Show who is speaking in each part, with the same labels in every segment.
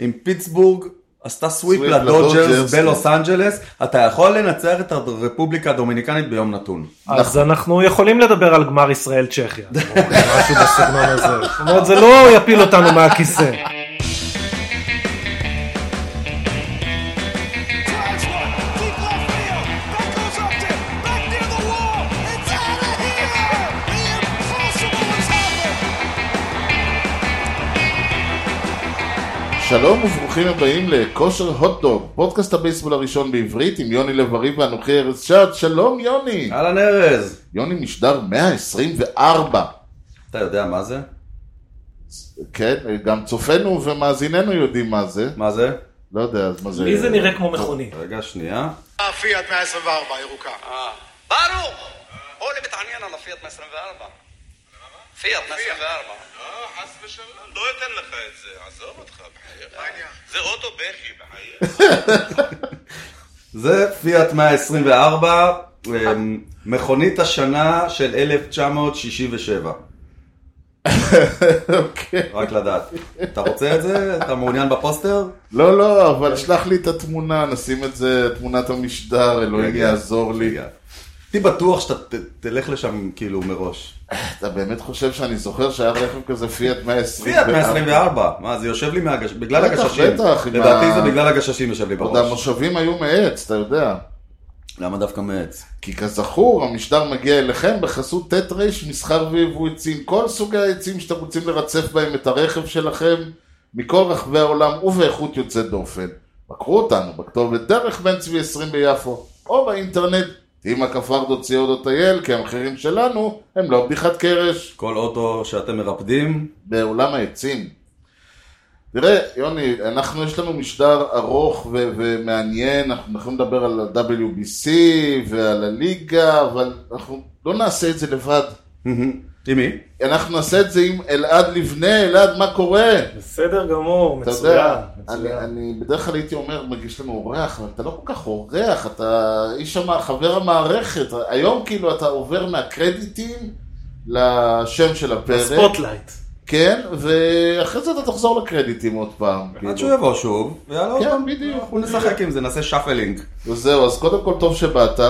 Speaker 1: אם פיטסבורג עשתה סוויפ
Speaker 2: סוויפ
Speaker 1: לדודג'רס
Speaker 2: לדודג'רס,
Speaker 1: בלוס
Speaker 2: כן.
Speaker 1: אנג'לס, אתה יכול לנצח את הרפובליקה הדומיניקנית ביום נתון.
Speaker 3: אז
Speaker 2: נכון.
Speaker 3: אנחנו יכולים לדבר על גמר ישראל צ'כיה, או משהו בסגנון הזה. זאת אומרת, זה לא יפיל אותנו מהכיסא.
Speaker 4: Drives one, deep left field. That goes up to, back near the wall. It's out of here. The impossible has happened.
Speaker 2: שלום וברוכים הבאים לכושר הוטדוג, פודקאסט הבייסבול הראשון בעברית עם יוני לב-ארי ואנוכי ארז שעד, שלום יוני!
Speaker 1: אהלן ארז,
Speaker 2: יוני משדר 124,
Speaker 1: אתה יודע מה זה?
Speaker 2: כן, גם צופינו ומאזיננו יודעים מה זה,
Speaker 1: מה זה?
Speaker 2: לא יודע, אז מה זה...
Speaker 3: לי זה נראה כמו מכונית.
Speaker 1: רגע, שנייה.
Speaker 5: פיאט 124 ירוקה.
Speaker 6: ברוך! הוא اللي מתעניין על הפיאט 124. פיאט 124.
Speaker 5: לא, חס ושלום, לא אתן לך את זה, עזוב אותך, בחייך. זה אוטו בכי, בחייך.
Speaker 1: זה פיאט 124, אמ, מכונית השנה של 1967.
Speaker 2: אוקיי.
Speaker 1: רק לדעת. אתה רוצה את זה? אתה מעוניין בפוסטר?
Speaker 2: לא, לא, אבל שלח לי את התמונה, נשים את זה, תמונת המשדר, אלוהים
Speaker 1: רגע.
Speaker 2: יעזור לי.
Speaker 1: רגע. הייתי בטוח שאתה ת- תלך לשם כאילו מראש.
Speaker 2: אתה באמת חושב שאני זוכר שהיה רכב כזה פיאט 124?
Speaker 1: פיאט 124, מה זה יושב לי מהגש... בגלל
Speaker 2: בטח,
Speaker 1: הגששים.
Speaker 2: בטח, עם
Speaker 1: לדעתי
Speaker 2: ה-
Speaker 1: זה בגלל הגששים יושב לי
Speaker 2: עוד
Speaker 1: בראש.
Speaker 2: המושבים היו מעץ, אתה יודע.
Speaker 1: למה דווקא מעץ?
Speaker 2: כי כזכור, המשדר מגיע אליכם בחסות ט' ר' מסחר ויבוא עצים. כל סוגי העצים שאתם רוצים לרצף בהם את הרכב שלכם, מכל רחבי העולם ובאיכות יוצאת דופן. בקרו אותנו בכתובת דרך בן צבי 20 ביפו, או באינטרנט, תהימה כפרדו co.il, כי המחירים שלנו הם לא בדיחת קרש,
Speaker 1: כל אוטו שאתם מרפדים,
Speaker 2: בעולם העצים. תראה, יוני, אנחנו, יש לנו משדר ארוך ו- ומעניין, אנחנו יכולים לדבר על ה-WBC ועל הליגה, אבל אנחנו לא נעשה את זה לבד.
Speaker 1: עם מי?
Speaker 2: אנחנו נעשה את זה עם אלעד לבנה, אלעד, מה קורה?
Speaker 3: בסדר גמור,
Speaker 2: אתה
Speaker 3: מצוין.
Speaker 2: יודע, אני,
Speaker 3: מצוין.
Speaker 2: אני בדרך כלל הייתי אומר, מגיש לנו אורח, אבל אתה לא כל כך אורח, אתה איש המ... חבר המערכת. היום כאילו אתה עובר מהקרדיטים לשם של הפרק.
Speaker 3: ספוטלייט.
Speaker 2: כן, ואחרי זה אתה תחזור לקרדיטים עוד פעם.
Speaker 1: עד
Speaker 2: כאילו.
Speaker 1: שהוא יבוא שוב, ויאללה עוד
Speaker 2: כן,
Speaker 1: פעם,
Speaker 2: בדיוק.
Speaker 1: אנחנו נשחק עם זה, נעשה שפלינג.
Speaker 2: וזהו, אז קודם כל טוב שבאת.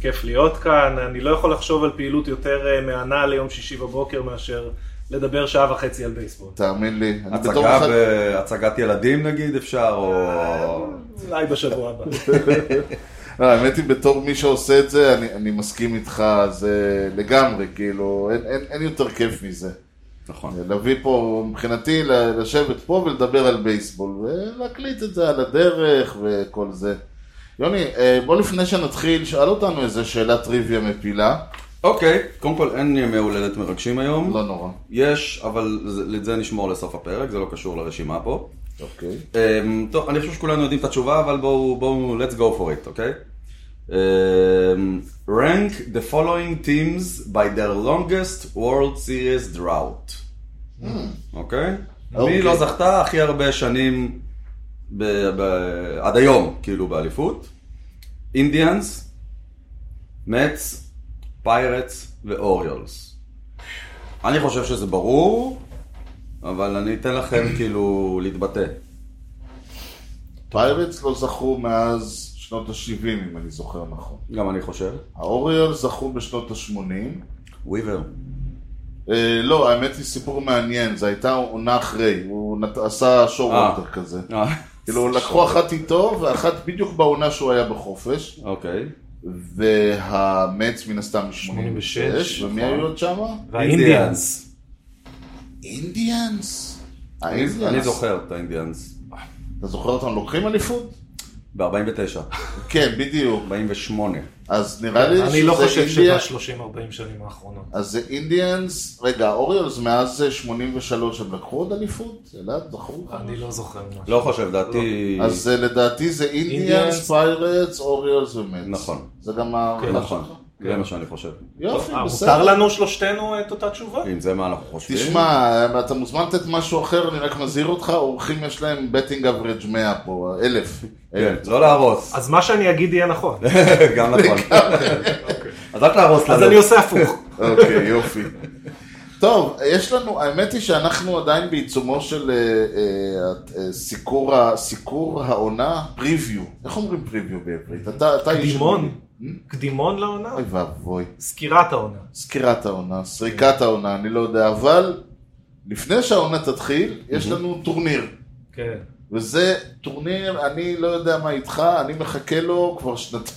Speaker 3: כיף להיות כאן, אני לא יכול לחשוב על פעילות יותר אה, מהנה ליום שישי בבוקר מאשר לדבר שעה וחצי על בייסבול.
Speaker 2: תאמין לי. אני בתור
Speaker 1: הצגה
Speaker 2: אחד-
Speaker 1: בהצגת ילדים נגיד אפשר, או...
Speaker 3: אולי בשבוע הבא.
Speaker 2: לא, האמת היא, בתור מי שעושה את זה, אני, אני מסכים איתך, זה לגמרי, כאילו, אין, אין, אין יותר כיף מזה.
Speaker 1: נכון.
Speaker 2: להביא פה, מבחינתי, ל- לשבת פה ולדבר על בייסבול, ולהקליט את זה על הדרך וכל זה. יוני, אה, בוא לפני שנתחיל, שאל אותנו איזה שאלת טריוויה מפילה.
Speaker 1: אוקיי, קודם כל אין ימי הולדת מרגשים היום.
Speaker 2: לא נורא.
Speaker 1: יש, אבל זה- את זה נשמור לסוף הפרק, זה לא קשור לרשימה פה.
Speaker 2: אוקיי.
Speaker 1: אמ, טוב, אני חושב שכולנו יודעים את התשובה, אבל בואו, בואו, let's go for it, אוקיי? אמ, rank the following teams by their longest World Series drought. אוקיי? מי
Speaker 2: אוקיי.
Speaker 1: לא זכתה הכי הרבה שנים ב- ב- עד היום, כאילו, באליפות? אינדיאנס, מצ, פיירטס ואוריולס. אני חושב שזה ברור, אבל אני אתן לכם כאילו להתבטא.
Speaker 2: פיירטס לא זכו מאז שנות ה-70, אם אני זוכר נכון.
Speaker 1: גם אני חושב.
Speaker 2: האוריול זכו בשנות ה-80.
Speaker 1: וויבר.
Speaker 2: אה, לא, האמת היא סיפור מעניין, זו הייתה עונה אחרי, הוא נת... עשה שור
Speaker 1: אה.
Speaker 2: וולטר כזה. כאילו, לקחו אחת איתו ואחת בדיוק בעונה שהוא היה בחופש,
Speaker 1: אוקיי.
Speaker 2: והמץ מן הסתם מ-86,
Speaker 3: 86,
Speaker 2: ומי
Speaker 1: נכון.
Speaker 2: היו עוד שמה?
Speaker 3: והאינדיאנס.
Speaker 2: אינדיאנס.
Speaker 1: אני
Speaker 2: האינדיאנס.
Speaker 1: אני זוכר את האינדיאנס.
Speaker 2: אתה זוכר אותם לוקחים אליפות?
Speaker 1: ב-49,
Speaker 2: כן, בדיוק.
Speaker 1: 48.
Speaker 2: אז נראה לי
Speaker 3: אני לא חושב
Speaker 2: אינדיה-
Speaker 3: שב-30-40 שנים האחרונות.
Speaker 2: אז זה אינדיאנס, רגע, אוריולס מאז 83 הם לקחו עוד אליפות? אלעד, זכרו לך?
Speaker 3: אני לא זוכר משהו.
Speaker 1: לא חושב, דעתי...
Speaker 2: אז אה, לדעתי זה אינדיאנס,
Speaker 3: אינדיאנס,
Speaker 2: פיירטס, אוריולס ומץ.
Speaker 1: נכון.
Speaker 2: זה גם ה...
Speaker 1: נכון. זה מה שאני חושב.
Speaker 2: יופי,
Speaker 3: כן, אה, מותר
Speaker 2: בסדר.
Speaker 3: לנו שלושתנו אה, את אותה תשובה?
Speaker 1: אם זה מה אנחנו חושבים.
Speaker 2: תשמע, אתה מוזמן לתת משהו אחר, אני רק מזהיר אותך, אורחים יש להם בטינג אברג' 100 פה, אלף.
Speaker 1: כן, לא להרוס.
Speaker 3: אז מה שאני אגיד יהיה נכון.
Speaker 1: גם נכון. אז רק להרוס
Speaker 3: אוקיי. אז
Speaker 1: לנו.
Speaker 3: אני עושה הפוך.
Speaker 2: אוקיי, יופי. טוב, יש לנו, האמת היא שאנחנו עדיין בעיצומו של אה, אה, אה, סיקור, ה- סיקור העונה, פריוויו. איך אומרים פריוויו בעברית? אתה, אתה איש... Hmm?
Speaker 3: קדימון, קדימון לעונה?
Speaker 2: אוי ואבוי.
Speaker 3: סקירת העונה.
Speaker 2: סקירת העונה, סריקת העונה, אני לא יודע, אבל לפני שהעונה תתחיל, יש לנו טורניר.
Speaker 3: כן.
Speaker 2: וזה טורניר, אני לא יודע מה איתך, אני מחכה לו כבר שנתיים.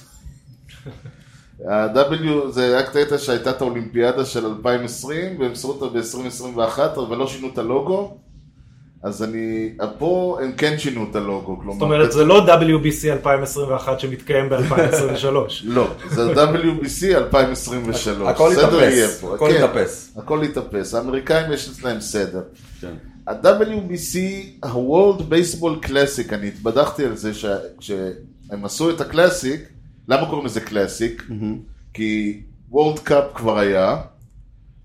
Speaker 2: ה-W זה היה קטע שהייתה את האולימפיאדה של 2020, והם עשו אותה ב-2021, אבל לא שינו את הלוגו. אז אני, פה הם כן שינו את הלוגו, כלומר...
Speaker 3: זאת אומרת, זה לא WBC 2021 שמתקיים ב-2023.
Speaker 2: לא, זה WBC 2023.
Speaker 1: הכל
Speaker 2: סדר
Speaker 1: יתאפס,
Speaker 2: יהיה פה.
Speaker 1: הכל
Speaker 2: כן,
Speaker 1: יתאפס.
Speaker 2: הכל יתאפס. האמריקאים יש אצלהם סדר.
Speaker 1: כן.
Speaker 2: ה-WBC, ה-World Baseball Classic, אני התבדחתי על זה שכשהם עשו את הקלאסיק, למה קוראים לזה קלאסיק? כי World Cup כבר היה,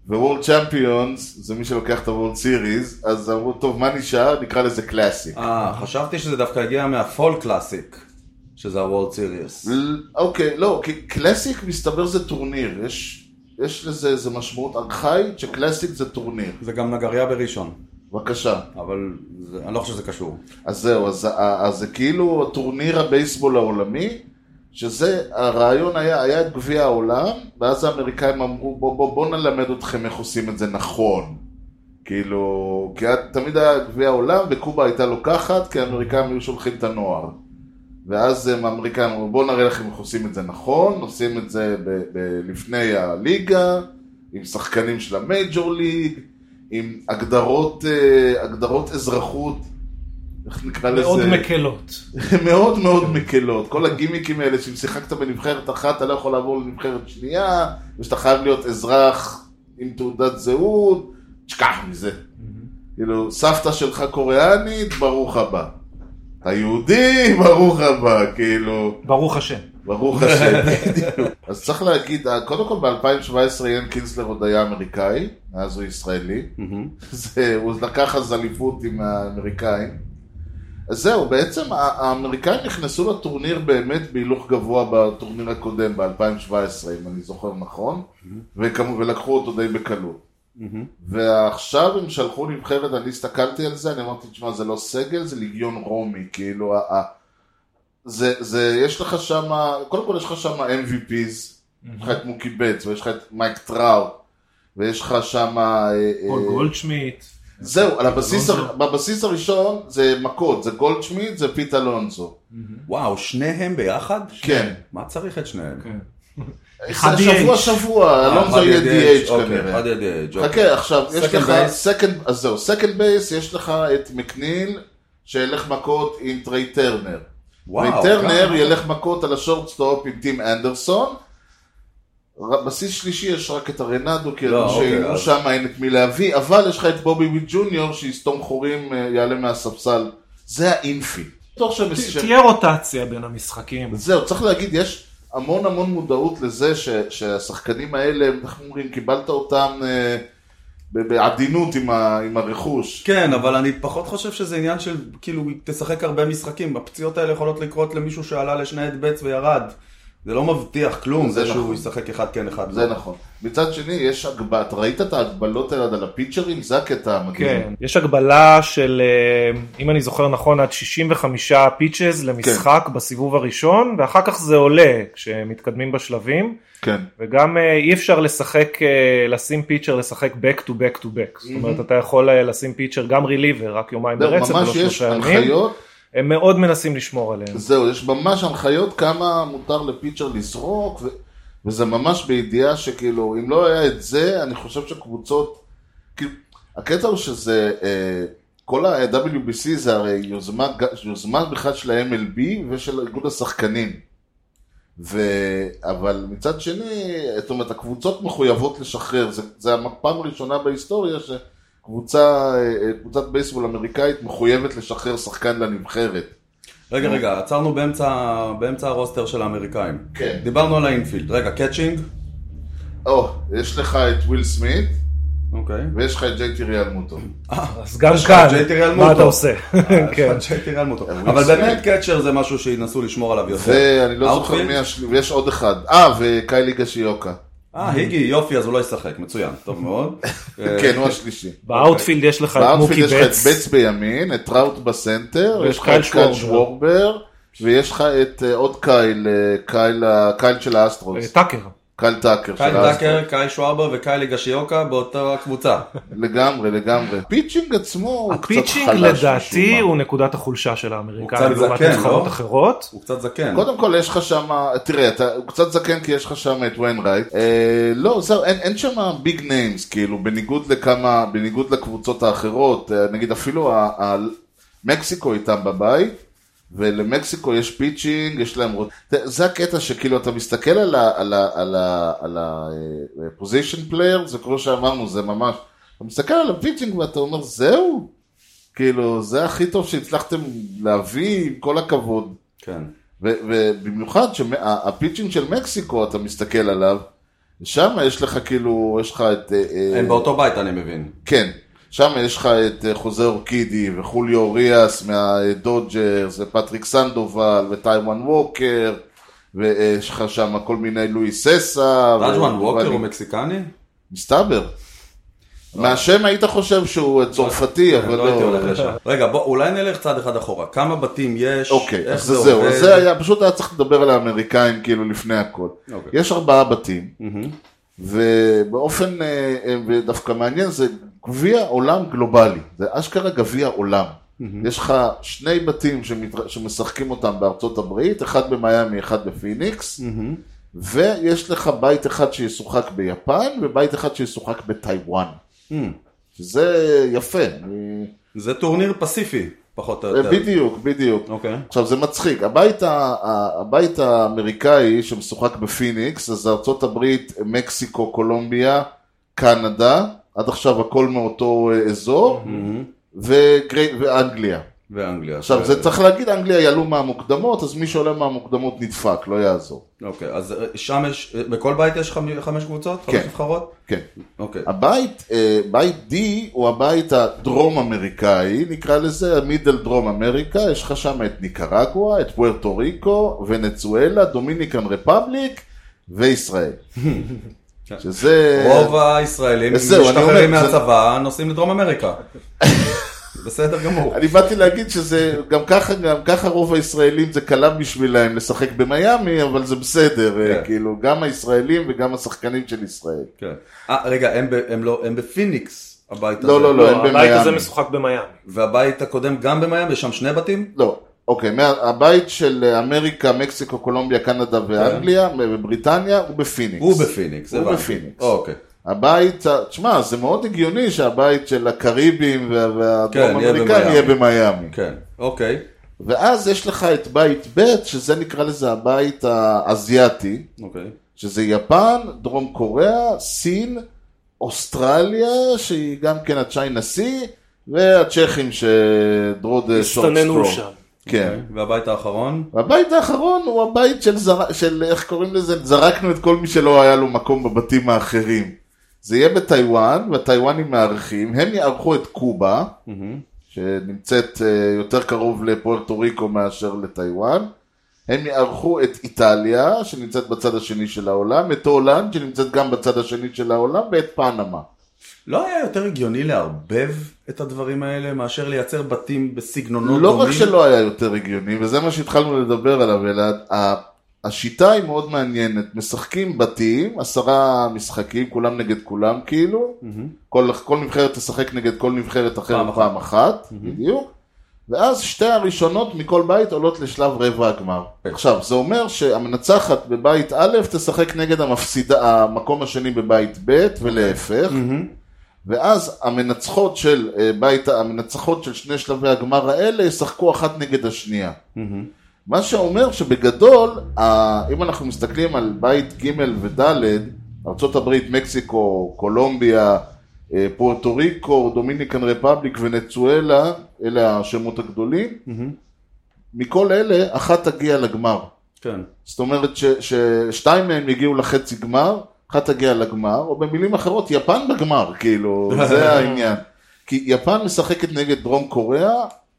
Speaker 2: ו-World Champions זה מי שלוקח את ה-World Series, אז אמרו, טוב, מה נשאר? נקרא לזה קלאסיק.
Speaker 1: אה, חשבתי שזה דווקא הגיע מהפול קלאסיק, שזה הוולד סיריוס.
Speaker 2: ל- אוקיי, לא, כי קלאסיק מסתבר זה טורניר, יש, יש לזה איזה משמעות ארכאית שקלאסיק זה טורניר.
Speaker 1: זה גם נגריה בראשון,
Speaker 2: בבקשה.
Speaker 1: אבל זה, אני לא חושב שזה קשור.
Speaker 2: אז זהו, אז, אז זה כאילו טורניר הבייסבול העולמי, שזה, הרעיון היה, היה את גביע העולם, ואז האמריקאים אמרו, בוא, בוא, בוא נלמד אתכם איך עושים את זה נכון. כאילו, כי היה- תמיד היה גביע העולם, וקובה הייתה לוקחת, כי האמריקאים היו שולחים את הנוער. ואז הם- האמריקאים אמרו, בואו נראה לכם איך עושים את זה נכון, עושים את זה ב- ב- לפני הליגה, עם שחקנים של המייג'ור ליג, עם הגדרות, אה, הגדרות אזרחות, איך נקרא לזה?
Speaker 3: מאוד מקלות.
Speaker 2: מאוד מאוד מקלות. כל הגימיקים האלה שאם שיחקת בנבחרת אחת, אתה לא יכול לעבור לנבחרת שנייה, ושאתה חייב להיות אזרח עם תעודת זהות, תשכח מזה. כאילו, סבתא שלך קוריאנית, ברוך הבא. היהודי, ברוך הבא, כאילו,
Speaker 3: ברוך השם.
Speaker 2: ברוך השם. בדיוק. אז צריך להגיד, קודם כל ב-2017 יאן קינסלר עוד היה אמריקאי, אז הוא ישראלי. זה, הוא לקח אז אליפות עם האמריקאים. אז זהו, בעצם ה- האמריקאים נכנסו לטורניר באמת בהילוך גבוה בטורניר הקודם, ב-2017, אם אני זוכר נכון, וכמו, ולקחו אותו די בקלות. ועכשיו הם שלחו נבחרת, אני הסתכלתי על זה, אני אמרתי, תשמע, זה לא סגל, זה ליגיון רומי, כאילו, ה- ה- זה, זה, יש לך שם, קודם כל יש לך שם MVPs, יש לך את מוקי בץ, ויש לך את מייק טראו, ויש לך שם... אה,
Speaker 3: פול גולדשמיט.
Speaker 2: זהו,
Speaker 1: אוקיי.
Speaker 2: על הבסיס,
Speaker 3: אלונזו.
Speaker 2: בבסיס הראשון זה מכות, זה גולדשמיט, זה פיט אלונזו.
Speaker 1: וואו, שניהם ביחד?
Speaker 2: כן.
Speaker 1: מה צריך את שניהם?
Speaker 3: אחד
Speaker 2: זה שבוע
Speaker 3: DH.
Speaker 2: שבוע, אלונזו
Speaker 1: אה, אחד
Speaker 2: יהיה DH
Speaker 1: אוקיי,
Speaker 2: כנראה.
Speaker 1: אחד יהיה DH, אוקיי.
Speaker 2: חכה, עכשיו, יש
Speaker 1: Second
Speaker 2: לך,
Speaker 1: base.
Speaker 2: second- אז זהו, סקנד בייס, יש לך את מקניל, שילך מכות עם טריי טרנר.
Speaker 1: וואו,
Speaker 2: וטרנר
Speaker 1: כמה?
Speaker 2: ילך מכות על השורטסטופ עם טים אנדרסון. ר- בסיס שלישי יש רק את הרנדו, כי
Speaker 1: לא,
Speaker 2: ידעו
Speaker 1: אוקיי,
Speaker 2: שאילו
Speaker 1: אז-
Speaker 2: שם אין את מי להביא, אבל יש לך את בובי וויד ג'וניור שיסתום חורים, אה, יעלה מהספסל. זה האינפי. תוך שהם-
Speaker 3: ת-
Speaker 2: שהם-
Speaker 3: תהיה רוטציה בין המשחקים.
Speaker 2: זהו, צריך להגיד, יש המון המון מודעות לזה ש, שהשחקנים האלה, איך אומרים, קיבלת אותם אה, ב- בעדינות עם, ה, עם הרכוש.
Speaker 1: כן, אבל אני פחות חושב שזה עניין של, כאילו, תשחק הרבה משחקים. הפציעות האלה יכולות לקרות למישהו שעלה לשני הדבץ וירד. זה לא מבטיח כלום,
Speaker 2: זה
Speaker 1: זה
Speaker 2: נכון.
Speaker 1: שהוא ישחק אחד כן, אחד
Speaker 2: זה
Speaker 1: לא.
Speaker 2: נכון. מצד שני, יש הגבלה, אתה ראית את ההגבלות האלה על הפיצ'רים? זה הקטע המדהים.
Speaker 3: כן, יש הגבלה של, אה, אם אני זוכר נכון, עד 65 פיצ'ז למשחק
Speaker 2: כן.
Speaker 3: בסיבוב הראשון, ואחר כך זה עולה כשמתקדמים בשלבים,
Speaker 2: כן.
Speaker 3: וגם אה, אי אפשר לשחק, אה, לשים פיצ'ר לשחק back to back to back, זאת אומרת אתה יכול אה, לשים פיצ'ר גם ריליבר, רק יומיים
Speaker 2: זהו,
Speaker 3: ברצף, ולא
Speaker 2: לא, ממש יש
Speaker 3: שלושה ימים,
Speaker 2: הנחיות,
Speaker 3: הם מאוד מנסים לשמור עליהם.
Speaker 2: זהו, יש ממש הנחיות כמה מותר לפיצ'ר לזרוק, ו... וזה ממש בידיעה שכאילו, אם לא היה את זה, אני חושב שקבוצות, כאילו, הקטע הוא שזה, אה, כל ה-WBC זה הרי יוזמה, ג- יוזמה בכלל של ה-MLB ושל איגוד השחקנים. ו... אבל מצד שני, זאת אומרת, הקבוצות מחויבות לשחרר, זה, זה הפעם הראשונה בהיסטוריה שקבוצה, אה, אה, קבוצת בייסבול אמריקאית מחויבת לשחרר שחקן לנבחרת.
Speaker 1: רגע, רגע, עצרנו באמצע באמצע הרוסטר של האמריקאים.
Speaker 2: כן.
Speaker 1: דיברנו על האינפילד. רגע, קאצ'ינג?
Speaker 2: או, יש לך את וויל סמית,
Speaker 1: אוקיי.
Speaker 2: ויש לך את ג'יי טירי אלמוטו.
Speaker 3: אז גם
Speaker 1: יש לך
Speaker 3: כאן,
Speaker 1: ג'יי טירי
Speaker 3: מה
Speaker 1: אלמוטו.
Speaker 3: אתה עושה?
Speaker 1: אה,
Speaker 3: כן.
Speaker 2: אה,
Speaker 1: אבל באמת קאצ'ר זה משהו שינסו לשמור עליו יותר.
Speaker 2: ואני לא זוכר
Speaker 1: Outfield?
Speaker 2: מי השלישי, ויש עוד אחד. אה, וקיילי גשיוקה.
Speaker 1: אה, היגי, יופי, אז הוא לא ישחק, מצוין, טוב מאוד. אה,
Speaker 2: כן, הוא השלישי.
Speaker 3: באאוטפילד יש לך את
Speaker 2: בארפילד
Speaker 3: מוקי
Speaker 2: יש לך את
Speaker 3: בץ.
Speaker 2: בץ בימין, את טראוט בסנטר,
Speaker 3: ויש
Speaker 2: יש לך את
Speaker 3: קייל
Speaker 2: קייל
Speaker 3: שוורבר.
Speaker 2: שוורבר, ויש לך את אה, עוד קייל, אה, קייל ה- קייל של האסטרוס,
Speaker 3: אה, טאקר.
Speaker 2: קייל טאקר של
Speaker 1: קייל
Speaker 2: האסטרוס.
Speaker 1: דאקר, קייל שוואבר וקייל גשיוקה באותה קבוצה.
Speaker 2: לגמרי, לגמרי. פיצ'ינג עצמו הוא קצת חלש.
Speaker 3: הפיצ'ינג
Speaker 2: משום
Speaker 3: לדעתי
Speaker 2: מה.
Speaker 3: הוא נקודת החולשה של האמריקאים
Speaker 1: קצת
Speaker 3: לעומת
Speaker 1: זקן,
Speaker 3: נבחרות
Speaker 1: לא?
Speaker 3: אחרות.
Speaker 1: הוא קצת זקן.
Speaker 2: קודם כל יש לך שם, תראה, אתה, הוא קצת זקן כי יש לך שם את ויינרייט. אה, לא, זהו, אין, אין שם ביג ניימס, כאילו, בניגוד לכמה, בניגוד לקבוצות האחרות, אה, נגיד אפילו ה, ה, מקסיקו איתם בבית, ולמקסיקו יש פיצ'ינג, יש להם... רוט- ת- זה הקטע שכאילו, אתה מסתכל על ה- על ה- על ה- על ה-position player, זה כמו שאמרנו, זה ממש... אתה מסתכל על הפיצ'ינג ואתה אומר, זהו? כאילו, זה הכי טוב שהצלחתם להביא, עם כל הכבוד.
Speaker 1: כן.
Speaker 2: ו- ובמיוחד שהפיצ'ינג של מקסיקו, אתה מסתכל עליו, שם יש לך כאילו, יש לך את... אה, אה,
Speaker 1: הם באותו בית, אני מבין.
Speaker 2: כן, שם יש לך את אה, חוזה אורקידי וחוליו ריאס מהדודג'רס, ופטריק סנדובל וטיימן ווקר, ויש לך שם כל מיני לואי ססה.
Speaker 1: רג'ואן
Speaker 2: ו-
Speaker 1: ווקר
Speaker 2: ואני-
Speaker 1: הוא מקסיקני?
Speaker 2: מסתבר. מהשם היית חושב שהוא צרפתי, אבל
Speaker 1: לא הייתי
Speaker 2: לא...
Speaker 1: הולך לשם. רגע, בוא, אולי נלך צעד אחד אחורה. כמה בתים יש?
Speaker 2: אוקיי,
Speaker 1: איך
Speaker 2: אז זה זהו,
Speaker 1: עובד?
Speaker 2: אז זה היה, פשוט היה צריך לדבר על האמריקאים כאילו לפני הכל.
Speaker 1: אוקיי.
Speaker 2: יש ארבעה בתים, ובאופן, אה, אה, ודווקא מעניין, זה גביע עולם גלובלי, זה אשכרה גביע עולם. יש לך שני בתים שמתר- שמשחקים אותם בארצות הברית, אחד במיאמי, אחד בפיניקס, ויש לך בית אחד שישוחק ביפן, ובית אחד שישוחק בטיוואן. שזה יפה, אני-
Speaker 1: זה טורניר פסיפי, פחות או יותר.
Speaker 2: בדיוק, בדיוק.
Speaker 1: אוקיי.
Speaker 2: עכשיו זה מצחיק, הבית, ה- ה- הבית האמריקאי שמשוחק בפיניקס, אז זה ארצות הברית, מקסיקו, קולומביה, קנדה, עד עכשיו הכל מאותו אה, אזור, וגרי- ואנגליה.
Speaker 1: ואנגליה.
Speaker 2: עכשיו
Speaker 1: ש-
Speaker 2: זה צריך להגיד, אנגליה יעלו מהמוקדמות, אז מי שעולה מהמוקדמות נדפק, לא יעזור.
Speaker 1: אוקיי, אז שם יש, אה, בכל בית יש חמ- חמש קבוצות? חמש
Speaker 2: כן.
Speaker 1: נבחרות?
Speaker 2: כן.
Speaker 1: אוקיי.
Speaker 2: הבית, אה, בית D הוא הבית הדרום אמריקאי, נקרא לזה, מידל דרום אמריקה, יש לך שם את ניקרגואה, את פוארטו ריקו, ונצואלה, דומיניקן רפבליק וישראל. שזה...
Speaker 1: רוב הישראלים
Speaker 2: אז אה, זהו, אני
Speaker 1: משתחררים
Speaker 2: אומר, זה-
Speaker 1: מהצבא, נוסעים לדרום אמריקה. בסדר גמור.
Speaker 2: אני באתי להגיד שזה גם ככה, גם ככה רוב הישראלים זה קלה בשבילם לשחק במיאמי, אבל זה בסדר, אה,
Speaker 1: כן.
Speaker 2: כאילו, גם הישראלים וגם השחקנים של ישראל.
Speaker 1: כן. אה, רגע, הם ב- הם לא- הם בפיניקס, הבית הזה.
Speaker 2: לא, לא, לא,
Speaker 3: לא,
Speaker 2: הם
Speaker 3: הבית הזה
Speaker 2: במיאמי.
Speaker 3: משוחק במיאמי.
Speaker 1: והבית הקודם גם במיאמי, יש שם שני בתים?
Speaker 2: לא, אוקיי, מה, הבית של אה, אמריקה, מקסיקו, קולומביה, קנדה ואנגליה, ובריטניה, הוא בפיניקס.
Speaker 1: כן. הוא בפיניקס,
Speaker 2: הוא
Speaker 1: הבנתי.
Speaker 2: בפיניקס.
Speaker 1: אוקיי.
Speaker 2: הבית, ה- תשמע, זה מאוד הגיוני שהבית של הקריבים וה-
Speaker 1: כן,
Speaker 2: והדרום
Speaker 1: יהיה
Speaker 2: אמריקאים יהיה
Speaker 1: במיאמי.
Speaker 2: במיאמי.
Speaker 1: כן, אוקיי.
Speaker 2: ואז יש לך את בית ב', שזה נקרא לזה הבית האזייתי,
Speaker 1: אוקיי.
Speaker 2: שזה יפן, דרום קוריאה, סין, אוסטרליה, שהיא גם כן הצ'יינה סי, והצ'כים שדרוד אה, שורט
Speaker 3: הסתננו
Speaker 2: סטרום.
Speaker 3: שם.
Speaker 1: אוקיי.
Speaker 2: כן.
Speaker 1: והבית האחרון?
Speaker 2: הבית האחרון הוא הבית של, זר... של איך קוראים לזה, זרקנו את כל מי שלא היה לו מקום בבתים האחרים. זה יהיה בטיוואן, והטיוואנים מארחים, הם יארחו את קובה, שנמצאת אה, יותר קרוב לפוארטו ריקו מאשר לטיוואן, הם יארחו את איטליה, שנמצאת בצד השני של העולם, את הולנד, שנמצאת גם בצד השני של העולם, ואת פנמה.
Speaker 1: לא היה יותר הגיוני לערבב את הדברים האלה מאשר לייצר בתים בסגנונות
Speaker 2: לא
Speaker 1: דומים?
Speaker 2: רק שלא היה יותר הגיוני, וזה מה שהתחלנו לדבר עליו, אלא ה- השיטה היא מאוד מעניינת. משחקים בתים, עשרה משחקים, כולם נגד כולם כאילו, כל, כל נבחרת תשחק נגד כל נבחרת
Speaker 1: פעם
Speaker 2: אחרת
Speaker 1: אחת.
Speaker 2: פעם אחת, בדיוק, ואז שתי הראשונות מכל בית עולות לשלב רבע הגמר.
Speaker 1: כן.
Speaker 2: עכשיו, זה אומר שהמנצחת בבית א' תשחק נגד המפסידה, המקום השני בבית ב' ולהפך. ואז המנצחות של אה, בית, המנצחות של שני שלבי הגמר האלה ישחקו אחת נגד השנייה. מה שאומר שבגדול, ה- אם אנחנו מסתכלים על בית ג' וד', ארה"ב, מקסיקו, קולומביה, אה, פוארטו ריקו, דומיניקן רפבליק ונצואלה, אלה השמות הגדולים, מכל אלה אחת תגיע לגמר.
Speaker 1: כן.
Speaker 2: זאת אומרת ש- ששתיים מהם הגיעו לחצי גמר, אחת תגיע לגמר, או במילים אחרות, יפן בגמר, כאילו, זה העניין. כי יפן משחקת נגד דרום קוריאה,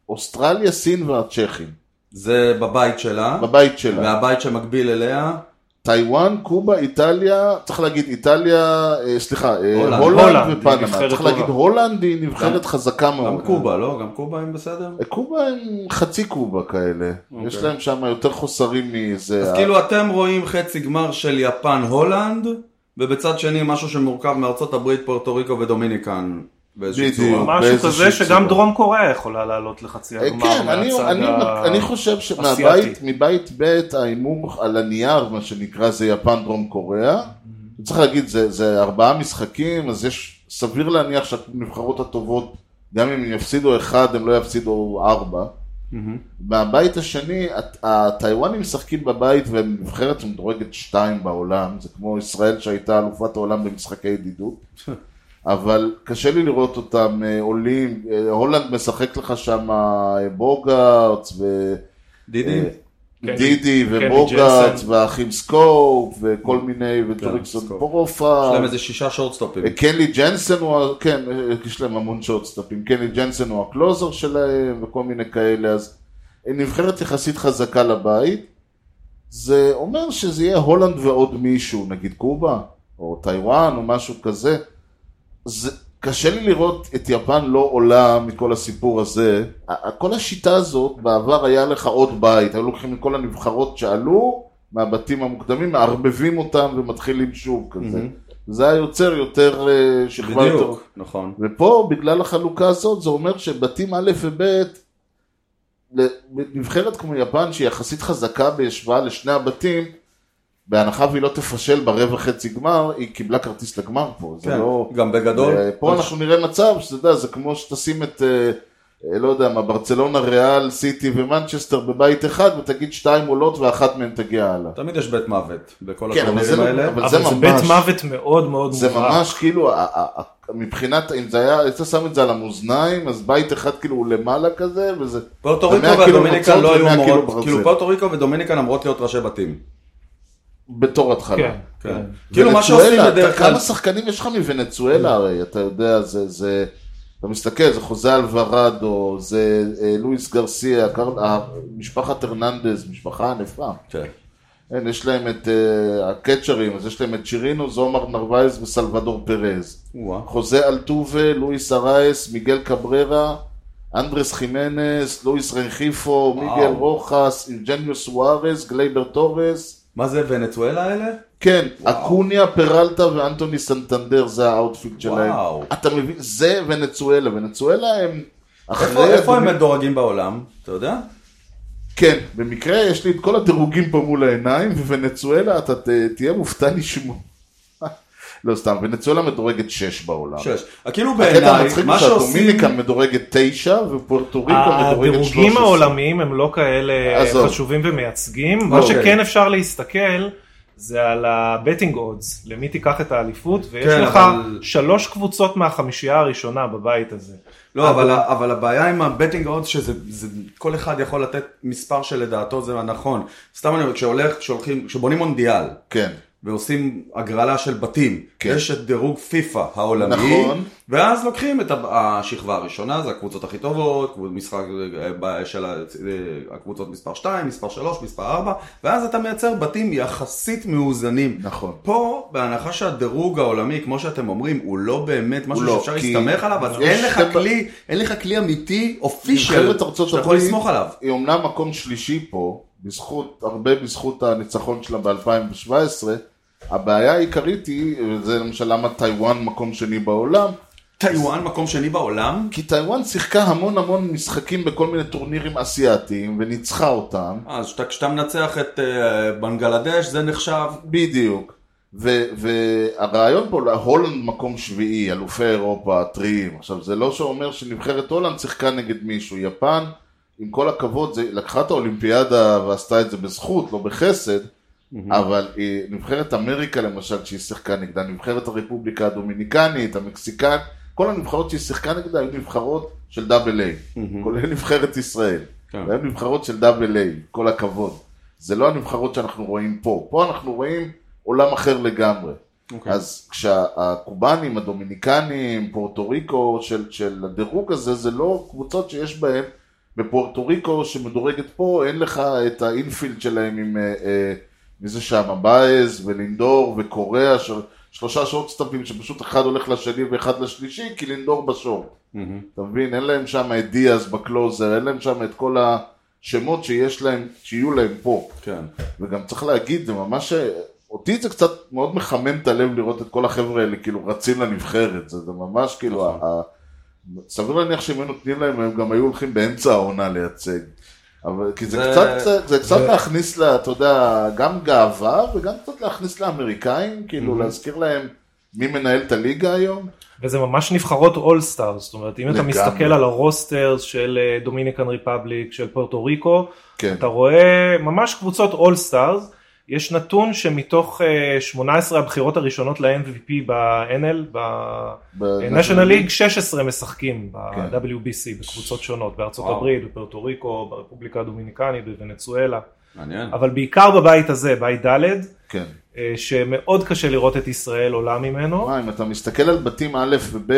Speaker 2: אוסטרליה, סין והצ'כים,
Speaker 1: זה בבית שלה,
Speaker 2: בבית שלה.
Speaker 1: והבית שמקביל אליה
Speaker 2: טייוואן, קובה, איטליה, צריך להגיד איטליה, אה, סליחה, אה,
Speaker 1: הולנד.
Speaker 2: הולנד
Speaker 3: הולנד, היא
Speaker 2: ופנמה.
Speaker 3: נבחרת
Speaker 2: צריך להגיד
Speaker 3: טובה.
Speaker 2: הולנד היא נבחרת חזקה מאוד. אה,
Speaker 1: גם קובה, לא? גם קובה הם בסדר?
Speaker 2: קובה הם חצי קובה כאלה, יש להם שם יותר חוסרים מזה.
Speaker 1: אז כאילו אתם רואים חצי גמר של יפן-הולנד, ובצד שני משהו שמורכב מארצות הברית, פורטו ריקו ודומיניקן. באיזושהי
Speaker 2: בדיוק.
Speaker 1: צורה.
Speaker 3: משהו
Speaker 2: באיזושהי
Speaker 3: כזה שגם
Speaker 2: צורה.
Speaker 3: דרום קוריאה יכולה לעלות לחצי
Speaker 2: אה,
Speaker 3: הגמר
Speaker 2: כן, אני,
Speaker 3: מהצד
Speaker 2: אני,
Speaker 3: ה-
Speaker 2: אני חושב שמבית
Speaker 3: האסייתי.
Speaker 2: מבית ב' ההימור על הנייר, מה שנקרא, זה יפן דרום קוריאה.
Speaker 3: Mm-hmm.
Speaker 2: צריך להגיד, זה, זה ארבעה משחקים, אז יש, סביר להניח שהנבחרות הטובות, גם אם הם יפסידו אחד, הם לא יפסידו ארבע.
Speaker 1: Mm-hmm.
Speaker 2: מהבית השני, הט- הטיוואנים משחקים בבית והם נבחרת שמדורגת שתיים בעולם, זה כמו ישראל שהייתה אלופת העולם במשחקי ידידות. אבל קשה לי לראות אותם אה, עולים, אה, הולנד משחק לך שם אה, בוגארץ ו...
Speaker 1: דידי?
Speaker 2: אה, דידי
Speaker 3: קני
Speaker 2: ובוגארץ
Speaker 3: ג'נסן.
Speaker 2: והאחים סקופ וכל מיני וג'ריקסון
Speaker 1: סקופ.
Speaker 2: פרופה.
Speaker 1: יש להם איזה שישה שורטסטופים.
Speaker 2: אה, קנלי ג'נסן הוא, ה- כן, אה, יש להם המון שורטסטאפים, קנלי ג'נסן הוא הקלוזר שלהם וכל מיני כאלה, אז נבחרת יחסית חזקה לבית, זה אומר שזה יהיה הולנד ועוד מישהו, נגיד קובה, או טיוואן, או משהו כזה. זה, קשה לי לראות את יפן לא עולה מכל הסיפור הזה. ה- ה- כל השיטה הזאת, בעבר היה לך עוד בית, היו לוקחים מכל הנבחרות שעלו מהבתים המוקדמים, מערבבים אותם ומתחילים שוב כזה. זה היה יוצר יותר אה, שכבה יותר...
Speaker 1: Mm-hmm. בדיוק, נכון.
Speaker 2: ופה, בגלל החלוקה הזאת, זה אומר שבתים א' וב', נבחרת כמו יפן, שהיא יחסית חזקה בהשוואה לשני הבתים, בהנחה והיא לא תפשל ברבע חצי גמר, היא קיבלה כרטיס לגמר פה, זה
Speaker 1: כן, לא.
Speaker 2: לא...
Speaker 1: גם בגדול.
Speaker 2: אה, פה אנחנו נראה מצב, שאתה יודע, זה כמו שתשים את, אה, אה, לא יודע מה, ברצלונה, ריאל, סיטי ומנצ'סטר בבית אחד, ותגיד שתיים עולות ואחת מהן תגיע הלאה.
Speaker 1: תמיד יש בית מוות בכל
Speaker 2: כן, אבל
Speaker 1: הטורנירים
Speaker 2: זה-
Speaker 1: האלה.
Speaker 2: אבל
Speaker 3: אבל זה
Speaker 2: ממש-
Speaker 3: בית מוות מאוד מאוד
Speaker 2: זה
Speaker 3: מובהק.
Speaker 2: ממש כאילו, ה- ה- ה- מבחינת, אם זה היה, היית שם את זה על המאזניים, אז בית אחד כאילו הוא למעלה כזה, וזה...
Speaker 1: פורטו
Speaker 2: ומאה
Speaker 1: ריקו
Speaker 2: קילו
Speaker 1: ודומיניקן
Speaker 2: נוצות
Speaker 1: לא היו
Speaker 2: ומאה קילו
Speaker 1: אמורות,
Speaker 2: ברזל.
Speaker 1: כאילו פורטו ריקו ודומיניקן אמורות להיות ראשי בתים.
Speaker 2: בתור התחלה.
Speaker 3: כן.
Speaker 1: כן. כאילו מה
Speaker 2: ונצואלה,
Speaker 1: שעושים
Speaker 2: אתה-
Speaker 1: בדרך כלל,
Speaker 2: כמה שחקנים יש לך מוונצואלה הרי, אתה יודע, זה, זה, אתה מסתכל, זה חוזה אלוורדו, זה אה, לואיס גרסיה, קר- ה- משפחת הרננדז, משפחה ענפה.
Speaker 1: כן.
Speaker 2: אין, יש להם את אה, הקצ'רים, אז יש להם את צ'ירינו, זומר נרווייז וסלבדור פרז.
Speaker 1: וואה.
Speaker 2: חוזה אלטובה, לואיס ארייס, מיגל קבררה, אנדרס חימנס, לואיס רנחיפו, מיגל רוחס, אינג'ניו סוארז, גלייבר טורס.
Speaker 1: מה זה ונצואלה האלה?
Speaker 2: כן, אקוניה, פרלטה ואנטוני סנטנדר זה האאוטפיט שלהם.
Speaker 1: וואו.
Speaker 2: אתה מבין, זה ונצואלה. ונצואלה הם...
Speaker 1: איפה-
Speaker 2: אחרי...
Speaker 1: איפה הם מדורגים בעולם? אתה יודע?
Speaker 2: כן, במקרה יש לי את כל הדירוגים פה מול העיניים, וונצואלה אתה ת- תהיה מופתע לשמוע. לא סתם, ונצואלה מדורגת 6 בעולם.
Speaker 1: שש. כאילו
Speaker 2: הקטע
Speaker 1: בעיניי,
Speaker 2: המצחיק הוא
Speaker 1: מה שעושים,
Speaker 2: שהדומיניקן מדורגת 9 ופוארטו ריקו מדורגת 13.
Speaker 3: הדירוגים העולמיים הם לא כאלה
Speaker 2: עזוב.
Speaker 3: חשובים ומייצגים, מה
Speaker 1: אוקיי.
Speaker 3: שכן אפשר להסתכל זה על הבטינג אודס, למי תיקח את האליפות, ויש
Speaker 1: כן,
Speaker 3: לך
Speaker 1: אבל-
Speaker 3: שלוש קבוצות מהחמישייה הראשונה בבית הזה.
Speaker 1: לא, אבל ה- אבל הבעיה עם הבטינג אודס שזה זה- כל אחד יכול לתת מספר שלדעתו זה הנכון. סתם אני אומר, כשהולך, כשהולכים, כשבונים מונדיאל,
Speaker 2: כן.
Speaker 1: ועושים הגרלה של בתים.
Speaker 2: כן.
Speaker 1: כן. יש את דירוג פיפא העולמי,
Speaker 2: נכון.
Speaker 1: ואז לוקחים את ה- השכבה הראשונה, זה הקבוצות הכי טובות, קבוצ- משחק אה, ב- של ה- אה, הקבוצות מספר 2, מספר 3, מספר 4, ואז אתה מייצר בתים יחסית מאוזנים.
Speaker 2: נכון.
Speaker 1: פה, בהנחה שהדירוג העולמי, כמו שאתם אומרים, הוא לא באמת משהו
Speaker 2: לא,
Speaker 1: שאפשר
Speaker 2: כי-
Speaker 1: להסתמך עליו, אז
Speaker 2: יש
Speaker 1: אין לך
Speaker 2: שתי-
Speaker 1: כלי, אין לך כלי אמיתי, אופישל,
Speaker 2: נבחרת ארצות
Speaker 1: שאתה יכול
Speaker 2: הברית
Speaker 1: לסמוך עליו.
Speaker 2: היא אומנם מקום שלישי פה, בזכות, הרבה בזכות הניצחון שלה ב-2017, הבעיה העיקרית היא, וזה למשל למה טיוואן מקום שני בעולם,
Speaker 1: טיוואן מקום שני בעולם?
Speaker 2: כי טיוואן שיחקה המון המון משחקים בכל מיני טורנירים אסייתיים, וניצחה אותם,
Speaker 1: אז כשאתה- כשאתה מנצח את אה, בנגלדש, זה נחשב
Speaker 2: בדיוק. ו- והרעיון פה, הולנד מקום שביעי, אלופי אירופה, הטריים. עכשיו, זה לא שאומר שנבחרת הולנד שיחקה נגד מישהו. יפן, עם כל הכבוד, זה, לקחה את האולימפיאדה ועשתה את זה בזכות, לא בחסד,
Speaker 1: Mm-hmm.
Speaker 2: אבל אה, נבחרת אמריקה למשל, שהיא שיחקה נגדה, נבחרת הרפובליקה הדומיניקנית, המקסיקן, כל הנבחרות שהיא שיחקה נגדה היו נבחרות של דאבל איי, כולל נבחרת ישראל.
Speaker 1: Mm-hmm. כן.
Speaker 2: והיו נבחרות של דאבל איי, כל הכבוד. זה לא הנבחרות שאנחנו רואים פה, פה אנחנו רואים עולם אחר לגמרי. Okay.
Speaker 1: אוקיי.
Speaker 2: אז כשהקובנים, הדומיניקנים, פורטו ריקו של, של הדירוג הזה, זה לא קבוצות שיש בהן, בפורטו ריקו שמדורגת פה, אין לך את האינפילד שלהם עם אה, אה, מי זה שם? באז ולינדור וקוריאה, ש... שלושה שורטסטאפים שפשוט אחד הולך לשני ואחד לשלישי, כי לינדור בשורט. אתה מבין? אין להם שם את דיאז בקלוזר, אין להם שם את כל השמות שיש להם, שיהיו להם פה.
Speaker 1: כן.
Speaker 2: וגם צריך להגיד, זה ממש... אותי זה קצת מאוד מחמם את הלב לראות את כל החבר'ה האלה כאילו רצים לנבחרת, זה, זה ממש כאילו, ה, ה, סביר להניח שאם היו נותנים להם הם גם היו הולכים באמצע העונה לייצג, אבל כי זה,
Speaker 1: זה-
Speaker 2: קצת, זה קצת להכניס לה, אתה יודע, גם גאווה וגם קצת להכניס לאמריקאים, כאילו להזכיר להם מי מנהל את הליגה היום,
Speaker 3: וזה ממש נבחרות אולסטארס, זאת אומרת אם אתה
Speaker 2: לגמרי.
Speaker 3: מסתכל על הרוסטר של אה, דומיניקן ריפבליק, של פורטו ריקו,
Speaker 2: כן,
Speaker 3: אתה רואה ממש קבוצות אולסטארס, יש נתון שמתוך אה, 18 הבחירות הראשונות ל-MVP ב-NL,
Speaker 2: כן.
Speaker 3: ב-National League, 16 משחקים ב-WBC בקבוצות שונות, בארצות
Speaker 1: וואו.
Speaker 3: הברית, בפורטו ריקו, ברפובליקה הדומיניקנית, בוונצואלה,
Speaker 1: מעניין.
Speaker 3: אבל בעיקר בבית הזה, בית ד',
Speaker 2: כן.
Speaker 3: אה, שמאוד קשה לראות את ישראל עולה ממנו.
Speaker 2: מה, אם אתה מסתכל על בתים א' וב',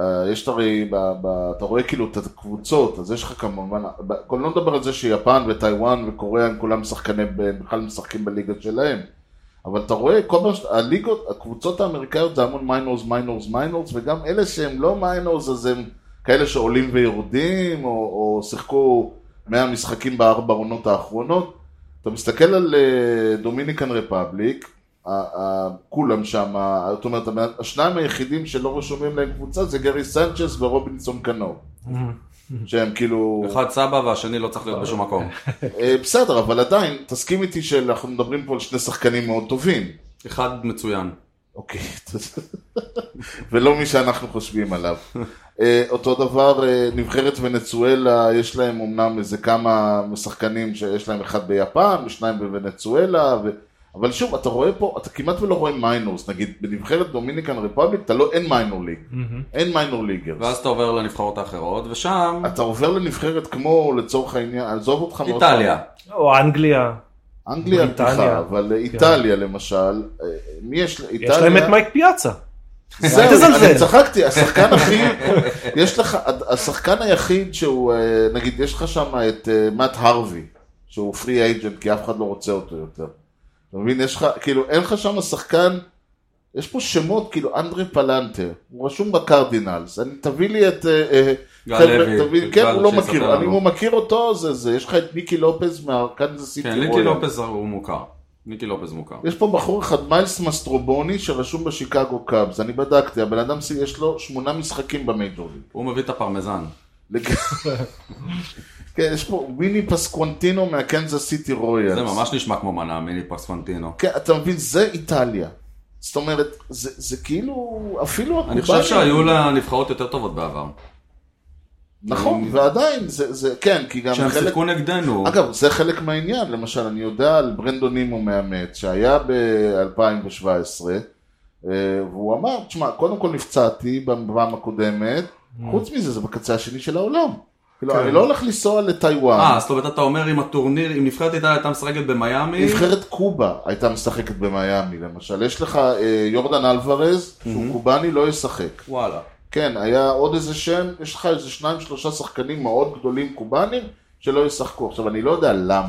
Speaker 2: אה, יש את הרי, ב, ב, אתה רואה כאילו את הקבוצות, אז יש לך כמובן, ב- כל לא נדבר על זה שיפן וטיוואן וקוריאה הם כולם שחקני, ב- בכלל משחקים בליגה שלהם, אבל אתה רואה, כל פעם, ש- הליגות, הקבוצות האמריקאיות זה המון מיינורס, מיינורס, מיינורס, וגם אלה שהם לא מיינורס אז הם כאלה שעולים ויורדים, או, או שיחקו 100 משחקים בארבע עונות האחרונות. אתה מסתכל על אה, דומיניקן רפבליק, ה- ה- כולם שם, זאת אומרת, המ- השניים היחידים שלא רשומים להם קבוצה זה גרי סנצ'ס ורובינסון קנו. שהם כאילו...
Speaker 1: אחד סבא והשני לא צריך להיות בשום מקום.
Speaker 2: אה, בסדר, אבל עדיין, תסכים איתי שאנחנו מדברים פה על שני שחקנים מאוד טובים.
Speaker 1: אחד מצוין.
Speaker 2: אוקיי, תודה. ולא מי שאנחנו חושבים עליו. אה, אותו דבר, אה, נבחרת ונצואלה, יש להם אמנם איזה כמה שחקנים שיש להם אחד ביפן, שניים בוונצואלה, ו... אבל שוב, אתה רואה פה, אתה כמעט ולא רואה מיינורס, נגיד בנבחרת דומיניקן רפובליק, אתה לא, אין מיינור ליג, אין מיינור ליגרס.
Speaker 1: ואז אתה עובר לנבחרות האחרות, ושם
Speaker 2: אתה עובר לנבחרת כמו, לצורך העניין, עזוב אותך מאוד-
Speaker 1: איטליה.
Speaker 3: או אנגליה,
Speaker 2: אנגליה
Speaker 3: בריטניה.
Speaker 2: בדיחה, אבל איטליה למשל, אה, מי יש, איטליה,
Speaker 3: כן. יש להם את מייק פיאצה. אל
Speaker 2: זהו,
Speaker 3: תזלזל.
Speaker 2: אני צחקתי, השחקן הכי, יש לך, השחקן היחיד שהוא, אה, נגיד, יש לך שם את אה, מאט הרווי, שהוא פרי אייג'נט, כי אף אחד לא רוצה אותו יותר. אתה מבין, יש לך, כאילו, אין לך שם שחקן, יש פה שמות, כאילו, אנדרי פלנטר, הוא רשום בקרדינלס, אני, תביא לי את, אה, אה,
Speaker 1: גל
Speaker 2: חבר'ה,
Speaker 1: לוי,
Speaker 2: תביא,
Speaker 1: את
Speaker 2: כן,
Speaker 1: גל
Speaker 2: הוא לא
Speaker 1: שיספר
Speaker 2: מכיר,
Speaker 1: לנו.
Speaker 2: אני, הוא מכיר אותו, זה, זה, יש לך את מיקי לופז מהקנזס סיטי
Speaker 1: כן, ניקי לופז הוא מוכר. ניקי לופז מוכר.
Speaker 2: יש פה בחור אחד, מיילס מסטרובוני, שרשום בשיקגו קאבס, אני בדקתי, הבן אדם סי- יש לו שמונה משחקים במייג'ורים.
Speaker 1: הוא מביא את הפרמזן.
Speaker 2: כן, יש פה ויני פסקוונטינו מהקנזס סיטי רויאלס.
Speaker 1: זה ממש נשמע כמו מנה מיני פספנטינו.
Speaker 2: כן, אתה מבין, זה איטליה. זאת אומרת, זה, זה כאילו, אפילו
Speaker 1: אני חושב
Speaker 2: הקובנים-
Speaker 1: שהיו לה נבחרות יותר טובות בעבר.
Speaker 2: נכון, ועדיין, זה, זה, כן, כי גם
Speaker 1: שהם
Speaker 2: חלק...
Speaker 1: שיחקו נגדנו.
Speaker 2: אגב, זה חלק מהעניין, למשל, אני יודע על ברנדון נימו מאמץ, שהיה ב-2017, אה, והוא אמר, תשמע, קודם כל נפצעתי בפעם הקודמת, חוץ מזה, זה בקצה השני של העולם. כאילו, אני לא הולך לנסוע
Speaker 1: אה,
Speaker 2: לטיוואן,
Speaker 1: זאת אומרת, אתה אומר אם הטורניר, אם נבחרת איטליה הייתה משחקת במיאמי,
Speaker 2: נבחרת קובה הייתה משחקת במיאמי, למשל, יש לך אה, יורדן אלוורז, שהוא קובאני, לא ישחק.
Speaker 1: וואלה.
Speaker 2: כן, היה עוד איזה שם, יש לך איזה שניים, שלושה שחקנים מאוד גדולים קובנים, שלא ישחקו. עכשיו, אני לא יודע למה.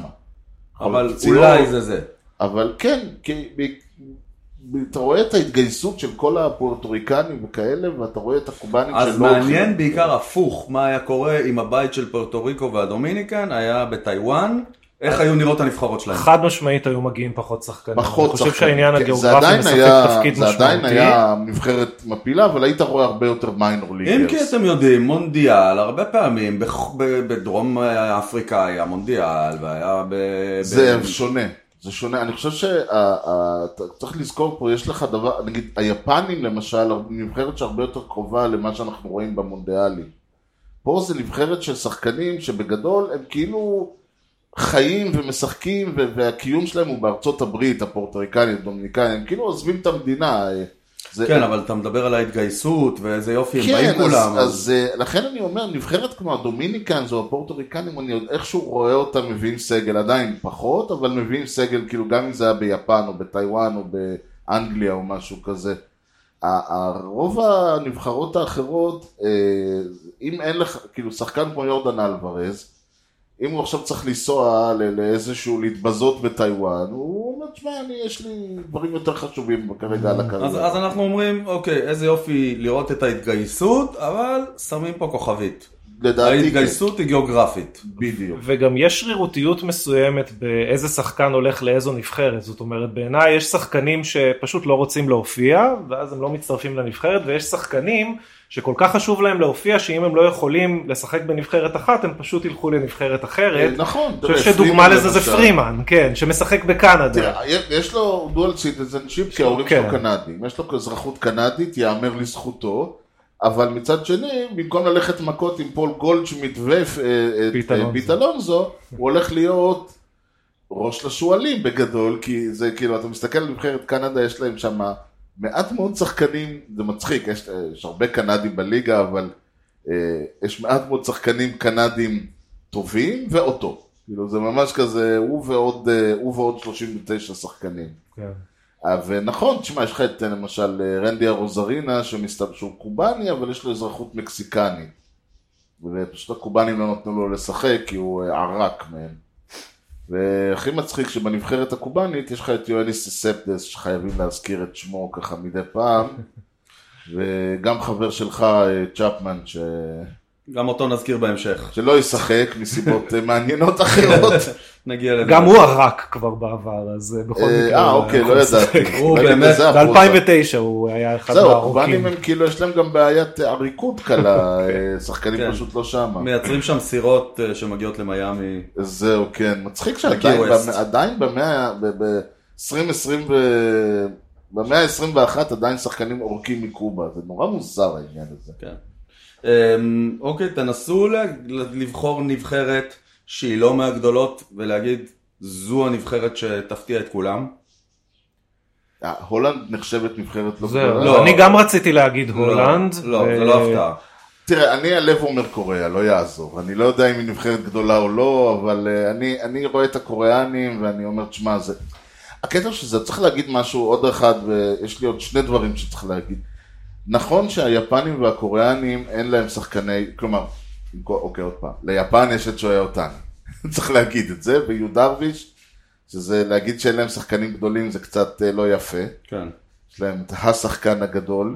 Speaker 1: אבל
Speaker 2: זה
Speaker 1: אולי
Speaker 2: לא-
Speaker 1: זה זה.
Speaker 2: אבל כן, כי ב- אתה רואה את ההתגייסות של כל הפוארטוריקנים וכאלה, ואתה רואה את הקובנים
Speaker 1: אז
Speaker 2: שלא
Speaker 1: מעניין
Speaker 2: הולכים.
Speaker 1: בעיקר הפוך, מה היה קורה אם הבית של פורטו ריקו והדומיניקן היה בטיוואן, איך היו נראות הנבחרות שלהם.
Speaker 3: חד משמעית היו מגיעים פחות שחקנים.
Speaker 2: פחות
Speaker 3: אני חושב
Speaker 2: שחקנים.
Speaker 3: שהעניין
Speaker 2: כן, זה
Speaker 3: הגיאוגרפי
Speaker 2: עדיין
Speaker 3: משחק
Speaker 2: היה-
Speaker 3: תפקיד
Speaker 2: זה עדיין
Speaker 3: משמעותי.
Speaker 2: היה נבחרת מפילה, אבל היית רואה הרבה יותר מיינור
Speaker 1: אם כי
Speaker 3: כן,
Speaker 2: ליגרס.
Speaker 1: אתם יודעים, מונדיאל, הרבה פעמים בח- ב- בדרום אפריקה היה מונדיאל, והיה ב... ב-
Speaker 2: זה שונה. זה שונה, אני חושב שצריך לזכור פה, יש לך דבר, נגיד היפנים למשל, נבחרת שהרבה יותר קרובה למה שאנחנו רואים במונדיאלים. פה זה נבחרת של שחקנים שבגדול הם כאילו חיים ומשחקים ו- והקיום שלהם הוא בארצות הברית, הפורטריקנים, הדומיניקנים, הם כאילו עוזבים את המדינה. אה, זה,
Speaker 1: כן, אבל אתה מדבר על ההתגייסות, ואיזה יופי הם באים
Speaker 2: כן, אז,
Speaker 1: כולם.
Speaker 2: אז, אז אה, לכן אני אומר, נבחרת כמו הדומיניקנס או הפורטוריקנים, אני עוד איכשהו רואה אותם מביאים סגל, עדיין פחות, אבל מביאים סגל, כאילו גם אם זה היה ביפן או בטיוואן או באנגליה או משהו כזה. ה- ה- רוב הנבחרות האחרות, אה, אם אין לך, כאילו שחקן כמו יורדן אלוורז, אם הוא עכשיו צריך לנסוע ל- לאיזשהו, להתבזות בטיוואן, הוא אומר, תשמע, אני, יש לי דברים יותר חשובים כרגע על
Speaker 1: אז, אז
Speaker 2: הקריירה.
Speaker 1: אנחנו אומרים, אוקיי, איזה יופי לראות את ההתגייסות, אבל שמים פה כוכבית.
Speaker 2: לדעתי, כן.
Speaker 1: ההתגייסות היא גיאוגרפית.
Speaker 2: בדיוק.
Speaker 3: וגם יש שרירותיות מסוימת באיזה שחקן הולך לאיזו נבחרת, זאת אומרת בעיניי יש שחקנים שפשוט לא רוצים להופיע ואז הם לא מצטרפים לנבחרת ויש שחקנים שכל כך חשוב להם להופיע שאם הם לא יכולים לשחק בנבחרת אחת הם פשוט ילכו לנבחרת אחרת.
Speaker 2: נכון.
Speaker 3: אה, אני
Speaker 2: תראה,
Speaker 3: חושב שדוגמה
Speaker 2: פרימן
Speaker 3: לזה זה
Speaker 2: למשל.
Speaker 3: פרימן, כן, שמשחק בקנדה.
Speaker 2: תראה, יש לו דואל סיטיזנשיפ כי ההורים
Speaker 3: כן.
Speaker 2: שלו קנדים, יש לו אזרחות קנדית, יאמר לזכותו, אבל מצד שני, במקום ללכת מכות עם פול גולדשמיט
Speaker 3: פית
Speaker 2: ופיט אלונזו, הוא הולך להיות ראש לשועלים בגדול, כי זה כאילו, אתה מסתכל על נבחרת קנדה, יש להם שם מעט מאוד שחקנים, זה מצחיק, יש, אה, יש הרבה קנדים בליגה, אבל אה, יש מעט מאוד שחקנים קנדים טובים ואותו. כאילו זה ממש כזה, הוא ועוד, אה, הוא ועוד 39 שחקנים.
Speaker 3: כן.
Speaker 2: אה, ונכון, תשמע, יש לך את אה, למשל אה, רנדי הרוזרינה, שמסתבר שהוא קובאני, אבל יש לו אזרחות מקסיקנית. ופשוט הקובאנים לא נתנו לו לשחק, כי הוא אה, ערק מהם. והכי מצחיק שבנבחרת הקובאנית יש לך את יואניס סספדס, שחייבים להזכיר את שמו ככה מדי פעם. וגם חבר שלך, אה, צ'פמן, ש...
Speaker 1: גם אותו נזכיר בהמשך.
Speaker 2: שלא ישחק מסיבות אה, מעניינות אחרות.
Speaker 1: נגיע לזה.
Speaker 3: גם הוא הרק כבר בעבר, אז אה, בכל
Speaker 2: אה,
Speaker 3: מקרה.
Speaker 2: אה,
Speaker 3: הוא
Speaker 2: אוקיי,
Speaker 3: יכול
Speaker 2: לא
Speaker 3: לשחק.
Speaker 2: ידעתי.
Speaker 1: הוא
Speaker 2: לא ידעתי,
Speaker 1: באמת-
Speaker 2: זה הפרוטה.
Speaker 3: ב-2009 הוא היה אחד
Speaker 2: זהו,
Speaker 3: מהארוכים.
Speaker 2: הקובנים הם כאילו, יש להם גם בעיית עריקות קלה, אה, שחקנים
Speaker 1: כן.
Speaker 2: פשוט לא שמה.
Speaker 1: מייצרים שם סירות אה, שמגיעות למיאמי.
Speaker 2: זהו, כן, מצחיק
Speaker 1: לקיי
Speaker 2: שעדיין
Speaker 1: ווסט.
Speaker 2: במ- עדיין במאה, ב-2020, במאה ה-21 עדיין שחקנים עורקים מקובה, זה נורא מוזר העניין הזה.
Speaker 1: כן. אמ, אוקיי, תנסו ל- ל- לבחור נבחרת שהיא לא מהגדולות ולהגיד, זו הנבחרת שתפתיע את כולם.
Speaker 2: אה, הולנד נחשבת נבחרת לא
Speaker 3: זהו,
Speaker 2: גדולה.
Speaker 1: לא.
Speaker 3: אני גם רציתי להגיד הולנד.
Speaker 1: לא, לא,
Speaker 3: ו-
Speaker 1: זה לא הפתעה.
Speaker 2: תראה, אני הלב אומר קוריאה, לא יעזור. אני לא יודע אם היא נבחרת גדולה או לא, אבל אה, אני, אני רואה את הקוריאנים ואני אומר, תשמע, זה... הקטע שזה, צריך להגיד משהו עוד אחד, ויש לי עוד שני דברים שצריך להגיד. נכון שהיפנים והקוריאנים אין להם שחקני, כלומר, עם כל- אוקיי, עוד פעם, ליפן יש את שויה אותני. צריך להגיד את זה, ויהודה דרוויש, שזה להגיד שאין להם שחקנים גדולים זה קצת אה, לא יפה.
Speaker 1: כן.
Speaker 2: יש להם את השחקן הגדול,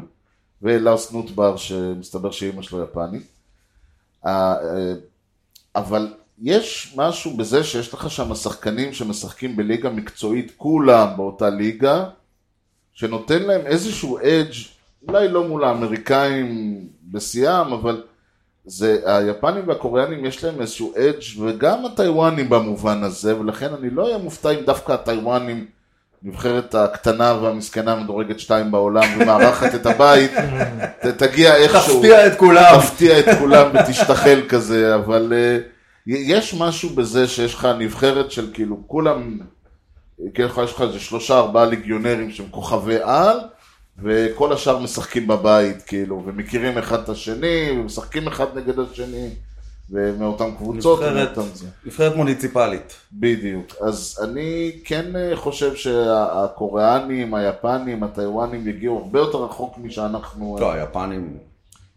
Speaker 2: ולארס נוטבר, שמסתבר שאימא שלו יפנית. אה, אה, אבל יש משהו בזה שיש לך שם שחקנים שמשחקים בליגה מקצועית, כולם באותה ליגה, שנותן להם איזשהו אדג', אולי לא מול האמריקאים בשיאם, אבל זה, היפנים והקוריאנים יש להם איזשהו אדג' וגם הטיוואנים במובן הזה, ולכן אני לא אהיה מופתע אם דווקא הטיוואנים, נבחרת הקטנה והמסכנה מדורגת שתיים בעולם ומארחת את הבית, ת- תגיע איכשהו.
Speaker 1: תפתיע את כולם.
Speaker 2: תפתיע את כולם ותשתחל כזה, אבל אה, י- יש משהו בזה שיש לך נבחרת של כאילו כולם, אה, כאילו יש לך איזה שלושה ארבעה ליגיונרים שהם כוכבי על, וכל השאר משחקים בבית כאילו, ומכירים אחד את השני, ומשחקים אחד נגד השני, ומאותן קבוצות,
Speaker 1: נבחרת-
Speaker 2: ומאותם זה.
Speaker 1: נבחרת מוניציפלית.
Speaker 2: כן. בדיוק. אז אני כן אה, חושב שהקוריאנים, היפנים, הטיוואנים יגיעו הרבה יותר רחוק משאנחנו... אה,
Speaker 1: לא, היפנים...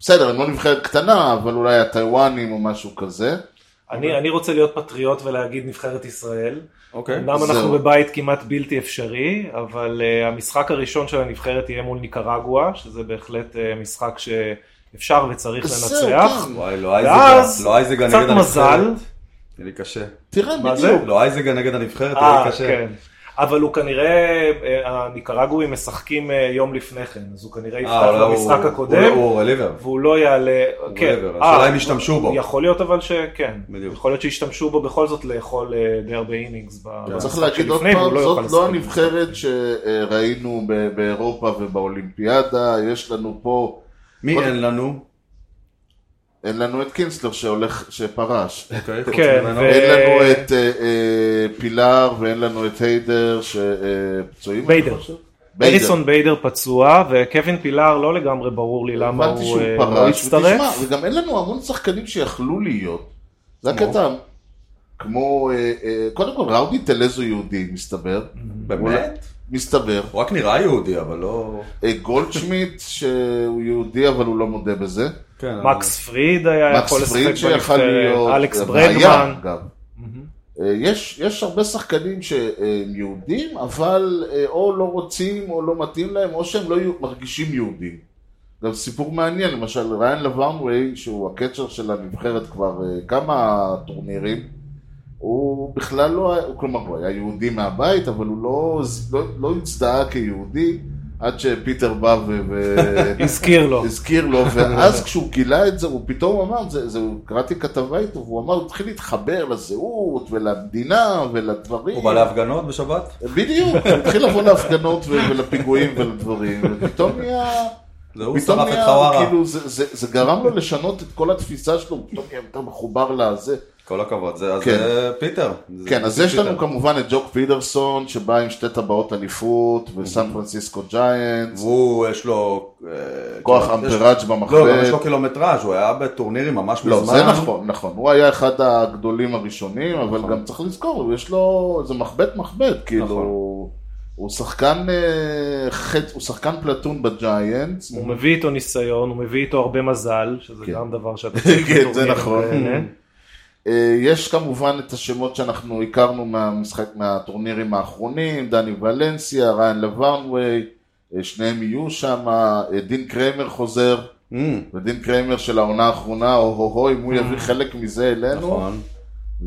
Speaker 2: בסדר, הם לא נבחרת קטנה, אבל אולי הטיוואנים או משהו כזה.
Speaker 3: אני, אני רוצה להיות פטריוט ולהגיד נבחרת ישראל.
Speaker 1: אוקיי.
Speaker 3: אמנם אנחנו
Speaker 2: זהו.
Speaker 3: בבית כמעט בלתי אפשרי, אבל uh, המשחק הראשון של הנבחרת יהיה מול ניקרגואה, שזה בהחלט uh, משחק שאפשר וצריך
Speaker 2: זהו,
Speaker 3: לנצח. אה,
Speaker 2: כן.
Speaker 1: וואי, לא אייזגה,
Speaker 3: ואז
Speaker 1: לא אייזגה נגד
Speaker 3: קצת
Speaker 1: הנבחרת.
Speaker 3: מזל.
Speaker 1: יהיה לי קשה.
Speaker 2: תראה,
Speaker 3: מה זה?
Speaker 2: בדיוק.
Speaker 1: לא אייזגה נגד הנבחרת, יהיה
Speaker 3: אה,
Speaker 1: לי קשה.
Speaker 3: כן. אבל הוא כנראה, אה, הניקרגואים משחקים אה, יום לפני כן, אז הוא כנראה
Speaker 1: אה,
Speaker 3: יפתח
Speaker 1: אולי הוא-
Speaker 3: במשחק
Speaker 1: הוא-
Speaker 3: הקודם,
Speaker 1: הוא רליבר.
Speaker 3: והוא לא יעלה, כן.
Speaker 1: רליבר,
Speaker 3: אה,
Speaker 1: השאלה אם ישתמשו בו.
Speaker 3: יכול להיות אבל שכן,
Speaker 1: בדיוק.
Speaker 3: יכול להיות שישתמשו בו בכל זאת לאכול אה, די הרבה אינינגס. ב-
Speaker 2: צריך
Speaker 3: במשחק
Speaker 2: להגיד עוד
Speaker 3: שלפני, והוא
Speaker 2: פעם,
Speaker 3: יוכל
Speaker 2: זאת לא
Speaker 3: לשחק.
Speaker 2: הנבחרת שראינו ב- באירופה ובאולימפיאדה, יש לנו פה,
Speaker 1: מי
Speaker 3: אוקיי.
Speaker 2: קודם-
Speaker 1: אין לנו?
Speaker 2: אין לנו את קינסלר שהולך, שפרש.
Speaker 1: אוקיי, חוץ
Speaker 3: כן,
Speaker 1: ממנו.
Speaker 3: ו-
Speaker 2: אין לנו את אה, אה, פילאר ואין לנו את היידר אה, שפצועים.
Speaker 3: ביידר.
Speaker 2: ביידר.
Speaker 3: אריסון ביידר פצוע, וקווין פילאר לא לגמרי ברור לי למה
Speaker 2: הבנתי
Speaker 3: הוא
Speaker 2: שהוא
Speaker 3: אה, לא
Speaker 2: פרש,
Speaker 3: הצטרף.
Speaker 2: ותשמע, וגם אין לנו המון שחקנים שיכלו להיות. זה הקטע. כמו, אה, אה, קודם כל ראודי טלז הוא יהודי, מסתבר.
Speaker 1: באמת?
Speaker 2: מסתבר.
Speaker 1: הוא רק נראה יהודי, אבל לא...
Speaker 2: אה, גולדשמיט, שהוא יהודי אבל הוא לא מודה בזה.
Speaker 1: כן,
Speaker 3: מקס פריד היה יכול
Speaker 2: מקס
Speaker 3: לשחק
Speaker 2: פריד שיכל להיות,
Speaker 3: בנבחרת, אלכס
Speaker 2: והיה
Speaker 3: ברגמן.
Speaker 2: גם. אה, יש, יש הרבה שחקנים שהם יהודים, אבל אה, או לא רוצים או לא מתאים להם, או שהם לא יהיו- מרגישים יהודים. גם סיפור מעניין, למשל ריין לברנווי, שהוא הקצ'ר של הנבחרת כבר אה, כמה טורנירים, הוא בכלל לא, היה- הוא- כלומר הוא היה יהודי מהבית, אבל הוא לא, לא, לא הצדעה כיהודי עד שפיטר בא ו... ו-
Speaker 3: הזכיר
Speaker 1: לא.
Speaker 3: לו.
Speaker 2: הזכיר לו, ואז כשהוא גילה את זה, הוא פתאום אמר, זה, זה, קראתי כתבה איתו, והוא אמר, הוא התחיל להתחבר לזהות ולמדינה ולדברים.
Speaker 1: הוא בא להפגנות בשבת?
Speaker 2: בדיוק, הוא התחיל לבוא להפגנות ו- ולפיגועים ולדברים, ופתאום נהיה...
Speaker 1: זה הוא
Speaker 2: פתאום
Speaker 1: שרף את
Speaker 2: נהיה,
Speaker 1: חווארה.
Speaker 2: כאילו, זה, זה, זה גרם לו לשנות את כל התפיסה שלו, הוא פתאום נהיה יותר מחובר לזה.
Speaker 1: כל הכבוד, זה אז
Speaker 2: כן.
Speaker 1: זה פיטר. זה
Speaker 2: כן, אז יש לנו
Speaker 1: פיטר.
Speaker 2: כמובן את ג'וק פידרסון, שבא עם שתי טבעות אליפות, וסן פרנסיסקו ג'יינטס,
Speaker 1: Mhm. והוא, יש לו... אה,
Speaker 2: כוח
Speaker 1: כאילו, יש-
Speaker 2: אמפראג'
Speaker 1: לא, גם יש
Speaker 2: במחבט.
Speaker 1: לו קילומטראז', הוא היה בטורנירים ממש מזמן.
Speaker 2: לא, זה נכון, נכון. הוא היה אחד הגדולים הראשונים, אבל גם צריך לזכור, יש לו, זה מחבט מחבט, כאילו,
Speaker 1: נכון.
Speaker 2: הוא שחקן אה, חץ, הוא שחקן פלטון בג'יינטס.
Speaker 3: הוא מביא איתו ניסיון, הוא מביא איתו הרבה מזל, שזה
Speaker 2: כן.
Speaker 3: גם דבר שאתה צריך
Speaker 2: כן, זה
Speaker 3: בטורניר,
Speaker 2: נכון.
Speaker 3: אה,
Speaker 2: אה, יש כמובן את השמות שאנחנו הכרנו מהמשחק, מהטורנירים האחרונים, דני ולנסיה, ריין לברנווי, אה, שניהם יהיו שם, אה, דין קריימר חוזר,
Speaker 1: Mm,
Speaker 2: ודין קריימר של העונה האחרונה, או הו הו, אם הוא יביא חלק מזה אלינו,
Speaker 1: נכון.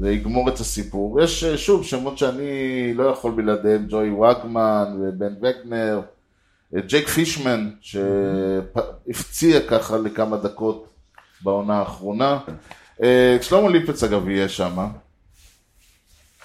Speaker 2: זה יגמור את הסיפור. יש אה, שוב שמות שאני לא יכול בלעדיהם, ג'וי וגמן ובן וקנר, אה, ג'ק פישמן שהפציע ככה לכמה דקות בעונה האחרונה. אה, שלמה ליפץ אגב יהיה שם,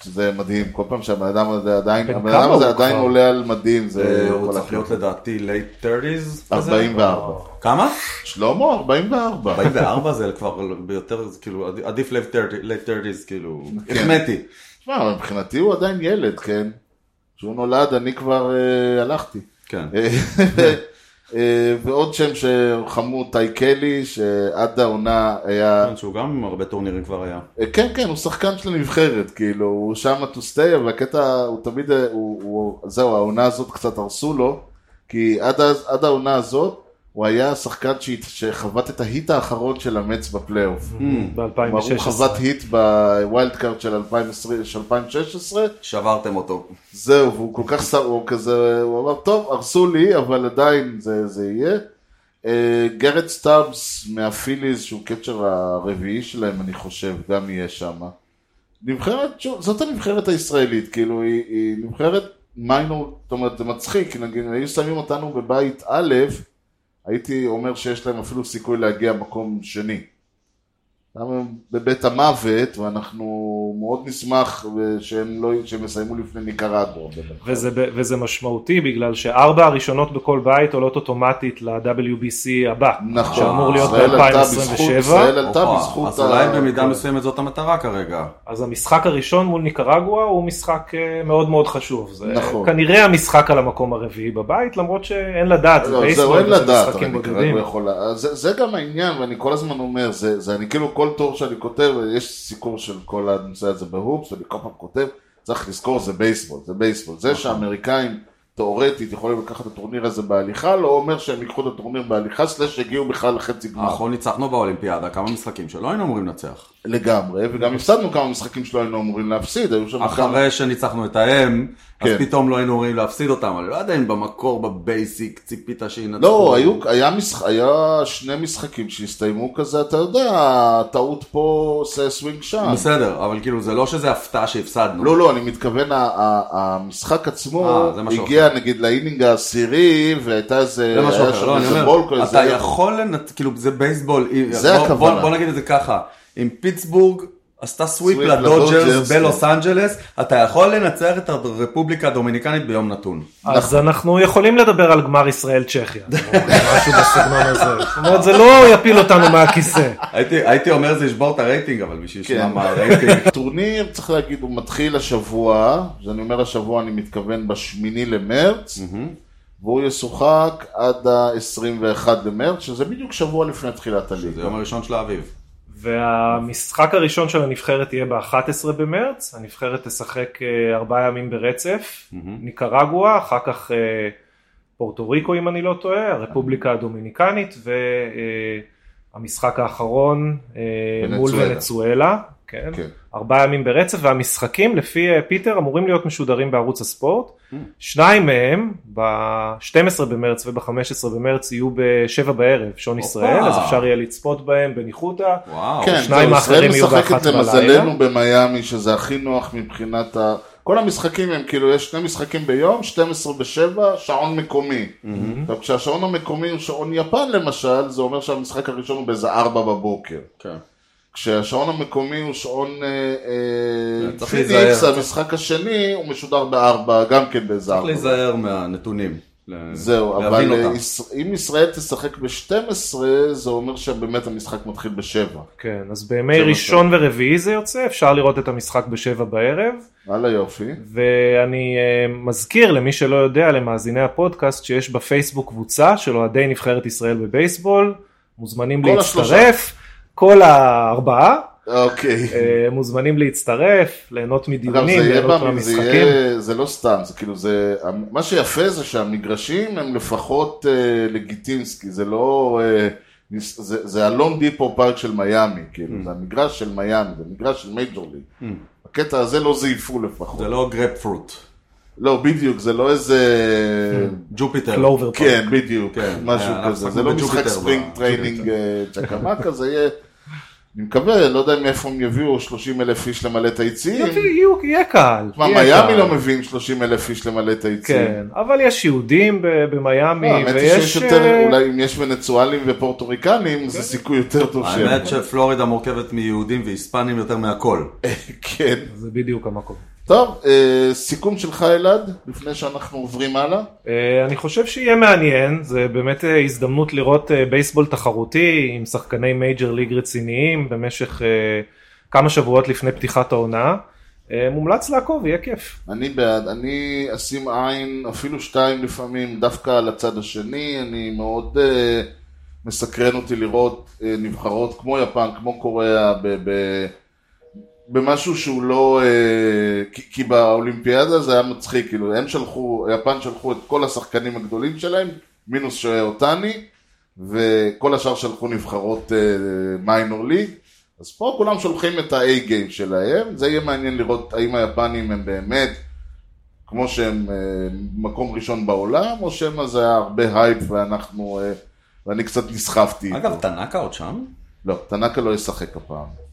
Speaker 2: שזה מדהים, כל פעם שהבן אדם הזה עדיין,
Speaker 3: בן
Speaker 2: הבן
Speaker 3: כמה
Speaker 2: אדם הזה
Speaker 3: הוא
Speaker 2: עדיין
Speaker 3: כבר?
Speaker 2: עולה על מדים, זה
Speaker 1: אה,
Speaker 2: יכול
Speaker 1: הוא צריך
Speaker 2: לקרות.
Speaker 1: להיות לדעתי late 30's. כזה.
Speaker 2: 44.
Speaker 1: כמה?
Speaker 2: שלמה 44.
Speaker 1: 44 זה כבר ביותר, זה כאילו, עדיף- עדיף late 30 late 30's, כאילו,
Speaker 2: כן.
Speaker 1: החמאתי.
Speaker 2: תשמע, מבחינתי הוא עדיין ילד, כן? כשהוא נולד אני כבר אה, הלכתי.
Speaker 1: כן.
Speaker 2: אה, ועוד שם שחמוד טי קלי, שעד העונה היה...
Speaker 1: כן, שהוא גם הרבה טורנירים כבר היה.
Speaker 2: אה, כן, כן, הוא שחקן של הנבחרת, כאילו, הוא שם to stay, אבל הקטע, הוא תמיד, אה, הוא, הוא, זהו, העונה הזאת קצת הרסו לו, כי עד, אז, עד העונה הזאת, הוא היה השחקן שהת- שחבט את ההיט האחרון של המץ בפלייאוף.
Speaker 1: Mm.
Speaker 2: כלומר, הוא
Speaker 3: ב-2016.
Speaker 2: חבט היט בווילד קארד של 2020 של 2016,
Speaker 1: שברתם אותו.
Speaker 2: זהו, והוא כל כך סעור כזה, הוא אמר, טוב, הרסו לי, אבל עדיין זה, זה יהיה. אה, גרד סטאבס מהפיליז, שהוא קצ'ר הרביעי שלהם, אני חושב, גם יהיה שם. נבחרת, שוב, זאת הנבחרת הישראלית, כאילו, היא, היא נבחרת מיינור, זאת אומרת, זה מצחיק, כי נגיד, היו שמים אותנו בבית א', הייתי אומר שיש להם אפילו סיכוי להגיע מקום שני. למה הם בבית המוות, ואנחנו מאוד נשמח אה, שהם, לא, שהם יסיימו לפני ניקרדו.
Speaker 3: וזה, ב- וזה משמעותי בגלל שארבע הראשונות בכל בית עולות אוטומטית ל-WBC הבא.
Speaker 2: נכון,
Speaker 3: שאמור להיות
Speaker 2: ישראל עלתה
Speaker 3: ב-2027.
Speaker 2: בזכות- ישראל עלתה
Speaker 1: הופה,
Speaker 2: בזכות...
Speaker 1: אז אולי
Speaker 2: ה- כן.
Speaker 1: במידה מסוימת זאת המטרה כרגע.
Speaker 3: אז המשחק הראשון מול ניקרגואה הוא משחק אה, מאוד מאוד חשוב. זה
Speaker 2: נכון.
Speaker 3: כנראה המשחק על המקום הרביעי בבית, למרות שאין לדעת,
Speaker 2: לא, זה
Speaker 3: בייסבול,
Speaker 2: אין לדעת,
Speaker 3: משחקים
Speaker 2: אבל
Speaker 3: בודדים.
Speaker 2: ניקרגו יכול... אז זה זה גם העניין, ואני כל הזמן אומר, זה זה אני כאילו כל טור שאני כותב, יש סיקור של כל הנושא הזה בהופס, אני כל פעם כותב, צריך לזכור, זה בייסבול, זה בייסבול. זה שהאמריקאים תאורטית יכולים לקחת את הטורניר הזה בהליכה, לא אומר שהם ייקחו את הטורניר בהליכה, סלש הגיעו בכלל לחצי גמר.
Speaker 1: אנחנו נכון, ניצחנו באולימפיאדה כמה משחקים שלא היינו אמורים לנצח.
Speaker 2: לגמרי, וגם הפסדנו כמה משחקים שלא היינו אמורים להפסיד, היו שם כמה...
Speaker 1: אחרי שניצחנו את האם, אז
Speaker 2: נכון. כן.
Speaker 1: פתאום לא היינו אמורים להפסיד אותם. אני לא יודע אם במקור, בבייסיק, ציפית שינצחו.
Speaker 2: לא, היו, היה, משח... היה שני משחקים שהסתיימו כזה, אתה יודע, טעות פה עושה סווינג שם.
Speaker 1: בסדר, אבל כאילו זה לא שזה הפתעה שהפסדנו.
Speaker 2: לא, לא, אני מתכוון, ה- ה- המשחק עצמו
Speaker 1: אה, זה משהו
Speaker 2: הגיע נגיד לאינינג העשירי, והייתה איזה...
Speaker 1: זה משהו
Speaker 2: היה
Speaker 1: אחר,
Speaker 2: שם
Speaker 1: לא, אני
Speaker 2: איזה
Speaker 1: אומר,
Speaker 2: בולקו, איזה-
Speaker 1: אתה יכול לנת... כאילו זה בייסבול,
Speaker 2: זה
Speaker 1: בוא-
Speaker 2: הכוונה.
Speaker 1: בוא- בוא נגיד את זה ככה, אם פיטסבורג עשתה סוויפ
Speaker 2: סוויפ לדודג'רס,
Speaker 1: לדודג'רס
Speaker 2: כן.
Speaker 1: בלוס אנג'לס, אתה יכול לנצח את הרפובליקה הדומיניקנית ביום נתון.
Speaker 3: אז
Speaker 2: נכון.
Speaker 3: אנחנו יכולים לדבר על גמר ישראל צ'כיה, או משהו בסגנון הזה. זאת אומרת, זה לא יפיל אותנו מהכיסא.
Speaker 1: הייתי הייתי אומר זה ישבור את הרייטינג, אבל בשביל
Speaker 2: כן.
Speaker 1: לשמוע מה הרייטינג.
Speaker 2: טורניר, צריך להגיד, הוא מתחיל השבוע, כשאני אומר השבוע, אני מתכוון בשמיני למרץ, והוא ישוחק עד ה-21 למרץ, שזה בדיוק שבוע לפני תחילת
Speaker 1: זה
Speaker 2: הליגה.
Speaker 1: יום הראשון של האביב.
Speaker 3: והמשחק הראשון של הנבחרת יהיה ב-11 במרץ, הנבחרת תשחק אה, ארבעה ימים
Speaker 2: Mm.
Speaker 3: ברצף,
Speaker 2: Mm-hmm.
Speaker 3: ניקרגואה, אחר כך אה, פורטו ריקו אם אני לא טועה, הרפובליקה הדומיניקנית המשחק האחרון אה, מול
Speaker 2: ונצואלה.
Speaker 3: ונצואלה, כן,
Speaker 2: כן.
Speaker 3: ארבעה ימים ברצף, והמשחקים לפי אה, פיטר אמורים להיות משודרים בערוץ הספורט,
Speaker 2: Mm.
Speaker 3: שניים מהם ב-12 במרץ וב-15 במרץ יהיו ב-7 בערב, שעון ישראל, אז אפשר יהיה לצפות בהם בניחותא,
Speaker 1: וואו.
Speaker 2: כן,
Speaker 3: שניים
Speaker 2: זהו,
Speaker 3: האחרים יהיו
Speaker 2: ישראל משחקת
Speaker 3: באחת בלילה.
Speaker 2: למזלנו במיאמי, שזה הכי נוח מבחינת ה... כל המשחקים הם כאילו, יש שני משחקים ביום, 12 ב-7, שעון מקומי. עכשיו, כשהשעון המקומי הוא שעון יפן למשל, זה אומר שהמשחק הראשון הוא באיזה 4 בבוקר.
Speaker 1: כן.
Speaker 2: כשהשעון המקומי הוא שעון אה, אה,
Speaker 1: צריך
Speaker 2: פיניקס,
Speaker 1: להיזהר.
Speaker 2: המשחק השני הוא משודר בארבע, גם כן באיזה
Speaker 1: צריך
Speaker 2: ארבע.
Speaker 1: להיזהר מהנתונים. ל-
Speaker 2: זהו,
Speaker 1: להבין
Speaker 2: אבל אה,
Speaker 1: אותם.
Speaker 2: יש- אם ישראל תשחק ב-12, זה אומר שבאמת המשחק מתחיל בשבע.
Speaker 3: כן, אז בימי ראשון ורביעי זה יוצא, אפשר לראות את המשחק ב-7 בערב.
Speaker 2: וואלה יופי.
Speaker 3: ואני אה, מזכיר למי שלא יודע, למאזיני הפודקאסט, שיש בפייסבוק קבוצה של אוהדי נבחרת ישראל בבייסבול, מוזמנים
Speaker 2: כל
Speaker 3: להצטרף, כל הארבעה,
Speaker 2: אוקיי.
Speaker 3: אה, מוזמנים להצטרף, ליהנות
Speaker 2: אגב, זה
Speaker 3: מדיונים,
Speaker 2: יהיה
Speaker 3: ליהנות
Speaker 2: פעמים, זה
Speaker 3: מהמשחקים.
Speaker 2: יהיה, זה לא סתם, זה כאילו, זה, מה שיפה זה שהמגרשים הם לפחות אה, לגיטינסקי, זה לא, אה, ניס- זה, זה הלון דיפו פארק של מיאמי, כאילו, זה המגרש של מיאמי, זה מגרש של מייג'ור ליג. בקטע הזה לא זייפו לפחות.
Speaker 1: זה לא גרפפרוט.
Speaker 2: לא, בדיוק, זה לא איזה...
Speaker 1: ג'ופיטר.
Speaker 3: קלובר פארק.
Speaker 2: כן, בדיוק,
Speaker 1: Mm. כן,
Speaker 2: משהו
Speaker 1: אנחנו
Speaker 2: כזה. זה
Speaker 1: משחקים
Speaker 2: לא משחק
Speaker 1: בג'ופיטר
Speaker 2: ספרינג
Speaker 1: ב-
Speaker 2: טריינינג אה, צ'קמקה, זה יהיה... אני מקווה, לא יודע מאיפה הם יביאו 30 אלף איש למלא את היציעים.
Speaker 3: יופי, יהיו- יהיה קהל.
Speaker 2: מה,
Speaker 3: יהיה
Speaker 2: מיאמי
Speaker 3: קהל.
Speaker 2: לא מביאים 30 אלף איש למלא את היציעים.
Speaker 3: כן, אבל יש יהודים ב- במיאמי,
Speaker 2: לא, האמת היא שיש
Speaker 3: ויש...
Speaker 2: יותר,
Speaker 3: אה, כן.
Speaker 2: אולי אם יש ונצואלים ופורטוריקנים, זה סיכוי יותר טוב שהם.
Speaker 1: האמת שפלורידה מורכבת מיהודים והיספנים יותר מהכל.
Speaker 2: כן.
Speaker 3: זה בדיוק המקום.
Speaker 2: טוב, אה, סיכום שלך אלעד, לפני שאנחנו עוברים הלאה.
Speaker 3: אה, אני חושב שיהיה מעניין, זה באמת אה, הזדמנות לראות אה, בייסבול תחרותי עם שחקני מייג'ר ליג רציניים במשך אה, כמה שבועות לפני פתיחת העונה. אה, מומלץ לעקוב, יהיה כיף.
Speaker 2: אני בעד, אני אשים עין, אפילו שתיים לפעמים, דווקא על הצד השני, אני מאוד אה, מסקרן אותי לראות אה, נבחרות כמו יפן, כמו קוריאה, ב, ב, במשהו שהוא לא, אה, כי, כי באולימפיאדה זה היה מצחיק, כאילו הם שלחו, יפן שלחו את כל השחקנים הגדולים שלהם, מינוס שוהה אותני, וכל השאר שלחו נבחרות אה, מיינור ליג, אז פה כולם שולחים את ה-A גיים שלהם, זה יהיה מעניין לראות האם היפנים הם באמת, כמו שהם אה, מקום ראשון בעולם, או שמא זה היה הרבה הייפ ואנחנו, אה, ואני קצת נסחפתי איתו.
Speaker 1: אגב, תנאקה עוד שם?
Speaker 2: לא, טנקה לא ישחק הפעם.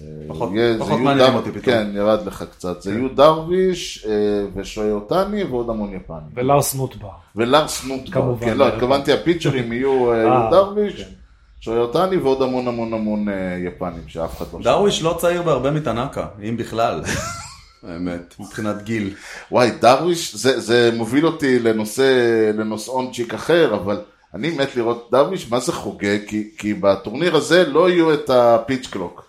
Speaker 2: אה,
Speaker 1: פחות-
Speaker 2: יהיה- זה
Speaker 1: פחות
Speaker 2: יהיו
Speaker 1: מעניינים
Speaker 2: דר-
Speaker 1: אותי פתאום. כן.
Speaker 2: כן, ירד לך קצת. זה יהיו דרוויש אה, ושוהי אותני ועוד המון יפני.
Speaker 3: ולארס נוטבר.
Speaker 2: ולארס נוטבר.
Speaker 3: כמובן,
Speaker 2: כן, לא,
Speaker 1: אה,
Speaker 3: יפני.
Speaker 2: התכוונתי הפיצ'רים יהיו אה,
Speaker 3: אה,
Speaker 1: כן.
Speaker 2: יהיו דרוויש, שוהי אותני ועוד המון המון המון אה, יפנים שאף אחד לא שמע.
Speaker 1: דרוויש לא צעיר בהרבה מטנאקה, אם בכלל. האמת, מבחינת גיל.
Speaker 2: וואי, דרוויש, זה, זה מוביל אותי לנושא, לנושאון צ'יק אחר, אבל אני מת לראות דרוויש, מה זה חוגג? כי, כי בטורניר הזה לא יהיו את הפיץ' קלוק.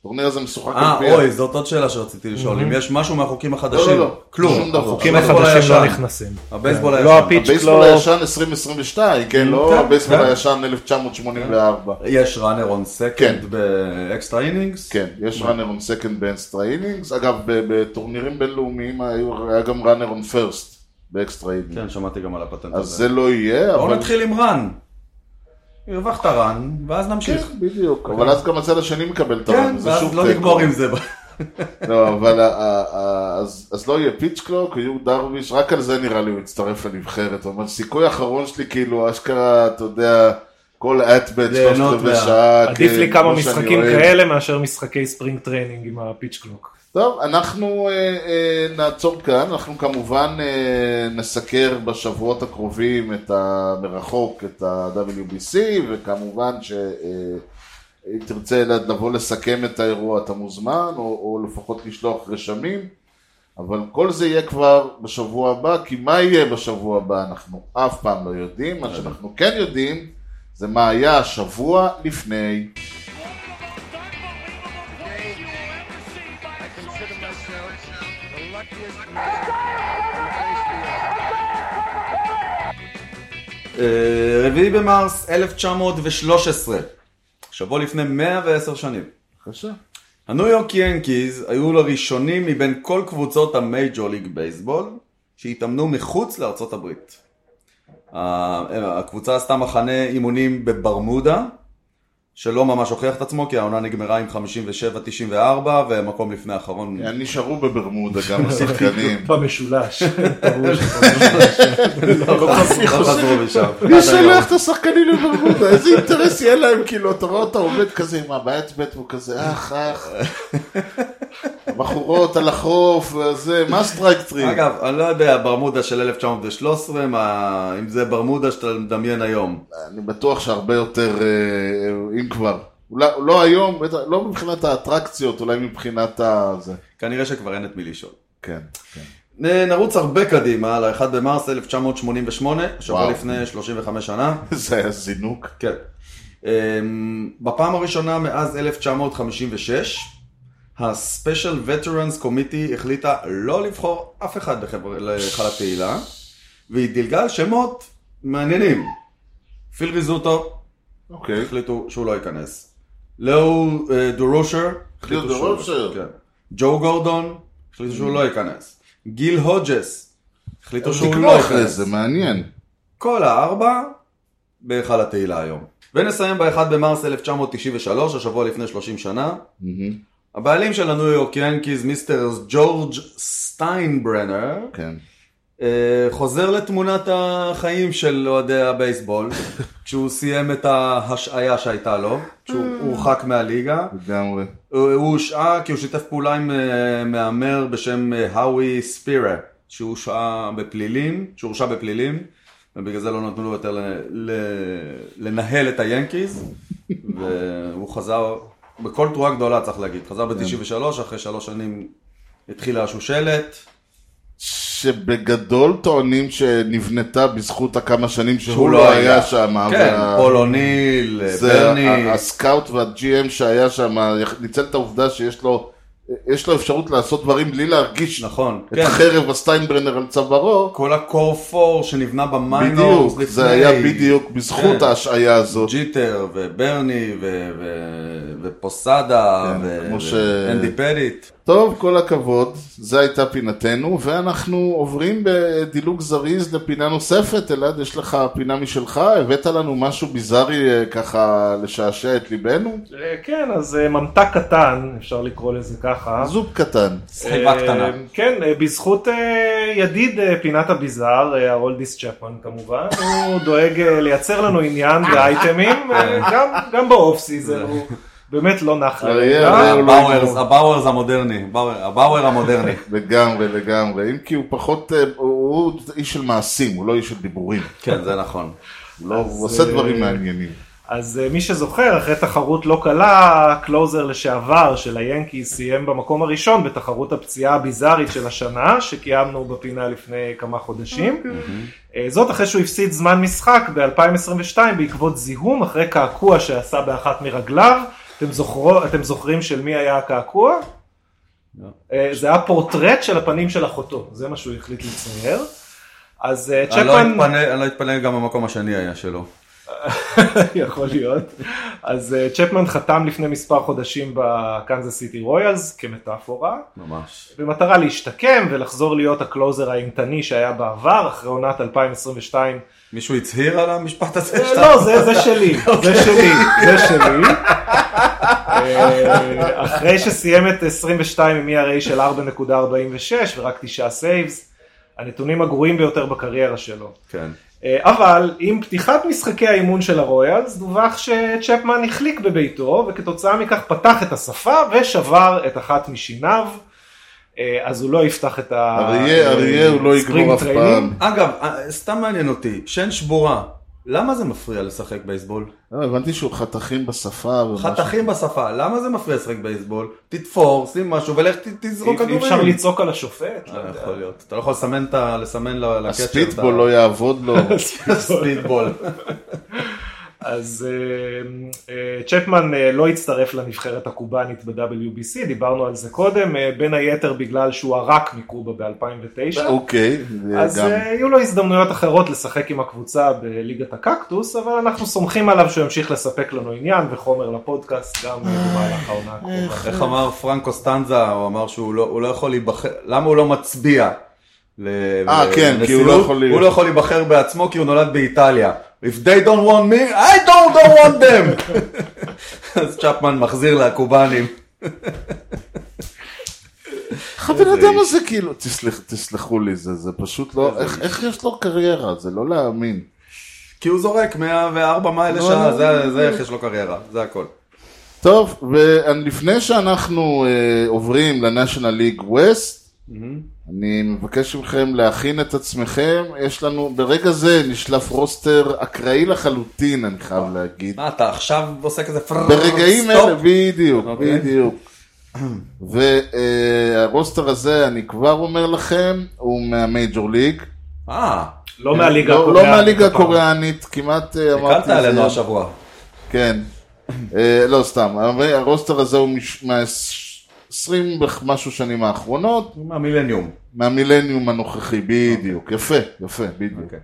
Speaker 2: הטורניר הזה משוחק
Speaker 1: אה,
Speaker 2: פי ה-
Speaker 1: אוי, זאת עוד שאלה שרציתי לשאול. אם יש משהו מהחוקים החדשים?
Speaker 2: אוקיי. לא, לא, לא.
Speaker 1: כלום.
Speaker 2: שום דבר.
Speaker 3: Mm-hmm. החוקים
Speaker 2: הבייסבול
Speaker 3: החדשים לא
Speaker 1: הישן.
Speaker 3: נכנסים.
Speaker 1: הבייסבול
Speaker 3: כן,
Speaker 1: הישן.
Speaker 3: לא הפיץ'
Speaker 2: הבייסבול
Speaker 3: קלוק.
Speaker 2: הישן 2022, כן, לא
Speaker 1: כן,
Speaker 2: הבייסבול
Speaker 1: כן.
Speaker 2: הישן 1984.
Speaker 1: יש ראנר און
Speaker 2: כן.
Speaker 1: סקנד באקסטרה אינינגס?
Speaker 2: כן, יש ראנר און סקנד באקסטרה אינינגס. אגב, ב- בטורנירים בינלאומיים היו- היה גם ראנר און פרסט באקסטרה אינינגס.
Speaker 1: כן, שמעתי גם על הפטנט
Speaker 2: אז
Speaker 1: הזה.
Speaker 2: זה לא יהיה, אבל...
Speaker 1: בואו נתחיל עם רן. הרווחת רן, ואז
Speaker 2: כן,
Speaker 1: נמשיך.
Speaker 2: בדיוק. אבל אז גם הצד השני מקבל את
Speaker 1: אוקיי. כן,
Speaker 2: הרן, זה שוב
Speaker 1: ואז לא
Speaker 2: תיקו.
Speaker 1: נגמור עם זה.
Speaker 2: לא, אבל ה- ה- ה- אז אז לא יהיה פיץ' קלוק, יהיו דרוויש, רק על זה נראה לי הוא יצטרף לנבחרת. אבל סיכוי האחרון שלי, כאילו, אשכרה, אתה יודע, כל אטבט, שלושת
Speaker 1: ליהנות
Speaker 2: רבעי
Speaker 1: מה-
Speaker 2: שעה,
Speaker 3: עדיף לי
Speaker 2: כן,
Speaker 3: כמה
Speaker 2: כמו שאני
Speaker 3: משחקים
Speaker 2: אוהב.
Speaker 3: כאלה מאשר משחקי ספרינג טריינינג עם הפיץ' קלוק.
Speaker 2: טוב, אנחנו אה, אה, נעצור כאן, אנחנו כמובן אה, נסקר בשבועות הקרובים את ה... מרחוק את ה-WBC, וכמובן ש... אה, אם תרצה אלעד לבוא לסכם את האירוע אתה מוזמן, או, או לפחות לשלוח רשמים, אבל כל זה יהיה כבר בשבוע הבא, כי מה יהיה בשבוע הבא אנחנו אף פעם לא יודעים, מה שאנחנו כן יודעים זה מה היה השבוע לפני.
Speaker 1: אה, רביעי במרס 1913, שבוע לפני 110 שנים.
Speaker 2: בבקשה.
Speaker 1: הניו יורק ינקיז היו לראשונים מבין כל קבוצות המייג'ור ליג בייסבול שהתאמנו מחוץ לארצות הברית. אה, ה- הקבוצה עשתה מחנה אימונים בברמודה, שלא ממש הוכיח את עצמו, כי העונה נגמרה עם 57-94, ומקום לפני האחרון.
Speaker 2: כן, נשארו בברמודה גם השחקנים.
Speaker 3: במשולש.
Speaker 1: לא חזרו משם.
Speaker 2: מי שולח את השחקנים לברמודה? איזה אינטרס יהיה להם, כאילו, אתה רואה אותה עומד כזה עם הבעיית בית והוא כזה, אך, אך. הבחורות על החוף, זה, מה סטרייק טרי?
Speaker 1: אגב, אני לא יודע, ברמודה של 1913, מה- אם זה ברמודה שאתה מדמיין היום.
Speaker 2: אני בטוח שהרבה יותר, אה, אם כבר. אולי, לא היום, בטח- לא מבחינת האטרקציות, אולי מבחינת ה... זה.
Speaker 1: כנראה שכבר אין את מי לשאול.
Speaker 2: כן, כן.
Speaker 1: נ- נרוץ הרבה קדימה, ל-1 במרס 1988, השבוע
Speaker 2: וואו.
Speaker 1: לפני 35 שנה.
Speaker 2: זה היה זינוק.
Speaker 1: כן. אמ, בפעם הראשונה מאז 1956, ה-Special Veterans Committee החליטה לא לבחור אף אחד לחבר- להיכל התהילה, והיא דילגה על שמות מעניינים. פיל ריזוטו,
Speaker 2: אוקיי.
Speaker 1: החליטו שהוא לא ייכנס. לאו אה, דורושר, החליטו שהוא לא-
Speaker 2: דורושר.
Speaker 1: כן. ג'ו גורדון, החליטו שהוא לא ייכנס. גיל הודג'ס, החליטו שהוא
Speaker 2: תקנו
Speaker 1: לא
Speaker 2: אחרי
Speaker 1: ייכנס.
Speaker 2: זה, מעניין.
Speaker 1: כל הארבע בהיכל התהילה היום. ונסיים ב-1 במרס 1993, השבוע לפני 30 שנה. הבעלים של הניו יורק ינקיז, מיסטר ג'ורג' סטיינברנר,
Speaker 2: כן.
Speaker 1: אה, חוזר לתמונת החיים של אוהדי הבייסבול, כשהוא סיים את ההשעיה שהייתה לו, כשהוא הורחק מהליגה.
Speaker 2: לגמרי.
Speaker 1: הוא הוא הושעה כי הוא שיתף פעולה עם אה, מהמר בשם אה, האווי ספירה, שהוא הושעה בפלילים, שהורשע בפלילים, ובגלל זה לא נתנו לו יותר ל- ל- לנהל את היאנקיז, והוא חזר, בכל תרועה גדולה צריך להגיד, חזר ב-93, אחרי שלוש שנים התחילה השושלת,
Speaker 2: שבגדול טוענים שנבנתה בזכות הכמה שנים
Speaker 1: שהוא
Speaker 2: שהוא לא היה שם.
Speaker 1: כן,
Speaker 2: וה-
Speaker 1: פול אוניל,
Speaker 2: זה
Speaker 1: ברני,
Speaker 2: ה- הסקאוט והג'י.אם שהיה שם, ניצל את העובדה שיש לו, יש לו אפשרות לעשות דברים בלי להרגיש
Speaker 1: נכון,
Speaker 2: את
Speaker 1: כן.
Speaker 2: החרב הסטיינברנר על צווארו.
Speaker 1: כל הקור פור שנבנה במיינורס
Speaker 2: בדיוק,
Speaker 1: לפני.
Speaker 2: זה היה בדיוק בזכות
Speaker 1: כן.
Speaker 2: ההשעיה הזאת.
Speaker 1: ג'יטר וברני ו- ו- ופוסדה
Speaker 2: כן,
Speaker 1: ו-
Speaker 2: כמו ש-
Speaker 1: ואנדי פדיט.
Speaker 2: טוב, כל הכבוד, זו הייתה פינתנו, ואנחנו עוברים בדילוג זריז לפינה נוספת. אלעד, יש לך פינה משלך, הבאת לנו משהו ביזארי אה, ככה לשעשע את ליבנו?
Speaker 3: אה, כן, אז אה, ממתק קטן, אפשר לקרוא לזה ככה.
Speaker 2: זוג קטן.
Speaker 1: סחיבה
Speaker 3: אה,
Speaker 1: קטנה.
Speaker 3: כן, אה, בזכות אה, ידיד אה, פינת הביזאר, אה, הרולדיס צ'פמן כמובן, הוא דואג אה, לייצר לנו עניין באייטמים, אה, גם- גם באוף
Speaker 1: זה-
Speaker 3: סיזן, הוא באמת לא נח
Speaker 2: אריה,
Speaker 3: לרגע.
Speaker 1: אה,
Speaker 2: אריה, הוא לא
Speaker 1: הבאוורס,
Speaker 2: יגמור.
Speaker 1: הבאוורס המודרני, באוור- הבאוור המודרני.
Speaker 2: לגמרי, לגמרי. אם כי הוא פחות, אה, הוא הוא איש של מעשים, הוא לא איש של דיבורים.
Speaker 1: כן, זה נכון.
Speaker 2: הוא לא- הוא עושה
Speaker 3: אה,
Speaker 2: דברים מעניינים.
Speaker 3: אז אה, מי שזוכר, אחרי תחרות לא קלה, קלוזר לשעבר של היאנקי סיים במקום הראשון בתחרות הפציעה הביזארית של השנה, שקיימנו בפינה לפני כמה חודשים. אה, זאת אחרי שהוא הפסיד זמן משחק ב-2022 בעקבות זיהום אחרי קעקוע שעשה באחת מרגליו. אתם, זוכרו, אתם זוכרים של מי היה הקעקוע? אה, זה היה פורטרט של הפנים של אחותו, זה מה שהוא החליט לצייר. אז אה,
Speaker 1: אני לא
Speaker 3: צ'פמן...
Speaker 1: אתפלא- אני לא אתפלא גם במקום השני היה שלו.
Speaker 3: יכול להיות. אז אה, צ'פמן חתם לפני מספר חודשים בקנזס סיטי רויאלס כמטאפורה,
Speaker 1: ממש.
Speaker 3: במטרה להשתקם ולחזור להיות הקלוזר האימתני שהיה בעבר, אחרי עונת 2022.
Speaker 1: מישהו הצהיר על המשפט הזה?
Speaker 3: אה,
Speaker 1: שאתה-
Speaker 3: לא, זה זה שלי, זה שלי, זה שלי. אה, אחרי שסיים את 22 עם ERA של 4.46 ורק 9 סייבס, הנתונים הגרועים ביותר בקריירה שלו.
Speaker 1: כן.
Speaker 3: אה, אבל עם פתיחת משחקי האימון של הרויאלס דווח שצ'פמן החליק בביתו וכתוצאה מכך פתח את השפה ושבר את אחת משיניו. אה, אז הוא לא יפתח את ה...
Speaker 2: אריה, אריה, הוא לא
Speaker 3: אה, ספרינג
Speaker 2: יגמור אף
Speaker 3: טריינינג.
Speaker 2: פעם.
Speaker 1: אגב, אה, סתם מעניין אותי, שן שבורה, למה זה מפריע לשחק בייסבול?
Speaker 2: לא, הבנתי שהוא חתכים בשפה. ומשהו.
Speaker 1: חתכים בשפה, למה זה מפריע לשחק בייסבול? תתפור, שים משהו ולך ת- תזרוק
Speaker 3: אי- אי
Speaker 1: כדורים.
Speaker 3: אפשר לצעוק על השופט? לא
Speaker 1: לא
Speaker 3: יודע.
Speaker 1: יכול להיות. אתה לא יכול לסמן את ה... לסמן ל- לקצ'ר.
Speaker 2: הספיטבול לא יעבוד לו.
Speaker 1: ספיטבול.
Speaker 3: אז אה, אה, צ'פמן אה, לא הצטרף לנבחרת הקובאנית ב-WBC, דיברנו על זה קודם, אה, בין היתר בגלל שהוא ערק מקובה ב-2009.
Speaker 2: אוקיי,
Speaker 3: אז
Speaker 2: גם.
Speaker 3: אה, יהיו לו הזדמנויות אחרות לשחק עם הקבוצה בליגת הקקטוס, אבל אנחנו סומכים עליו שהוא ימשיך לספק לנו עניין וחומר לפודקאסט גם אה, במהלך העונה הקרובה.
Speaker 1: איך אמר פרנקו סטנזה, הוא אמר שהוא לא, הוא לא יכול להיבחר, למה הוא לא מצביע? ל-
Speaker 2: אה,
Speaker 1: ל-
Speaker 2: כן, כי הוא לא
Speaker 1: לנשיאות? לא
Speaker 2: יכול להיות.
Speaker 1: הוא לא יכול להיבחר בעצמו כי הוא נולד באיטליה. If they don't want me, I don't, don't want them! אז צ'פמן מחזיר לקובנים.
Speaker 2: איך הבן אדם הזה כאילו, תסלח- תסלחו לי, זה זה פשוט לא, איך- איך יש לו קריירה? זה לא להאמין.
Speaker 1: כי הוא זורק 104 מייל
Speaker 3: לא,
Speaker 1: לשעה, זה- זה איך יש לו קריירה, זה הכל.
Speaker 2: טוב, ולפני שאנחנו אה, עוברים לנשיונל ליג ווסט, אני מבקש מכם להכין את עצמכם, יש לנו, ברגע זה נשלף רוסטר אקראי לחלוטין, אני חייב להגיד.
Speaker 1: מה, אתה עכשיו עושה כזה פרררר,
Speaker 2: ברגעים
Speaker 1: סטופ?
Speaker 2: אלה, בדיוק,
Speaker 1: אוקיי.
Speaker 2: בדיוק. והרוסטר הזה, אני כבר אומר לכם, הוא מהמייג'ור ליג.
Speaker 1: אה,
Speaker 3: לא מהליגה
Speaker 2: לא-
Speaker 3: הקוריאנית.
Speaker 2: לא מהליגה
Speaker 3: הפעם.
Speaker 2: הקוריאנית, כמעט אה, אמרתי...
Speaker 1: הקלת
Speaker 2: זה.
Speaker 1: עלינו השבוע.
Speaker 2: כן. אה, לא, סתם. הרי הרוסטר הזה הוא מש- מה-20 ומשהו שנים האחרונות,
Speaker 1: הוא מהמילניום.
Speaker 2: מהמילניום הנוכחי, בדיוק. יפה, יפה, בדיוק.
Speaker 1: אוקיי.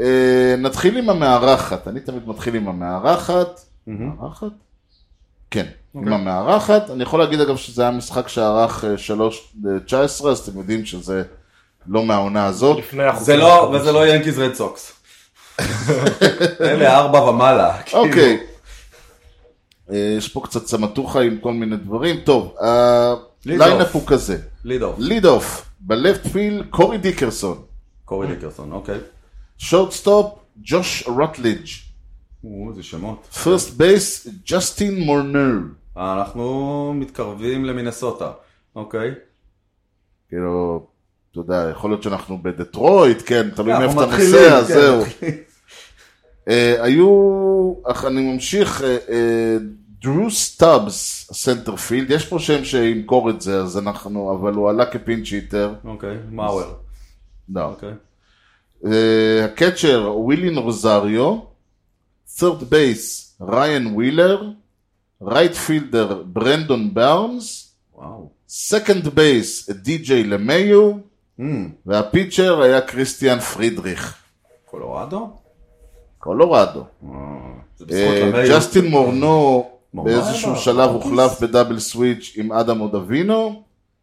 Speaker 2: אה, נתחיל עם המארחת, אני תמיד מתחיל עם המארחת. מארחת? כן,
Speaker 3: אוקיי.
Speaker 2: עם המארחת. אני יכול להגיד אגב שזה היה משחק שערך אה, 3-19, אז אתם יודעים שזה לא מהעונה הזאת.
Speaker 3: לפני החוקים.
Speaker 1: זה לא, וזה לא ינקיז רד סוקס. אלה ארבע ומעלה. כאילו.
Speaker 2: אוקיי. אה, יש פה קצת סמטוחה עם כל מיני דברים. טוב, הליינאפ
Speaker 1: אוף.
Speaker 2: הוא כזה.
Speaker 1: ליד אוף.
Speaker 2: ליד אוף, בלפט פיל, קורי דיקרסון.
Speaker 1: קורי דיקרסון, אוקיי.
Speaker 2: שורט סטופ, ג'וש רוטליג'.
Speaker 1: או, איזה שמות. אה,
Speaker 2: פרסט בייס, ג'סטין מורנר.
Speaker 1: אנחנו מתקרבים למינסוטה, אוקיי?
Speaker 2: כאילו, אתה יודע, יכול להיות שאנחנו בדטרויט, כן, תלוי
Speaker 1: אנחנו
Speaker 2: מאיפה אתה
Speaker 1: מתחילים,
Speaker 2: נוסע,
Speaker 1: כן.
Speaker 2: זהו. אה, היו, אך אני ממשיך, אה, אה, דרו סטאבס, הסנטרפילד, יש פה שם שימכור את זה, אז אנחנו, אבל הוא עלה כפינצ' היטר.
Speaker 1: אוקיי, מאואר.
Speaker 2: לא.
Speaker 1: אוקיי.
Speaker 2: אה, הקצ'ר ווילין רוזריו, third בייס ריין ווילר, רייט פילדר ברנדון באונס,
Speaker 1: וואו.
Speaker 2: סקנד בייס די.ג'יי למיו,
Speaker 1: אה,
Speaker 2: והפיצ'ר היה קריסטיאן פרידריך,
Speaker 1: קולורדו?
Speaker 2: קולורדו.
Speaker 1: זה בזכות
Speaker 2: אה,
Speaker 1: למייל.
Speaker 2: ג'סטין מורנו
Speaker 1: מורנו
Speaker 2: באיזשהו
Speaker 1: היה
Speaker 2: שלב
Speaker 1: בכיס.
Speaker 2: הוחלף בדאבל סוויץ' עם אדם אודווינו,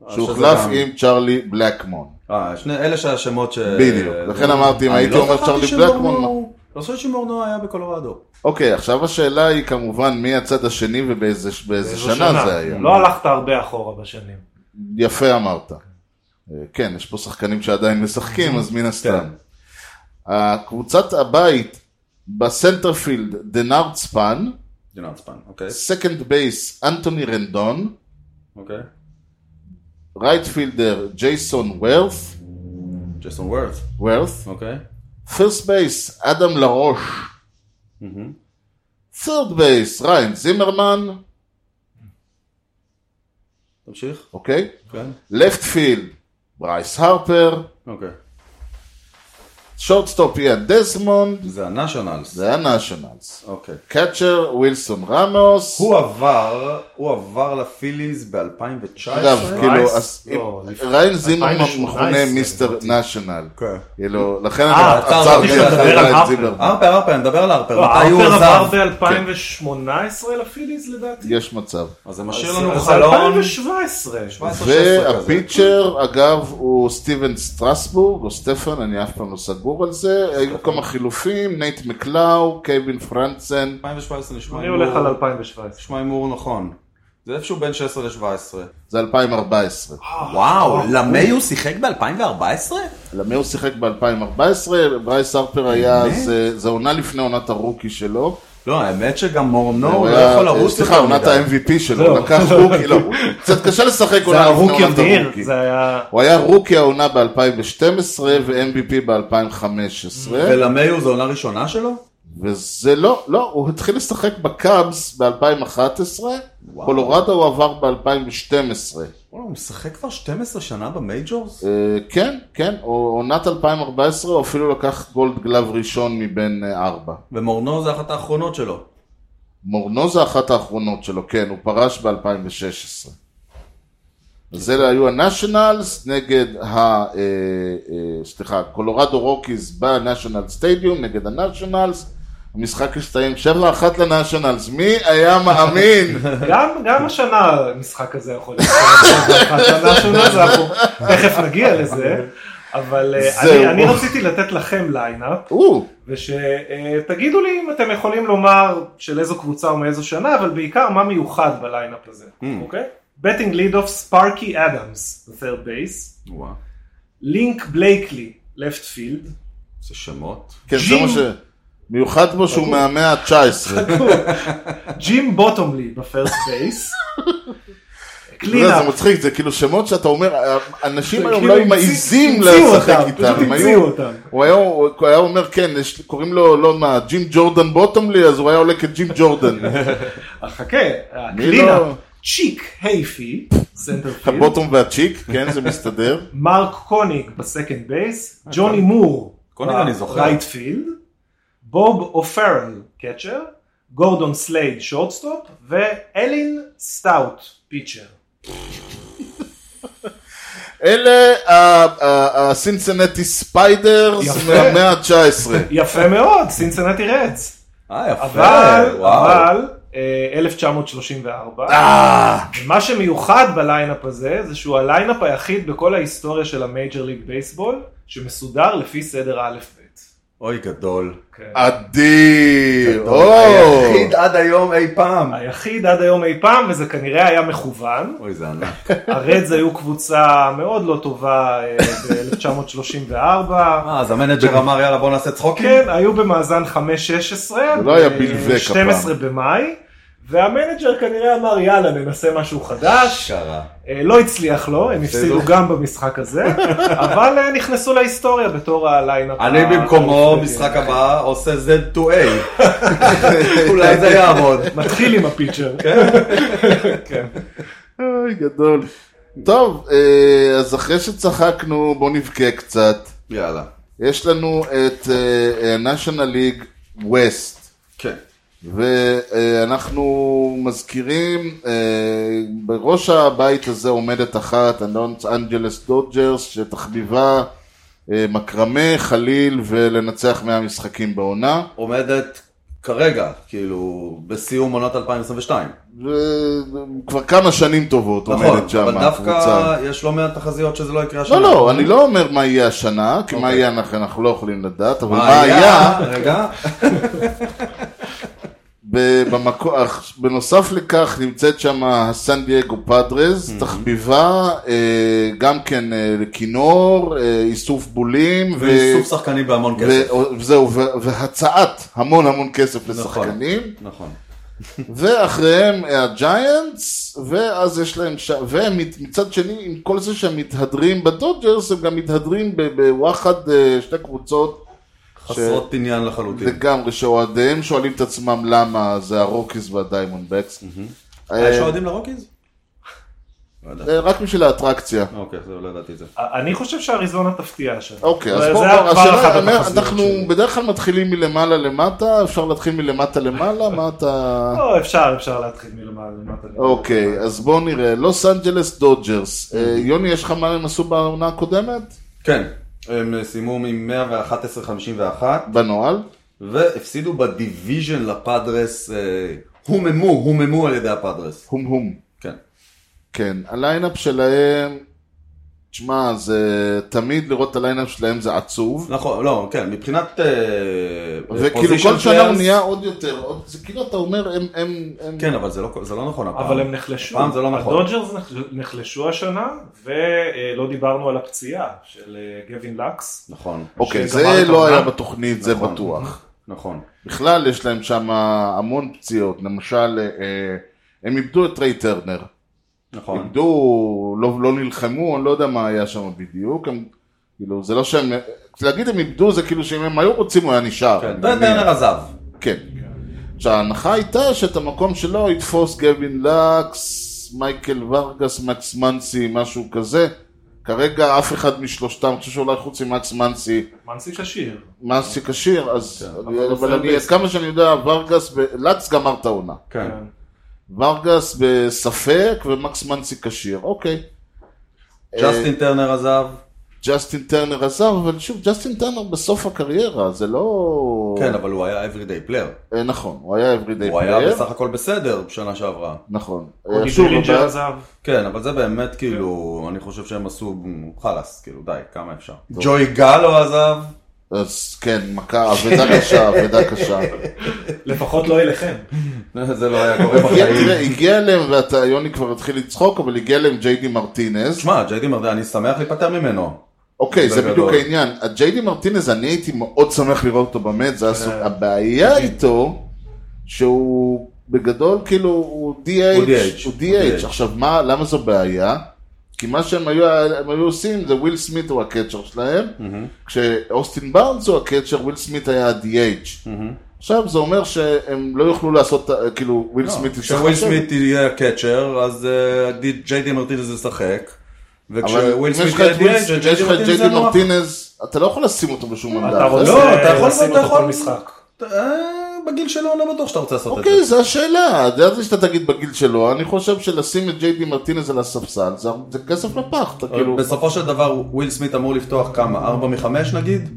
Speaker 1: אה, שזה
Speaker 2: שהוחלף
Speaker 1: גם-
Speaker 2: עם צ'ארלי בלקמון.
Speaker 1: אה, שני, אלה שהשמות ש... אה,
Speaker 2: בדיוק. לכן אמרתי, אם
Speaker 1: אני
Speaker 2: הייתי
Speaker 1: לא
Speaker 2: אומר
Speaker 1: זכרתי
Speaker 2: צ'רלי
Speaker 1: שמורנו-
Speaker 2: בלקמון,
Speaker 1: לא חושב שמורנו היה בקולורדו.
Speaker 2: אוקיי, עכשיו השאלה היא כמובן מי הצד השני ובאיזה באיזה
Speaker 3: זו
Speaker 2: שנה זה היה.
Speaker 3: לא הלכת הרבה אחורה בשנים.
Speaker 2: יפה אמרת. אה, כן, יש פה שחקנים שעדיין משחקים, אז מן הסתם. הקבוצת הבית בסנטרפילד, דנארד ספן,
Speaker 1: ג'נרד ספן, אוקיי.
Speaker 2: סקנד בייס, אנטוני רנדון,
Speaker 1: אוקיי.
Speaker 2: רייט פילדר, ג'ייסון וורת,
Speaker 1: ג'סון וורת,
Speaker 2: וורת,
Speaker 1: אוקיי.
Speaker 2: פירסט בייס, אדם לרוש, third בייס, ריין זימרמן,
Speaker 1: תמשיך.
Speaker 2: אוקיי?
Speaker 1: כן.
Speaker 2: לפט פילד, ברייס הרפר,
Speaker 1: אוקיי.
Speaker 2: שורטסטופ יהיה דזמונד,
Speaker 1: זה הנשיונלס.
Speaker 2: זה הנאשונלס.
Speaker 1: אוקיי.
Speaker 2: קאצ'ר, ווילסון רמוס.
Speaker 1: הוא עבר, הוא עבר לפיליז ב-2019.
Speaker 2: אגב, כאילו, אז
Speaker 3: לא,
Speaker 2: אם-
Speaker 3: לפני-
Speaker 2: ריין זימרמן
Speaker 3: 2018,
Speaker 2: מכונה
Speaker 3: לדעתי.
Speaker 2: מיסטר נשיונל.
Speaker 1: כן.
Speaker 2: כאילו, לכן אני
Speaker 3: אה,
Speaker 1: אתה
Speaker 2: עצרתי
Speaker 1: רציתי
Speaker 2: לך
Speaker 3: לדבר
Speaker 2: על
Speaker 3: על
Speaker 2: ריין
Speaker 3: הרפר.
Speaker 2: זימרמן.
Speaker 1: הרפר, הרפר, נדבר על הרפר.
Speaker 3: לא,
Speaker 1: מתי הוא
Speaker 3: האופר עבר
Speaker 1: עזב? כן.
Speaker 3: ב-2018 לפיליז לדעתי.
Speaker 2: יש מצב.
Speaker 1: אז זה משאיר לנו
Speaker 3: אז
Speaker 1: חלון.
Speaker 3: 2017.
Speaker 1: 17-16 כזה.
Speaker 2: והפיצ'ר, אגב, הוא סטיבן סטרסבורג, או סטפן, אני אף פעם לא סגור על
Speaker 3: אוקיי.
Speaker 2: זה. היו כמה חילופים, נייט מקלאו, קייבין פרנסן.
Speaker 1: 2017 נשמע
Speaker 3: אני
Speaker 1: הימור-
Speaker 3: הולך על 2017.
Speaker 1: נשמע הימור נכון. זה איפשהו בין 16 ל-17.
Speaker 2: זה 2014.
Speaker 1: וואו, למי הוא שיחק ב-2014?
Speaker 2: למי הוא שיחק ב-2014, ברייס הרפר היה,
Speaker 1: באמת?
Speaker 2: זה- זה עונה לפני עונת הרוקי שלו.
Speaker 1: לא, האמת שגם מורנו הוא לא
Speaker 2: היה-
Speaker 1: יכול לרוץ
Speaker 2: סליחה,
Speaker 1: יותר
Speaker 2: עונת
Speaker 1: מדי.
Speaker 2: ה-MVP שלו,
Speaker 3: זהו.
Speaker 2: הוא לקח רוקי, לא, הוא- קצת קשה לשחק
Speaker 3: זה
Speaker 2: עונה
Speaker 3: היה
Speaker 2: לפני
Speaker 3: רוקי
Speaker 2: עונת
Speaker 3: המהיר,
Speaker 2: הרוקי.
Speaker 3: זה היה...
Speaker 2: הוא היה רוקי העונה ב-2012 ו-MVP ב-2015,
Speaker 1: ולמיו זו עונה ראשונה שלו?
Speaker 2: וזה לא, לא, הוא התחיל לשחק בקאבס ב-2011, קולורדו הוא עבר ב-2012.
Speaker 1: וואלה, הוא משחק כבר 12 שנה במייג'ורס?
Speaker 2: כן, כן, או- עונת 2014 הוא אפילו לקח גולד גלב ראשון מבין אה, ארבע.
Speaker 1: ומורנו זה אחת האחרונות שלו.
Speaker 2: מורנו זה אחת האחרונות שלו, כן, הוא פרש ב-2016. אז אלה היו הנשיונלס נגד ה... אה, אה, סליחה, קולורדו רוקיז בנשיונל סטדיום נגד הנשיונלס. המשחק הסתיים 7-1 לנשיונלס, מי היה מאמין?
Speaker 3: גם, גם השנה המשחק הזה יכול להיות. השנה שונה, אנחנו תכף נגיע לזה. אבל אה,
Speaker 2: זהו.
Speaker 3: אני- אני רציתי לתת לכם ליינאפ.
Speaker 2: או,
Speaker 3: ושתגידו לי אם אתם יכולים לומר של איזו קבוצה או מאיזו שנה, אבל בעיקר מה מיוחד בליינאפ הזה,
Speaker 2: Hmm.
Speaker 3: אוקיי? בטינג ליד אוף ספארקי אדמס, third base,
Speaker 1: וואו,
Speaker 3: לינק בלייקלי, left field,
Speaker 1: זה שמות.
Speaker 2: כן, זה מה ש... מיוחד בו שהוא מהמאה ה-19.
Speaker 3: ג'ים בוטומלי בפרסט בייס,
Speaker 2: זה
Speaker 3: קלינאפ,
Speaker 2: מצחיק, זה כאילו שמות שאתה אומר, אנשים
Speaker 3: זה
Speaker 2: היום
Speaker 3: כאילו
Speaker 2: לא היו
Speaker 3: המציא-
Speaker 2: מעיזים
Speaker 3: המציאו
Speaker 2: לשחק
Speaker 3: אותם,
Speaker 2: איתם.
Speaker 3: פשוט
Speaker 2: הם
Speaker 3: המציאו
Speaker 2: היו-
Speaker 3: אותם.
Speaker 2: הוא היה- הוא היה אומר, כן, יש- קוראים לו, לא מה, ג'ים ג'ורדן בוטומלי, אז הוא היה עולה כג'ים ג'ורדן.
Speaker 3: אה, חכה, הקלינאפ,
Speaker 2: לא-
Speaker 3: צ'יק הייפי, סנטר פילד,
Speaker 2: הבוטום והצ'יק, כן, זה מסתדר.
Speaker 3: מרק קוניג בסקנד בייס, ג'וני מור,
Speaker 1: אוקיי. קוניג אני זוכר.
Speaker 3: רייט פילד, בוב אופרל קצ'ר, גורדון סלייד שורטסטופ, ואלין סטאוט פיצ'ר.
Speaker 2: אלה ה- ה- הסינסנטי ספיידרס
Speaker 3: יפה.
Speaker 2: מהמאה ה-19.
Speaker 3: יפה מאוד, סינסנטי רדס.
Speaker 1: אה, יפה,
Speaker 3: אבל,
Speaker 1: וואו.
Speaker 3: אבל, אה, 1934.
Speaker 2: אה,
Speaker 3: מה שמיוחד בליינאפ הזה, זה שהוא הליינאפ היחיד בכל ההיסטוריה של המייג'ר ליג בייסבול, שמסודר לפי סדר האלף-בית.
Speaker 1: אוי, גדול.
Speaker 3: כן.
Speaker 2: אדיר. או.
Speaker 1: היחיד עד היום אי פעם.
Speaker 3: היחיד עד היום אי פעם, וזה כנראה היה מכוון.
Speaker 1: אוי, זה ענק.
Speaker 3: הרדס היו קבוצה מאוד לא טובה אה, ב-1934.
Speaker 1: אה, אז המנג'ר אמר, יאללה, בוא נעשה צחוקים?
Speaker 3: כן, היו במאזן 5-16.
Speaker 2: זה לא היה בלבק
Speaker 3: 12 במאי. והמנג'ר כנראה אמר יאללה ננסה משהו חדש,
Speaker 1: אשכרה.
Speaker 3: אה, לא הצליח לו, הם הפסידו
Speaker 1: בסדר.
Speaker 3: גם במשחק הזה, אבל אה, נכנסו להיסטוריה בתור הליינאפ. ה- אה,
Speaker 1: אני במקומו,
Speaker 3: ה-
Speaker 1: משחק הבא, עושה Z2A. אולי זה יעבוד.
Speaker 3: מתחיל עם הפיצ'ר.
Speaker 1: כן.
Speaker 2: אוי, גדול. טוב, אה, אז אחרי שצחקנו, בוא נבכה קצת.
Speaker 1: יאללה.
Speaker 2: יש לנו את אה, national league west.
Speaker 1: כן.
Speaker 2: ואנחנו מזכירים, אה, בראש הבית הזה עומדת אחת, הלונס אנג'לס דודג'רס, שתחביבה אה, מקרמה, חליל ולנצח 100 משחקים בעונה.
Speaker 1: עומדת כרגע, כאילו, בסיום עונת 2022.
Speaker 2: וכבר כמה שנים טובות
Speaker 1: נכון,
Speaker 2: עומדת שם
Speaker 1: אבל
Speaker 2: הקבוצה.
Speaker 1: דווקא יש לא מעט תחזיות שזה לא יקרה השנה.
Speaker 2: לא, לא, אני לא אומר מה יהיה השנה, כי מה
Speaker 1: אוקיי.
Speaker 2: יהיה אנחנו- אנחנו לא יכולים לדעת, אבל
Speaker 1: מה היה? רגע.
Speaker 2: ב- במקו... אך- בנוסף לכך נמצאת שם הסן דייגו פאדרז,
Speaker 1: Mm-hmm.
Speaker 2: תחביבה, אה, גם כן אה, לכינור, אה, איסוף בולים, ו-
Speaker 1: ואיסוף שחקנים בהמון כסף.
Speaker 2: ו- וזהו, ו- והצעת המון המון כסף לשחקנים,
Speaker 1: נכון.
Speaker 2: ואחריהם אה, הג'יינטס, ואז יש להם ש... והם מת- מצד שני, עם כל זה שהם מתהדרים בדודג'רס, הם גם מתהדרים ב- בוואחד אה, שתי קבוצות
Speaker 1: חסרות עניין לחלוטין.
Speaker 2: לגמרי, שאוהדיהם שואלים את עצמם למה זה הרוקיז והדיימונד בקס.
Speaker 1: Mm-hmm. אה, יש אוהדים לרוקיז? לא יודע.
Speaker 2: אה, רק בשביל האטרקציה.
Speaker 1: אוקיי, זה- לא ידעתי את זה.
Speaker 3: אה, אני חושב שאריזונה תפתיע שם.
Speaker 2: אוקיי, אז
Speaker 3: אבל
Speaker 2: בואו,
Speaker 3: זה היה כבר
Speaker 2: השאלה,
Speaker 3: אחת
Speaker 2: אני אומר,
Speaker 3: התחזיות
Speaker 2: אנחנו
Speaker 3: שלי.
Speaker 2: בדרך כלל מתחילים מלמעלה למטה, אפשר להתחיל מלמטה למעלה, מה
Speaker 1: אה.
Speaker 2: אתה...
Speaker 3: לא, אפשר, אפשר להתחיל מלמעלה. למטה.
Speaker 2: אוקיי, אז בואו נראה, לוס אנג'לס דודג'רס. אה,
Speaker 1: Mm-hmm.
Speaker 2: יוני, יש לך מה הם עשו בעונה הקודמת?
Speaker 1: כן, הם סיימו עם 111-51
Speaker 2: בנוהל?
Speaker 1: והפסידו בדיוויז'ן לפאדרס, אה, הוממו, הוממו על ידי הפאדרס.
Speaker 2: הום הום.
Speaker 1: כן.
Speaker 2: כן, הליינאפ שלהם, תשמע, זה תמיד לראות את הליינאפ שלהם זה עצוב.
Speaker 1: נכון, לא, כן, מבחינת... אה,
Speaker 2: וכאילו
Speaker 1: position
Speaker 2: כל שנה הוא
Speaker 1: players-
Speaker 2: נהיה עוד יותר, עוד- זה כאילו אתה אומר, הם, הם, הם,
Speaker 1: כן, אבל זה לא, זה לא נכון הפעם.
Speaker 3: אבל הם נחלשו.
Speaker 1: הפעם זה לא נכון.
Speaker 3: הדודג'רס נחל- נחלשו השנה, ולא דיברנו על הפציעה של אה, גווין לקס.
Speaker 1: נכון,
Speaker 2: אוקיי,
Speaker 3: שגמר את
Speaker 2: זה לא
Speaker 3: העונה.
Speaker 2: היה בתוכנית, זה
Speaker 1: נכון.
Speaker 2: בטוח.
Speaker 1: נכון.
Speaker 2: בכלל יש להם שם המון פציעות, למשל, אה, הם איבדו את ריי טרנר.
Speaker 1: נכון.
Speaker 2: איבדו, לא, לא נלחמו, אני לא יודע מה היה שם בדיוק, הם, כאילו, זה לא שהם, להגיד הם איבדו זה כאילו שאם הם היו רוצים הוא היה נשאר.
Speaker 1: כן,
Speaker 2: אני
Speaker 1: טרנר
Speaker 2: מניח.
Speaker 1: עזב.
Speaker 2: כן. שההנחה הייתה שאת המקום שלו יתפוס גבין לקס, מייקל ורגס, מקס מנסי, משהו כזה. כרגע אף אחד משלושתם, אני חושב שאולי חוץ ממקס מנסי,
Speaker 3: מנסי כשיר.
Speaker 2: מנסי כשיר, אז
Speaker 1: כן, אבל
Speaker 2: אבל אני,
Speaker 1: פרננדס.
Speaker 2: עד כמה שאני יודע, ורגס, ב- לקס גמר את העונה.
Speaker 1: כן.
Speaker 3: אה,
Speaker 2: ורגס בספק ומקס מנסי כשיר, אוקיי.
Speaker 1: ג'סטין טרנר עזב,
Speaker 2: ג'סטין טרנר עזב, אבל שוב, ג'סטין טרנר בסוף הקריירה, זה לא...
Speaker 1: כן, אבל הוא היה everyday player.
Speaker 2: אה, נכון, הוא היה everyday
Speaker 1: הוא היה
Speaker 2: player.
Speaker 1: בסך הכל בסדר בשנה שעברה.
Speaker 2: נכון. אה,
Speaker 3: קודי
Speaker 2: שוב,
Speaker 3: בילינג'ר
Speaker 2: הבעיה-
Speaker 3: עזב.
Speaker 1: כן, אבל זה באמת כאילו, אני חושב שהם עשו חלאס, כאילו די, כמה אפשר. ג'וי גלו עזב,
Speaker 2: אז כן, מכה, אבדה קשה, אבדה קשה.
Speaker 3: לפחות לא אליכם.
Speaker 1: זה לא היה קורה
Speaker 2: הגיע-
Speaker 1: בחיים.
Speaker 2: תראה, הגיע אליהם, ואתה, יוני כבר התחיל לצחוק, אבל הגיע אליהם ג'יי די מרטינז.
Speaker 1: שמע, ג'יידי מרדן, אני שמח להיפטר ממנו.
Speaker 2: אוקיי, זה
Speaker 1: בגדול.
Speaker 2: בדיוק העניין. הג'יי די מרטינז, אני הייתי מאוד שמח לראות אותו באמת,
Speaker 1: כן.
Speaker 2: זה הסוג... הבעיה איתו, שהוא בגדול, כאילו, הוא
Speaker 1: הוא
Speaker 2: DH,
Speaker 1: DH, הוא
Speaker 2: הוא DH.
Speaker 1: DH.
Speaker 2: עכשיו, מה, למה זו בעיה? כי מה שהם היו, הם היו עושים, זה וויל סמית הוא הקצ'ר שלהם, כשאוסטין בארנס הוא הקצ'ר, וויל סמית היה ה-DH. עכשיו, זה אומר שהם לא יוכלו לעשות, אה, כאילו, וויל סמית יצטרך
Speaker 1: לא. כשוויל
Speaker 2: לשבת.
Speaker 1: סמית יהיה הקצ'ר, אז ג'יידי מרטינז ישחק.
Speaker 2: אבל
Speaker 1: וכשוויל
Speaker 2: אם יש
Speaker 1: סמית
Speaker 2: לך את
Speaker 1: יהיה
Speaker 2: וויל סמית,
Speaker 1: DH,
Speaker 2: יש
Speaker 1: ג'יידי
Speaker 2: לך את
Speaker 1: מרטינז
Speaker 2: ג'יידי
Speaker 1: זה נורא.
Speaker 2: מרטינז, אתה לא יכול לשים אותו בשום עמדה.
Speaker 3: אתה רוצה
Speaker 1: לא, אתה יכול-
Speaker 3: לשים
Speaker 1: אתה
Speaker 3: אותו
Speaker 1: יכול-
Speaker 3: כל משחק.
Speaker 1: אה, בגיל שלו לא בטוח שאתה רוצה לעשות את זה.
Speaker 2: אוקיי, זו השאלה, ידעתי שאתה תגיד בגיל שלו, אני חושב שלשים את ג'יי די מרטינז על הספסל, זה- זה כסף לפח, אתה כאילו,
Speaker 1: בסופו של דבר וויל סמית אמור לפתוח כמה? ארבע מחמש נגיד?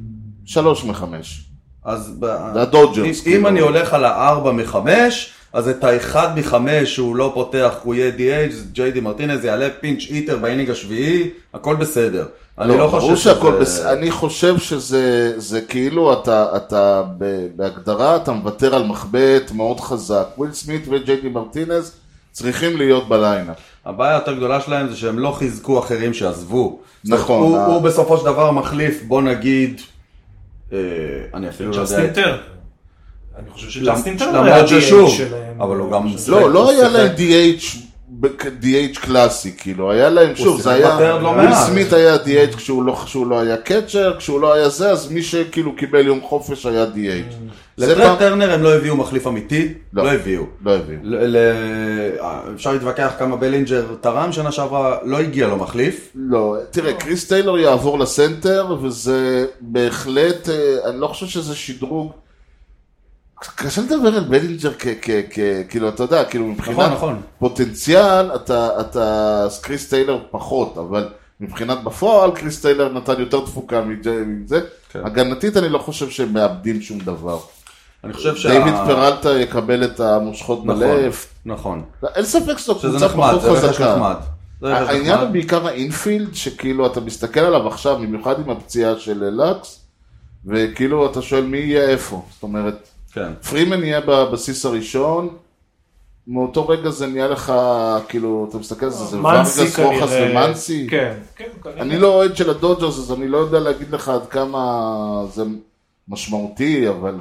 Speaker 2: שלוש מחמש.
Speaker 1: אז ב-
Speaker 2: זה הדודג'רס,
Speaker 1: אם- אם
Speaker 2: כאילו.
Speaker 1: אני הולך על הארבע מחמש, אז את האחד מחמש שהוא לא פותח, הוא יהיה DH, ג'יי די מרטינז יעלה פינץ' איטר באינינג השביעי, הכל בסדר. אני לא חושב
Speaker 2: ברור שהכל בס- אני חושב שזה זה כאילו אתה, אתה ב- בהגדרה, אתה מוותר על מחבט מאוד חזק. וויל סמית וג'יי די מרטינז צריכים להיות בליינאפ.
Speaker 1: הבעיה היותר גדולה שלהם זה שהם לא חיזקו אחרים שעזבו.
Speaker 2: נכון,
Speaker 1: הוא,
Speaker 2: ה-
Speaker 1: הוא בסופו של דבר מחליף, בוא נגיד, אה, אני אפילו לא יודע.
Speaker 3: ג'סטין טרנר. אני חושב שג'סטין
Speaker 1: למ-
Speaker 3: טרנר היה
Speaker 1: למרות ששוב,
Speaker 3: ה-DH שלהם.
Speaker 1: אבל הוא גם...
Speaker 2: לא, לא
Speaker 1: הוא
Speaker 2: היה
Speaker 1: שיחק-
Speaker 2: להם DH, ב- DH קלאסי, כאילו, היה להם, שוב, זה
Speaker 1: שיחק
Speaker 2: היה,
Speaker 1: בטרנד לא
Speaker 2: וויל
Speaker 1: מעט.
Speaker 2: סמית היה DH כשהוא לא, כשהוא לא היה קצ'ר, כשהוא לא היה זה, אז מי שכאילו קיבל יום חופש היה
Speaker 1: אה,
Speaker 2: DH. זה פעם,
Speaker 1: לטרד טרנר הם לא הביאו מחליף אמיתי,
Speaker 2: לא.
Speaker 1: לא הביאו.
Speaker 2: לא הבין.
Speaker 1: ל- ל- אפשר להתווכח כמה בלינג'ר תרם שנה שעברה, לא הגיע לו מחליף.
Speaker 2: לא, תראה, קריס טיילור יעבור לסנטר, וזה בהחלט, אה, אני לא חושב שזה שדרוג. קשה לדבר על בלינג'ר כ... כ- כ- כאילו, אתה יודע, כאילו מבחינת
Speaker 1: נכון, נכון.
Speaker 2: פוטנציאל, אתה, אתה, אז קריס טיילר פחות, אבל מבחינת בפועל, קריס טיילר נתן יותר תפוקה מג'י- מזה.
Speaker 1: כן.
Speaker 2: הגנתית, אני לא חושב שהם מאבדים שום דבר.
Speaker 1: אני חושב שה...
Speaker 2: דיוויד פרלטה יקבל את המושכות
Speaker 1: נכון,
Speaker 2: בלב.
Speaker 1: נכון.
Speaker 2: אין ספק שזו
Speaker 1: שזה
Speaker 2: קבוצה
Speaker 1: נחמד,
Speaker 2: פחות
Speaker 1: זה רכש
Speaker 2: חזקה.
Speaker 1: נחמד. זה רכש
Speaker 2: העניין
Speaker 1: נחמד.
Speaker 2: הוא בעיקר האינפילד, שכאילו אתה מסתכל עליו עכשיו, במיוחד עם הפציעה של לקס, וכאילו אתה שואל מי יהיה איפה. זאת אומרת,
Speaker 1: כן.
Speaker 2: פרימן יהיה בבסיס הראשון, מאותו רגע זה נהיה לך, כאילו, אתה מסתכל על זה, זה
Speaker 3: מנסי
Speaker 2: ורגס, רוחס
Speaker 3: כנראה.
Speaker 2: ומנסי.
Speaker 3: כן, כן, כנראה.
Speaker 2: אני לא אוהד של הדודג'רס, אז אני לא יודע להגיד לך עד כמה זה משמעותי, אבל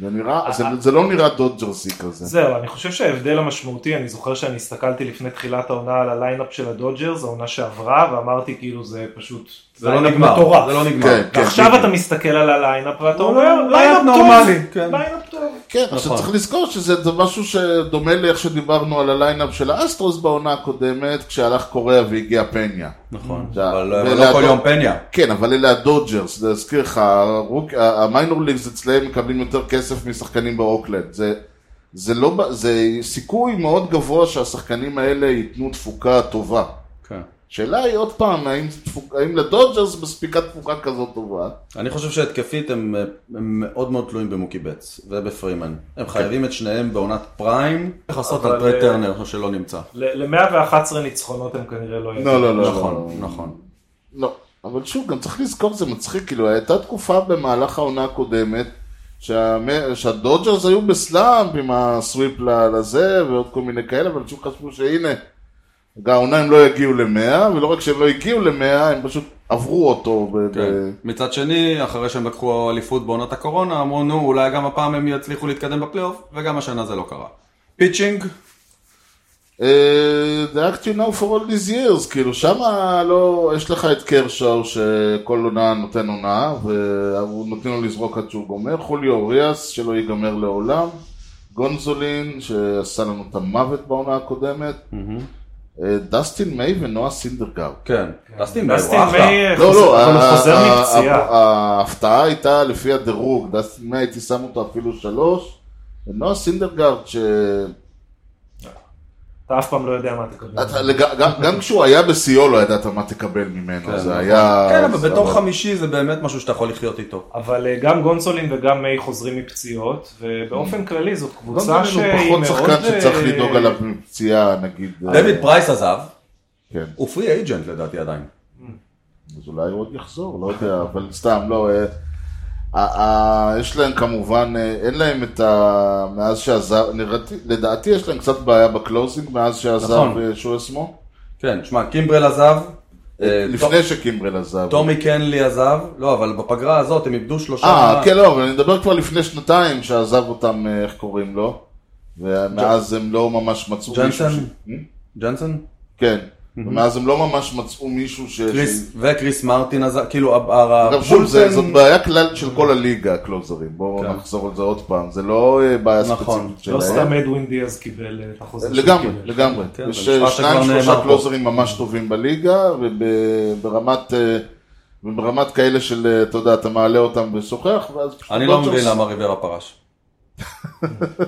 Speaker 2: זה נראה, זה- זה לא נראה דודג'רסי כזה.
Speaker 3: זהו, אני חושב שההבדל המשמעותי, אני זוכר שאני הסתכלתי לפני תחילת העונה על הליינאפ של הדודג'ר, זו עונה שעברה, ואמרתי כאילו זה פשוט...
Speaker 1: זה לא
Speaker 3: ליינאפ
Speaker 1: נגמר,
Speaker 3: מטורף.
Speaker 1: זה לא
Speaker 2: כן,
Speaker 1: נגמר.
Speaker 2: כן.
Speaker 3: ועכשיו אתה מסתכל על הליינאפ ואתה אומר,
Speaker 1: ליינאפ
Speaker 3: ליינאפ טוב,
Speaker 1: לא- נורמלי, כן.
Speaker 3: ליינאפ טוב.
Speaker 2: כן, עכשיו צריך לזכור שזה משהו שדומה לאיך שדיברנו על הליינאפ של האסטרוס בעונה הקודמת, כשהלך קוריאה והגיע פניה.
Speaker 1: נכון.
Speaker 2: זה-
Speaker 1: אבל לא-
Speaker 2: זה
Speaker 1: אבל לא כל
Speaker 2: להטות.
Speaker 1: יום פניה.
Speaker 2: כן, אבל אלה הדודג'רס, להזכיר לך, הרוק- ה- המיינור ליגס אצלהם מקבלים יותר כסף משחקנים באוקלנד. זה, זה, לא, ב- זה סיכוי מאוד גבוה שהשחקנים האלה ייתנו תפוקה טובה.
Speaker 1: כן.
Speaker 2: השאלה היא עוד פעם, האם, זה תפוק, האם לדודג'רס מספיקה תפוקה כזאת טובה?
Speaker 1: אני חושב שהתקפית הם אה, הם מאוד מאוד תלויים במוקי בטס ובפרימן. הם חייבים את שניהם בעונת פריים. לכסות על
Speaker 3: אבל,
Speaker 1: טרי
Speaker 3: אה,
Speaker 1: טרנר שלא נמצא.
Speaker 3: ל-111 ניצחונות הם כנראה לא יגיעו.
Speaker 2: לא,
Speaker 1: נכון, נכון.
Speaker 2: לא, אבל שוב, גם צריך לזכור, זה מצחיק, כאילו, הייתה תקופה במהלך העונה הקודמת, שהמ- שהדודג'רס היו בסלאמפ עם הסוויפ ל- לזה, ועוד כל מיני כאלה, אבל שוב חשבו שהנה, העונה הם לא יגיעו למאה, ולא רק שהם לא הגיעו למאה, הם פשוט עברו אותו. ב-
Speaker 1: כן.
Speaker 2: ב-
Speaker 1: מצד שני, אחרי שהם לקחו אליפות בעונת הקורונה, אמרו נו, אולי גם הפעם הם יצליחו להתקדם בפלייאוף, וגם השנה זה לא קרה. פיצ'ינג,
Speaker 2: אה, The act you know for all these years, כאילו שמה לא, יש לך את קרשאו שכל עונה נותן עונה, ונותנים לו לזרוק עד שהוא גומר, חוליו אוריאס שלא ייגמר לעולם, גונזולין שעשה לנו את המוות בעונה הקודמת, אה, דסטין מיי ונועה סינדרגר.
Speaker 1: כן. דסטין מיי,
Speaker 3: דסטין
Speaker 1: הוא אחלה.
Speaker 3: מיי
Speaker 2: לא,
Speaker 3: חוזר-
Speaker 2: לא, אה,
Speaker 3: אבל
Speaker 2: ה-
Speaker 3: הוא חוזר
Speaker 2: ה- ה-
Speaker 3: מפציעה.
Speaker 2: ההפתעה הייתה לפי הדירוג, דסטין מיי הייתי שם אותו אפילו שלוש, ונועה סינדרגרד ש...
Speaker 3: אתה אף פעם לא יודע מה תקבל.
Speaker 2: אתה לג- גם- גם כשהוא היה בשיאו לא ידעת מה תקבל ממנו,
Speaker 1: כן,
Speaker 2: זה היה...
Speaker 1: כן, אבל
Speaker 2: זה
Speaker 1: בתור
Speaker 2: אבל-
Speaker 1: חמישי זה באמת משהו שאתה יכול לחיות איתו.
Speaker 3: אבל אה, גם גונסולין וגם מיי חוזרים מפציעות, ובאופן כללי זאת קבוצה
Speaker 2: גונדולין
Speaker 3: שהיא
Speaker 2: Mm. הוא
Speaker 3: מאוד...
Speaker 2: פחות שחקן שצריך
Speaker 3: אה,
Speaker 2: לדאוג עליו מפציעה, נגיד...
Speaker 1: דויד פרייס עזב,
Speaker 2: אה, כן,
Speaker 1: הוא פרי אייג'נט לדעתי עדיין.
Speaker 2: אז אולי הוא עוד יחזור, לא יודע, אבל סתם, לא... אה, ה- ה- יש להם כמובן, אה, אין להם את ה... מאז שעזב, נראתי- לדעתי יש להם קצת בעיה בקלוזינג מאז שעזב
Speaker 1: נכון.
Speaker 2: אה, שואסמו.
Speaker 1: כן, שמע, קימברל עזב, אה,
Speaker 2: לפני שקימברל עזב.
Speaker 1: טומי קנלי עזב, לא, אבל בפגרה הזאת הם איבדו שלושה...
Speaker 2: אה, כן, לא, אבל אני מדבר כבר לפני שנתיים שעזב אותם, אה, איך קוראים לו, ומאז הם לא ממש מצאו
Speaker 1: ג'נסן?
Speaker 2: מישהו ש... Hmm?
Speaker 1: ג'נסון?
Speaker 2: כן, ומאז הם לא ממש מצאו מישהו ש...
Speaker 1: קריס, וכריס מרטין עזב, כאילו, ה- ה-
Speaker 2: אגב, שוב, זה-
Speaker 1: הבולפן-
Speaker 2: זאת בעיה כלל של כל הליגה, הקלוזרים, בואו
Speaker 1: כן.
Speaker 2: נחזור על זה עוד פעם, זה לא אה, בעיה
Speaker 1: נכון,
Speaker 2: ספציפית
Speaker 3: לא סתם
Speaker 2: שלהם.
Speaker 3: אדווין דיאז קיבל אה, את החוזה שהוא
Speaker 2: לגמרי,
Speaker 3: קיבל.
Speaker 2: לגמרי.
Speaker 1: כן,
Speaker 2: יש
Speaker 1: זה
Speaker 2: אה,
Speaker 1: נשמע
Speaker 2: שניים,
Speaker 1: שכבר נאמר
Speaker 2: שלושה
Speaker 1: פה.
Speaker 2: קלוזרים ממש טובים בליגה, וברמת... אה, וברמת כאלה של, אה, אתה יודע, אתה מעלה אותם ושוחח, ואז פשוט
Speaker 1: אני לא
Speaker 2: דודג'רס-
Speaker 1: מבין למה ריברה פרש.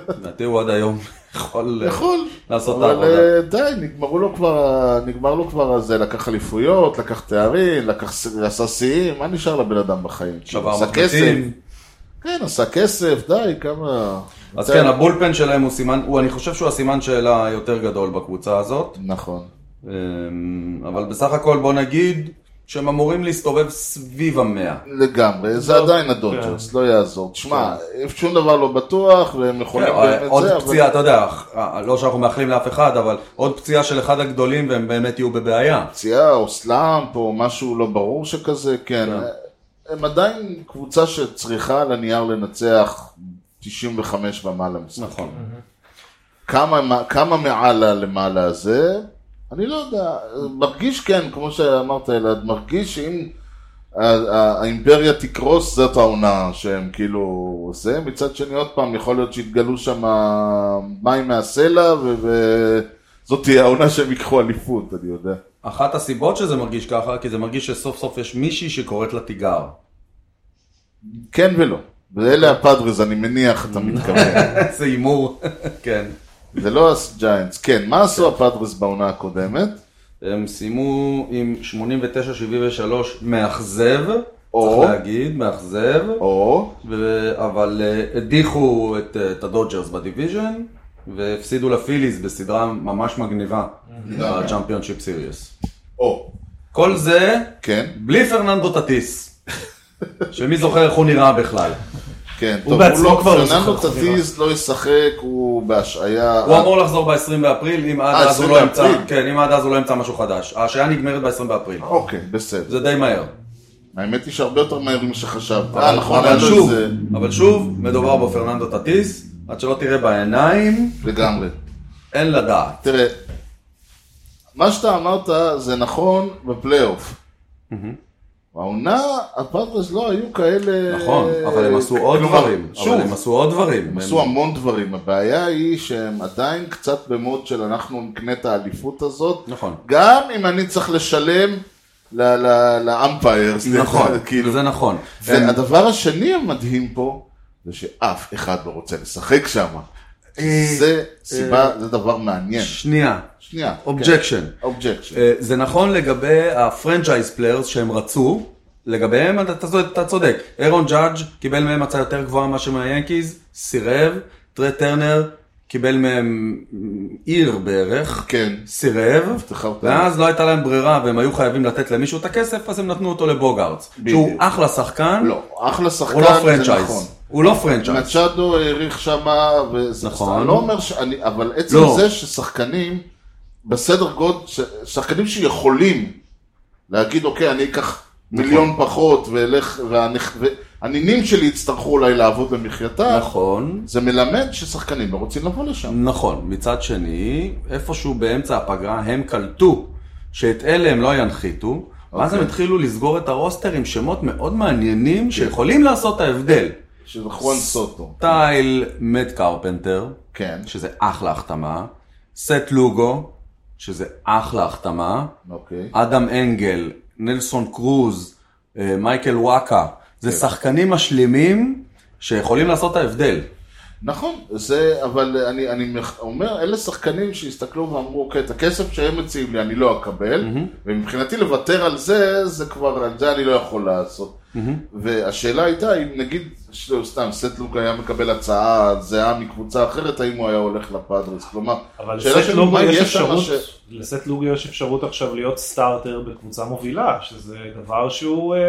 Speaker 1: לדעתי הוא עד היום יכול... אה,
Speaker 2: יכול,
Speaker 1: לעשות את
Speaker 2: נכון, אבל
Speaker 1: העבודה.
Speaker 2: אה, די, נגמרו לו כבר, ה- נגמר לו כבר הזה, לקח אליפויות, לקח תארים, לקח, ס- עשה שיאים, מה נשאר לבן אדם בחיים? כאילו,
Speaker 1: שבר
Speaker 2: עשה כסף,
Speaker 1: מחבטים.
Speaker 2: כן, עשה כסף, די, כמה...
Speaker 1: אז
Speaker 2: די.
Speaker 1: כן, הבולפן שלהם הוא סימן, הוא, אני חושב שהוא הסימן שאלה היותר גדול בקבוצה הזאת,
Speaker 2: נכון.
Speaker 1: אמ, אבל בסך הכל בוא נגיד שהם אמורים להסתובב סביב המאה.
Speaker 2: לגמרי, זה
Speaker 3: לא,
Speaker 2: עדיין
Speaker 1: כן.
Speaker 2: הדודג'רס, לא יעזור. תשמע, שום דבר לא בטוח, והם יכולים
Speaker 1: כן,
Speaker 2: באמת
Speaker 1: עוד
Speaker 2: זה, אבל...
Speaker 1: פציעה, אתה יודע, אה, לא שאנחנו מאחלים לאף אחד, אבל עוד פציעה של אחד הגדולים והם באמת יהיו בבעיה.
Speaker 2: פציעה או סלאמפ או משהו לא ברור שכזה, כן. הם עדיין קבוצה שצריכה על הנייר לנצח 95 ומעלה משחקים.
Speaker 1: נכון.
Speaker 2: כמה, כמה מעל הלמעלה הזה, אני לא יודע, מרגיש כן, כמו שאמרת אלעד, מרגיש שאם ה- ה- האימפריה תקרוס, זאת העונה שהם כאילו זה, מצד שני עוד פעם, יכול להיות שיתגלו שם מים מהסלע, וזאת תהיה העונה שהם ייקחו אליפות, אני יודע.
Speaker 1: אחת הסיבות שזה מרגיש ככה, כי זה מרגיש שסוף סוף יש מישהי שקוראת לה תיגר.
Speaker 2: כן ולא. ואלה הפאדרס, אני מניח, אתה מתכוון.
Speaker 1: זה הימור, כן.
Speaker 2: זה לא הג'יינטס. כן, מה עשו הפאדרס בעונה הקודמת?
Speaker 1: הם סיימו עם 89-73 מאכזב,
Speaker 2: או.
Speaker 1: צריך להגיד, מאכזב,
Speaker 2: או,
Speaker 1: ו- אבל אה, הדיחו את אה, את הדודג'רס בדיוויז'ן, והפסידו לפיליז בסדרה ממש מגניבה,
Speaker 2: כן.
Speaker 1: בצ'מפיונשיפ סיריוס.
Speaker 2: או,
Speaker 1: כל זה
Speaker 2: כן,
Speaker 1: בלי פרננדו טטיס, שמי זוכר איך הוא נראה בכלל.
Speaker 2: כן,
Speaker 3: הוא בעצמו
Speaker 2: לא-
Speaker 3: כבר לא
Speaker 2: פרננדו
Speaker 3: שחק,
Speaker 2: טטיס לא ישחק, הוא בהשעיה.
Speaker 1: הוא אמור לחזור ב-20 באפריל, אם עד
Speaker 2: אה,
Speaker 1: אז הוא
Speaker 2: 20
Speaker 1: לא ימצא,
Speaker 2: באפריל?
Speaker 1: כן, אם עד אז הוא לא ימצא משהו חדש. ההשעיה נגמרת ב-20 באפריל.
Speaker 2: אוקיי, בסדר.
Speaker 1: זה די מהר.
Speaker 2: האמת היא שהרבה יותר מהר ממה שחשבת. אה,
Speaker 1: אבל-
Speaker 2: נכון, היה
Speaker 1: אבל
Speaker 2: לו
Speaker 1: שוב,
Speaker 2: איזה...
Speaker 1: אבל שוב, מדובר בו פרננדו טטיס, עד שלא תראה בעיניים,
Speaker 2: לגמרי.
Speaker 1: אין לדעת.
Speaker 2: תראה, מה שאתה אמרת זה נכון בפלייאוף. העונה, הפאדרס לא היו כאלה...
Speaker 1: נכון, אבל הם עשו עוד
Speaker 2: כלומר,
Speaker 1: דברים.
Speaker 2: שוב,
Speaker 1: אבל הם עשו עוד דברים.
Speaker 2: הם
Speaker 1: הם-
Speaker 2: עשו המון דברים, הבעיה היא שהם עדיין קצת במוד של אנחנו נקנה את האליפות הזאת,
Speaker 1: נכון.
Speaker 2: גם אם אני צריך לשלם ל- ל- לאמפיירס,
Speaker 1: נכון,
Speaker 2: כאילו,
Speaker 1: זה נכון. הם-
Speaker 2: והדבר השני המדהים פה, זה שאף אחד לא רוצה לשחק שם,
Speaker 1: אה,
Speaker 2: זה סיבה, זה דבר מעניין,
Speaker 1: שנייה,
Speaker 2: שנייה, כן.
Speaker 1: אובג'קשן.
Speaker 2: אובג'קשן,
Speaker 1: אה, זה נכון לגבי הפרנצ'ייז פליירס שהם רצו, לגביהם אתה- אתה צודק- אתה צודק. אירון ג'אדג' קיבל מהם הצעה יותר גבוהה מאשר מהיאנקיז, סירב, טרי טרנר קיבל מהם מ, עיר בערך,
Speaker 2: כן.
Speaker 1: סירב,
Speaker 2: אבטחה אותה.
Speaker 1: ואז לא הייתה להם ברירה והם היו חייבים לתת למישהו את הכסף, אז הם נתנו אותו לבוגארדס, שהוא אחלה שחקן,
Speaker 2: לא, אחלה
Speaker 1: הוא לא
Speaker 2: שחקן, זה נכון.
Speaker 1: פרנצ'ייז, הוא לא פרנצ'ייז.
Speaker 2: מצ'אדו העריך שמה, וזה
Speaker 1: נכון.
Speaker 2: אני לא אומר שאני, אבל עצם
Speaker 1: לא.
Speaker 2: זה ששחקנים בסדר גודל, ש- שחקנים שיכולים להגיד, אוקיי, אני אקח
Speaker 1: נכון.
Speaker 2: מיליון פחות, ואלך, והנכ- והנינים שלי יצטרכו אולי לעבוד למחייתם,
Speaker 1: נכון.
Speaker 2: זה מלמד ששחקנים לא רוצים לבוא לשם.
Speaker 1: נכון, מצד שני, איפשהו באמצע הפגרה הם קלטו שאת אלה הם לא ינחיתו, ואז הם
Speaker 2: אוקיי. כן.
Speaker 1: התחילו לסגור את הרוסטר עם שמות מאוד מעניינים שיכולים לעשות את ההבדל.
Speaker 2: שזה חואן סוטו.
Speaker 1: טייל מט קרפנטר,
Speaker 2: כן.
Speaker 1: שזה אחלה החתמה, סט לוגו, שזה אחלה החתמה,
Speaker 2: אוקיי.
Speaker 1: אדם אנגל, נלסון קרוז, אה, מייקל וואקה, זה שחקנים משלימים שיכולים לעשות את ההבדל.
Speaker 2: נכון, זה, אבל אני, אני מח- אומר, אלה שחקנים שהסתכלו ואמרו, אוקיי, את הכסף שהם מציעים לי אני לא אקבל, ומבחינתי לוותר על זה, זה כבר, על זה אני לא יכול לעשות. והשאלה הייתה, אם נגיד, שלא, סתם, סטלוק היה מקבל הצעה זהה מקבוצה אחרת, האם הוא היה הולך לפאדרס? כלומר,
Speaker 3: אבל
Speaker 2: השאלה
Speaker 3: לסט
Speaker 2: שלי,
Speaker 3: לוגו
Speaker 2: מה
Speaker 3: יש
Speaker 2: יש שם
Speaker 3: אפשרות,
Speaker 2: ש-
Speaker 3: לסט לוגו יש אפשרות עכשיו להיות סטארטר בקבוצה מובילה, שזה דבר שהוא אה,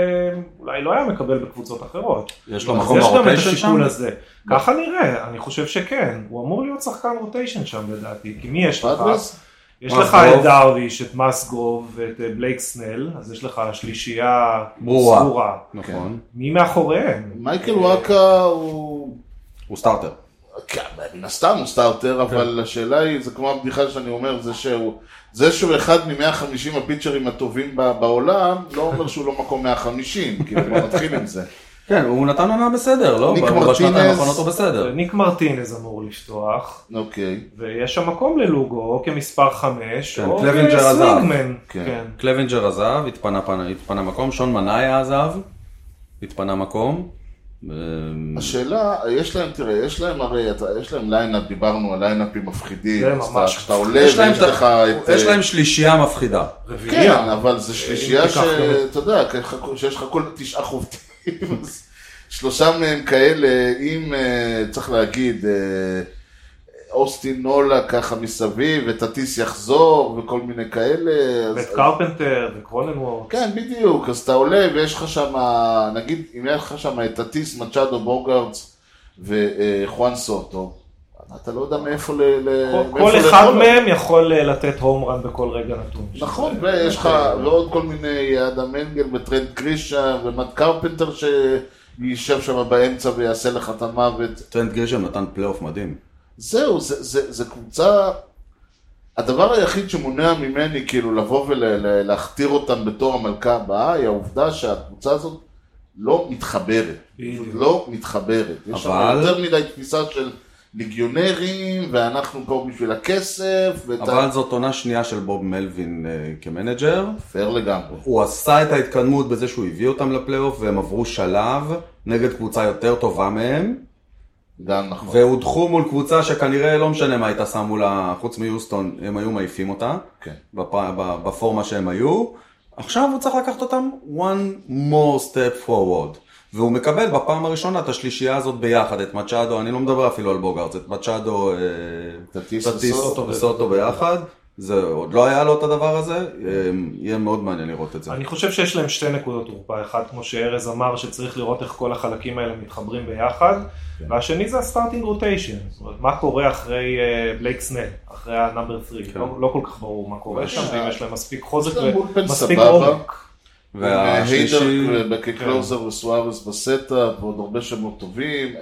Speaker 3: אולי לא היה מקבל בקבוצות אחרות.
Speaker 1: יש לו
Speaker 3: אז
Speaker 1: מקום
Speaker 3: יש גם את
Speaker 1: ברוטיישן
Speaker 3: השיקול
Speaker 1: שם?
Speaker 3: הזה. ככה נראה, אני חושב שכן. הוא אמור להיות שחקן רוטיישן שם לדעתי, כי מי יש לך?
Speaker 2: פאדרס?
Speaker 3: יש
Speaker 1: מסגרוב.
Speaker 3: לך את דרוויש, את מסגרוב ואת אה, בלייק סנל, אז יש לך שלישייה
Speaker 1: ברורה.
Speaker 3: סגורה.
Speaker 1: נכון.
Speaker 3: מי מאחוריהם?
Speaker 2: מייקל וואקה הוא...
Speaker 1: הוא סטארטר.
Speaker 2: כן, מן הסתם הוא סטארטר, אבל השאלה היא, זה כמו הבדיחה שאני אומר, זה שהוא, זה שהוא אחד מ-150 הפיצ'רים הטובים ב- בעולם, לא אומר שהוא לא מקום 150, כאילו בוא נתחיל עם זה.
Speaker 1: כן, הוא נתן עונה בסדר, לא?
Speaker 2: ניק
Speaker 1: ב-
Speaker 2: מרטינז.
Speaker 1: בשנתיים האחרונות הוא בסדר.
Speaker 3: ניק מרטינז אמור לפתוח,
Speaker 2: אוקיי,
Speaker 3: ויש שם מקום ללוגו, או כמספר 5,
Speaker 1: כן,
Speaker 3: או
Speaker 1: קלבינג'ר עזב.
Speaker 3: כסווינגמן.
Speaker 2: כן.
Speaker 3: כן.
Speaker 1: קלבנג'ר עזב, התפנה, פנה, התפנה מקום, שון מנאיה עזב, התפנה מקום. אה,
Speaker 2: השאלה, יש להם, תראה, יש להם הרי, אתה- יש להם ליינאפ, דיברנו על ליינאפים מפחידים,
Speaker 3: זה
Speaker 2: אז אתה-
Speaker 3: ממש-
Speaker 2: כשאתה עולה
Speaker 1: כן, יש להם
Speaker 2: ויש
Speaker 1: את
Speaker 2: לך
Speaker 1: ה-
Speaker 2: את...
Speaker 1: יש
Speaker 2: אה,
Speaker 1: להם אה, שלישייה מפחידה.
Speaker 2: כן,
Speaker 3: רביעייה.
Speaker 2: אבל זה שלישייה
Speaker 3: תיקח גם את-
Speaker 2: שאתה יודע, ככה- שיש לך כל תשעה חובטים, אז שלושה מהם כאלה, אם אה, צריך להגיד, אה, אוסטין נולה ככה מסביב, וטטיס יחזור, וכל מיני כאלה. אז-
Speaker 3: ואת קרפנטר וקרוננוורד.
Speaker 2: כן, בדיוק, אז אתה עולה ויש לך שם, נגיד, אם יש לך שם את טטיס, מצ'אדו, בורגרדס וחואן סוטו, אתה לא יודע מאיפה ל... ל- מאיפה
Speaker 3: כל- כל אחד
Speaker 2: לאכול.
Speaker 3: מהם יכול אה, לתת הום רן בכל רגע נתון.
Speaker 2: נכון,
Speaker 3: שזה-
Speaker 2: ויש לך
Speaker 3: אה,
Speaker 2: ועוד כל מיני אדם אנגל וטרנד קרישה ומט קרפנטר שישב שם באמצע ויעשה לך את המוות.
Speaker 1: טרנד גרישם נתן פלייאוף מדהים.
Speaker 2: זהו, זה, זה, זה קבוצה... הדבר היחיד שמונע ממני כאילו לבוא ולהכתיר אותם בתור המלכה הבאה, היא העובדה שהקבוצה הזאת לא מתחברת.
Speaker 3: בדיוק.
Speaker 2: לא מתחברת. יש שם
Speaker 1: אבל-
Speaker 2: יותר מדי תפיסה של ליגיונרים, ואנחנו פה בשביל הכסף, ואת ה...
Speaker 1: אבל זאת עונה שנייה של בוב מלווין אה, כמנג'ר.
Speaker 2: פייר לגמרי.
Speaker 1: הוא עשה את ההתקדמות בזה שהוא הביא אותם לפלייאוף והם עברו שלב נגד קבוצה יותר טובה מהם.
Speaker 2: גם נכון.
Speaker 1: והודחו מול קבוצה שכנראה לא משנה מה הייתה שמו לה, חוץ מיוסטון, הם היו מעיפים אותה,
Speaker 2: כן.
Speaker 1: בפ... ב- בפורמה שהם היו. עכשיו הוא צריך לקחת אותם one more step forward. והוא מקבל בפעם הראשונה את השלישייה הזאת ביחד, את מצ'אדו, אני לא מדבר אפילו על בוגארץ, את מצ'אדו, אה,
Speaker 2: טטיס
Speaker 1: טטיס
Speaker 2: וסוטו.
Speaker 1: וסוטו ביחד. זה עוד לא היה לו את הדבר הזה, אה, יהיה מאוד מעניין לראות את זה.
Speaker 3: אני חושב שיש להם שתי נקודות תורפה, אחד כמו שארז אמר שצריך לראות איך כל החלקים האלה מתחברים ביחד,
Speaker 2: כן.
Speaker 3: והשני זה הסטארטינג רוטיישן, זאת אומרת מה קורה אחרי אה, בלייק סנל, אחרי הנאמבר
Speaker 2: כן.
Speaker 3: 3, לא לא כל כך ברור מה קורה שם, ואם יש להם מספיק חוזק
Speaker 2: יש להם בולפן
Speaker 3: ומספיק
Speaker 2: סבבה.
Speaker 3: עומק.
Speaker 1: והשלישי,
Speaker 2: והיידר בקלוזר וסוארס בסטאפ ועוד הרבה שמות טובים.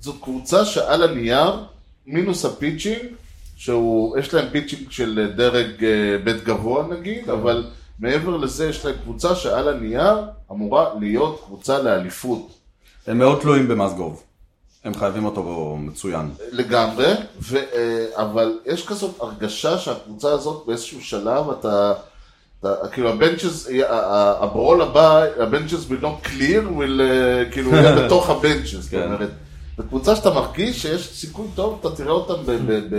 Speaker 2: זאת קבוצה שעל הנייר, מינוס הפיצ'ינג, שהוא, יש להם פיצ'ינג של דרג אה, בית גבוה נגיד, אבל מעבר לזה יש להם קבוצה שעל הנייר אמורה להיות קבוצה לאליפות.
Speaker 1: הם מאוד תלויים במאזגוב. הם חייבים אותו בו מצוין.
Speaker 2: לגמרי, ו, אה, אבל יש כזאת הרגשה שהקבוצה הזאת באיזשהו שלב אתה, אתה כאילו הבנצ'ס, אה, אה, הברול הבא, הבנצ'ס will not clear, will, אה, כאילו הוא יהיה בתוך הבנצ'ס, זאת
Speaker 1: כן.
Speaker 2: אומרת, זו קבוצה שאתה מרגיש שיש סיכוי טוב, אתה תראה אותם ב, ב, ב,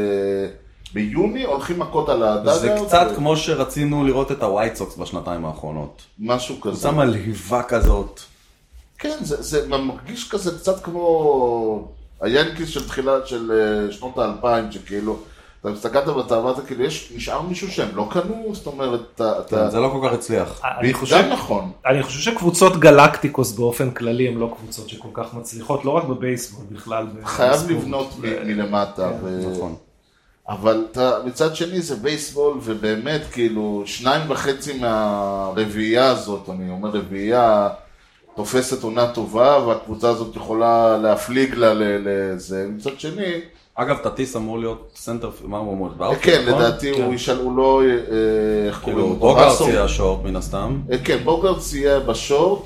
Speaker 2: ביוני, הולכים מכות על הדאגה,
Speaker 1: זה קצת כמו שרצינו לראות את הווייט סוקס בשנתיים האחרונות.
Speaker 2: משהו כזה,
Speaker 1: קבוצה מלהיבה כזאת.
Speaker 2: כן, זה, זה מרגיש כזה קצת כמו היאנקיס של תחילת, של אה, שנות האלפיים, שכאילו, אתה הסתכלת ואתה אמרת, כאילו, יש, נשאר מישהו שהם לא קנו, זאת אומרת, אתה, אתה,
Speaker 1: זה לא כל כך הצליח.
Speaker 3: אני
Speaker 2: גם
Speaker 3: חושב-
Speaker 2: נכון,
Speaker 3: אני חושב שקבוצות גלקטיקוס באופן כללי הן לא קבוצות שכל כך מצליחות, לא רק בבייסבול, בכלל.
Speaker 2: חייב
Speaker 3: בספורט.
Speaker 2: לבנות מ- מלמטה, ו-
Speaker 1: נכון.
Speaker 2: אבל אתה, מצד שני זה בייסבול, ובאמת, כאילו, שניים וחצי מהרביעייה הזאת, אני אומר רביעייה, תופסת עונה טובה, והקבוצה הזאת יכולה להפליג לה ל- לזה, מצד שני,
Speaker 1: אגב, טטיס אמור להיות סנטר, מה הוא אמור?
Speaker 2: אה,
Speaker 1: להיות?
Speaker 2: כן,
Speaker 1: נכון?
Speaker 2: לדעתי הוא ישאל, הוא לא, אה, איך קוראים
Speaker 1: כאילו,
Speaker 2: לו?
Speaker 1: בוגרס
Speaker 2: ראסו?
Speaker 1: יהיה השורט מן הסתם.
Speaker 2: אה, כן, בוגרס יהיה בשורט. לא